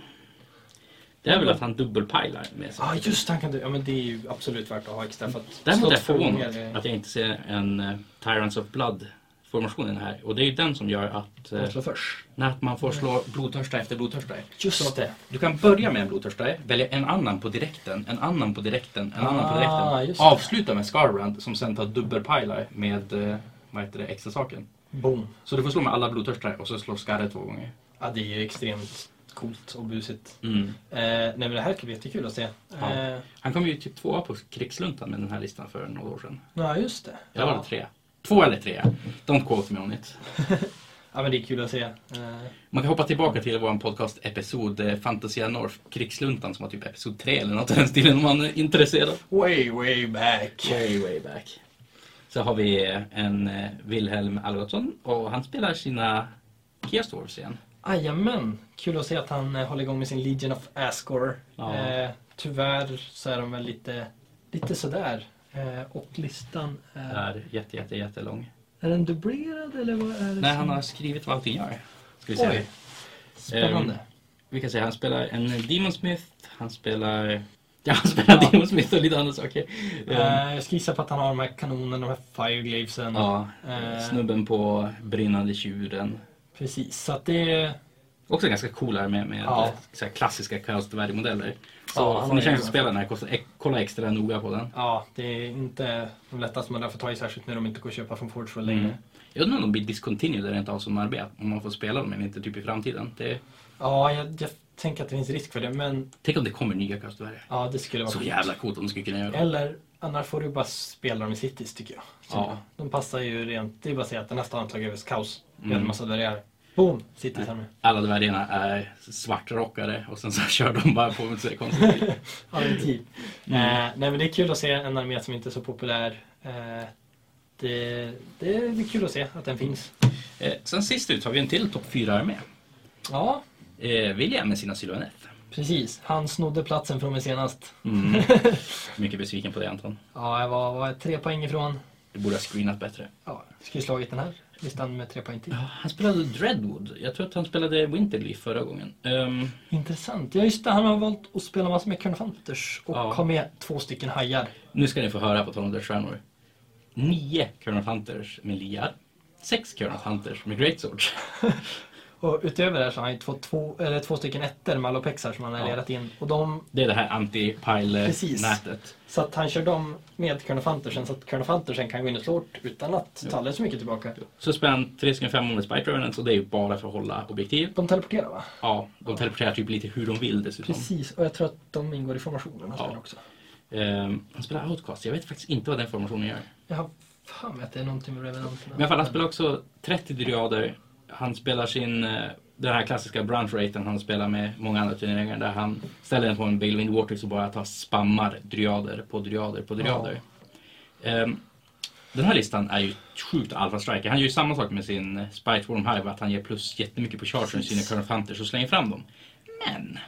S1: det är väl att han dubbelpilar med sig.
S2: Ja, Ah, just det, han kan du. Ja, men det är ju absolut värt att ha extra för att
S1: Däremot
S2: slå
S1: är jag
S2: två
S1: förvånad
S2: gånger, eh,
S1: att jag inte ser en eh, Tyrants of Blood-formationen här. Och det är ju den som gör att, eh,
S2: att slå först.
S1: när att man får slå blodtörstare efter blodtörstare.
S2: Just det.
S1: Du kan börja med en blodtörstare, välja en annan på direkten, en annan på direkten, en annan på
S2: Ah,
S1: direkten.
S2: just det.
S1: Avsluta med Scarbrand som sen tar dubbelpilar med eh, vad heter det, extra saken.
S2: Boom.
S1: Så du får slå med alla blodtörstare och så slår Scarre två gånger.
S2: Ja, det är ju extremt coolt och busigt.
S1: Mm.
S2: Eh, nej, men det här ska bli jättekul att se.
S1: Ja.
S2: Eh,
S1: Han kom ju typ tvåa på krigsluntan med den här listan för några år sedan.
S2: ja, just det.
S1: Eller var
S2: Ja.
S1: det tre? Två eller tre? Don't quote me on it.
S2: ja, men det är kul att se. Eh,
S1: Man kan hoppa tillbaka till vår podcast-episod eh, Fantasia North, krigsluntan som var typ episod 3 eller något i den stilen om man är intresserad.
S2: way, way back.
S1: Way, way back. Så har vi eh, en eh, Wilhelm Algotsson och han spelar sina Chaos Dwarfs igen.
S2: Jajamän, kul att se att han eh, håller igång med sin Legion of Asgore.
S1: Ja.
S2: Eh, tyvärr så är de väl lite, lite sådär. Eh, och listan är...
S1: Är jätte, jätte, jättelång.
S2: Är den dubblerad eller vad är det?
S1: Nej,
S2: som-
S1: han har skrivit vad allting gör. Ska vi se.
S2: Oj, spännande.
S1: Ehm, Vi kan säga han spelar en Demon Smith, han spelar... Ja, han spelar
S2: Ja.
S1: Demon Smith och lite andra saker. Ehm,
S2: Eh, jag ska gissa på att han har de här kanonerna, de här fireglavesen.
S1: Ja,
S2: eh.
S1: snubben på brinnande tjuren.
S2: Precis, så att det är...
S1: Också ganska cool här med, med
S2: Ja.
S1: så här klassiska kaosdvärgmodeller. Så
S2: Ja, han
S1: får ni
S2: är-
S1: chansen att spela den här, kosta- e- kolla extra noga på den.
S2: Ja, det är inte de lättaste man lär få ta i, särskilt när de inte går att köpa från Forge längre.
S1: Mm. Jag undrar om de blir discontinued rent av som arbete, om man får spela dem eller inte typ i framtiden. Det,
S2: Ja, jag, jag tänker att det finns risk för det, men
S1: tänk om det kommer nya kaosdvärgar.
S2: ja, det skulle vara
S1: Så
S2: coolt.
S1: jävla coolt om de skulle kunna göra det.
S2: Eller, annars får du bara spela dem i cities, tycker jag.
S1: Ja.
S2: De passar ju rent, det är bara att säga att den här stan har tagit över kaos. Vi hade
S1: Mm.
S2: en massa dvärgar.
S4: Boom! Sitter här med.
S1: Alla dvärgarna är svartrockade och sen så kör de bara på så det är konstigt.
S4: Alltid.
S1: Mm.
S2: Eh, nej men det är kul att se en armé som inte är så populär. Eh, det, det är kul att se att den finns.
S1: Eh, sen sist ut har vi en till topp 4-armé.
S2: Ja,
S1: Eh, William med sina Sylvaneth.
S2: precis. Han snodde platsen från mig senast.
S1: Mm. Mycket besviken på det Anton.
S2: Ja, jag var, var tre poäng ifrån.
S1: Du borde ha screenat bättre.
S2: Ja, jag skulle slagit den här listan med tre poäng till.
S1: Han spelade Dreadwood. Jag tror att han spelade Winterleaf förra gången. Ehm,
S2: Intressant. Ja just det, han har valt att spela massor med Kernfanters och
S1: Ja.
S2: ha med två stycken hajar.
S1: nu ska ni få höra på tal om dödsstjärnor. Nio Colonel Hunters med liar. Sex Colonel Hunters med Greatswords.
S2: Och utöver det här så har han ju två, två, eller två stycken ettor med allopexar som han har
S1: Ja.
S2: ledat in. Och de,
S1: Det är det här
S2: Precis.
S1: anti-pile-nätet.
S2: så att han kör dem med Kernfantersen så att Kernfantersen kan gå in och slå hårt utan att ta alldeles för mycket tillbaka.
S1: Så spelar han 3,5 med Spike Revenants och det är ju bara för att hålla objektiv.
S2: De teleporterar va?
S1: Ja, de teleporterar typ lite hur de vill dessutom.
S2: Precis, och jag tror att de ingår i formationen
S1: Ja.
S2: ja. också.
S1: Ehm, han spelar Outcast. Jag vet faktiskt inte vad den formationen gör.
S2: Jag har för mig att det är någonting med Revenanterna.
S1: Men i alla fall, han spelar också 30 dryader. Han spelar sin, eh, den här klassiska branch raten han spelar med många andra turneringar där han ställer den på en Balewind Vortex och bara tar spammar dryader på dryader på dryader. Ehm, den här listan är ju sjukt alpha striker. Han gör ju samma sak med sin eh, Spite Worm Hive, att han ger plus jättemycket på chargen i sina Current Hunters och slänger fram dem. Men,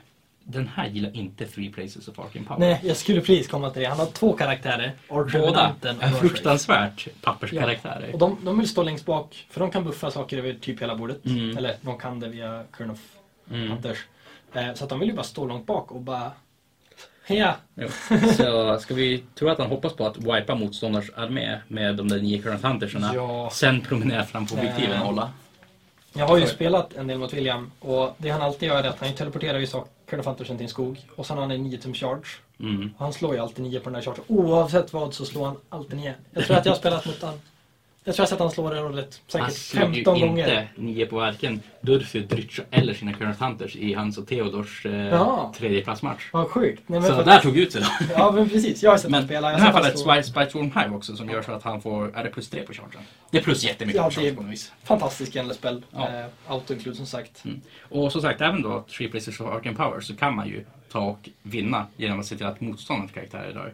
S1: den här gillar inte Three Places of Arcane Power.
S2: Nej, jag skulle precis komma till det. Han har två karaktärer.
S1: Båda
S2: Revenanten och
S1: är
S2: Archway.
S1: fruktansvärt papperskaraktärer.
S2: Och de, de vill stå längst bak, för de kan buffa saker över typ hela bordet.
S1: Mm.
S2: Eller de kan det via Curn of
S1: Mm.
S2: Hunters. Eh, Så att de vill ju bara stå långt bak och bara... Heja!
S1: Jo. Så ska vi tro att han hoppas på att wipa motståndars armé med de där nio current hunterserna.
S2: Ja.
S1: Sen promenera fram på objektiven
S2: Eh.
S1: och hålla.
S2: Jag har ju
S1: Sorry.
S2: spelat en del mot William och det han alltid gör är att han teleporterar ju saker, Curn of Huntersen till en skog och sen har han en 9 tum charge.
S1: Mm.
S2: Och han slår ju alltid 9 på den här chargen. Oavsett vad så slår han alltid 9. Jag tror att jag har spelat mot han. Jag tror jag har sett han slå det rollet
S1: Han
S2: säkert
S1: slog ju
S2: 15 gånger.
S1: inte nio på varken Durfy, Drytcha eller sina current hunters i hans och Theodors eh,
S2: Ja.
S1: tredje platsmatch.
S2: Vad sjukt. Nej, men
S1: Så
S2: för-
S1: där tog ut sig då.
S2: Ja men precis, jag har sett
S1: Men
S2: han
S1: i det
S2: spela. Jag har
S1: här
S2: sett han
S1: fallet
S2: slå-
S1: Spy- Spy Swarm Hive också som gör så att han får, är det plus tre på chargen? Det är plus jättemycket
S2: Ja,
S1: på
S2: det-
S1: chargen på något vis.
S2: Fantastisk enlespel.
S1: Ja. Mm.
S2: Eh, Auto-include som sagt.
S1: Och som sagt, även då Three Places of Arcane Power så kan man ju ta och vinna genom att se till att motståndarens karaktärer dör.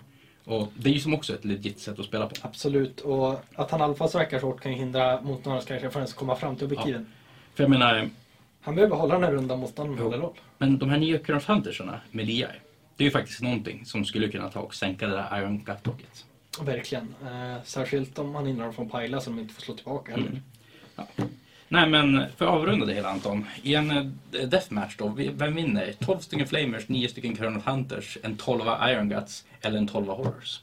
S1: Och det är ju som också ett legit sätt att spela på.
S2: Absolut. Och att han alfasverkar så hårt kan ju hindra motståndarens karaktär från att ens komma fram till objektiven.
S1: För jag menar,
S2: Han behöver hålla den här rundan mot honom håller roll.
S1: men de här nya Current Hunterserna med liar, det är ju faktiskt någonting som skulle kunna ta och sänka det där Iron Gut Pocket.
S2: Verkligen. Eh, särskilt om han hindrar dem från pajla så de inte får slå tillbaka heller.
S1: Mm. Nej men för att avrunda det hela Anton, i en eh, deathmatch då, vi- vem vinner? 12 stycken Flamers, 9 stycken Current Hunters, en 12 Iron Guts eller en 12 Horrors?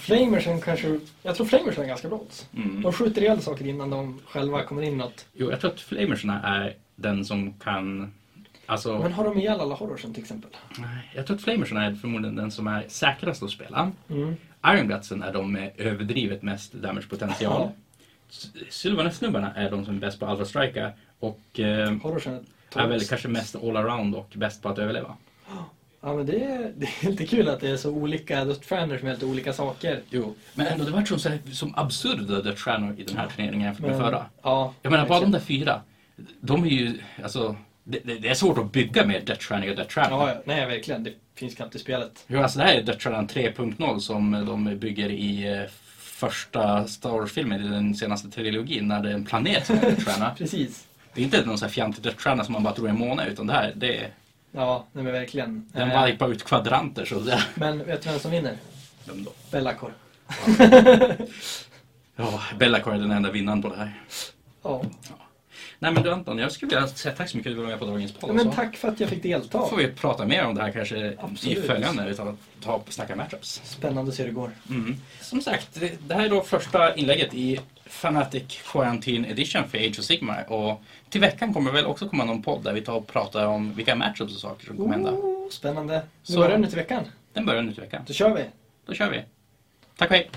S2: Flamersen kanske... Jag tror Flamersen är ganska bra odds.
S1: Mm.
S2: De skjuter ihjäl saker innan de själva kommer in något.
S1: Jo, jag tror att Flamerserna är den som kan, alltså
S2: Men har de ihjäl alla horrorsen till exempel?
S1: Nej, Jag tror att Flamersen är förmodligen den som är säkrast att spela.
S2: Mm.
S1: Iron Gutsen är de med överdrivet mest damagepotential.
S2: Ja.
S1: Sylvanes-snubbarna är de som är bäst på Alpha Strika och eh,
S2: Horrorsen är
S1: är väl
S2: tops.
S1: kanske mest allround och bäst på att överleva.
S2: Ja men det är, det är lite kul att det är så olika dödsstjärnor som är lite olika saker.
S1: Jo, men ändå det vart som, så här- som absurda dödsstjärnor i den här turneringen jämfört med
S2: Men-
S1: förra.
S2: Ja.
S1: Jag menar, bara de
S2: verkligen.
S1: där fyra, de är ju, alltså, det, det det är svårt att bygga mer dödsstjärniga dödsstjärnor.
S2: Ja, ja. Nej, verkligen. Det finns knappt i spelet.
S1: Jo, alltså det här är Dödsstjärnan 3.0 som de bygger i eh, första Star Wars-filmen i den senaste trilogin när det är en planet som är dödsstjärna.
S2: Precis.
S1: Det är inte någon sån här fjantig dödsstjärna som man bara tror är en måne utan det här, det är,
S2: Ja, nej men verkligen.
S1: den
S2: Eh,
S1: vajpar ut kvadranter så det...
S2: Men vet du vem som vinner?
S1: Vem då?
S2: Bellacor.
S1: Ja, Bellacor är den enda vinnaren på det här.
S2: Ja.
S1: Nej men du Anton, jag skulle vilja säga tack så mycket för att du var med på dagens podd.
S2: Men
S1: alltså.
S2: tack för att jag fick delta.
S1: Då får vi prata mer om det här kanske i
S2: Absolut.
S1: följande utan att ta och snacka matchups.
S2: Spännande att se hur det går.
S1: Mm. Som sagt, det- det här är då första inlägget i Fanatic Quarantine Edition för Age of Sigma och till veckan kommer väl också komma någon podd där vi tar och pratar om vilka matchups och saker som kommer hända.
S2: Oh, spännande. Nu
S1: Så-
S2: börjar den ut i veckan.
S1: Den börjar nu till veckan.
S2: Då kör vi.
S1: Då kör vi. Tack och hej!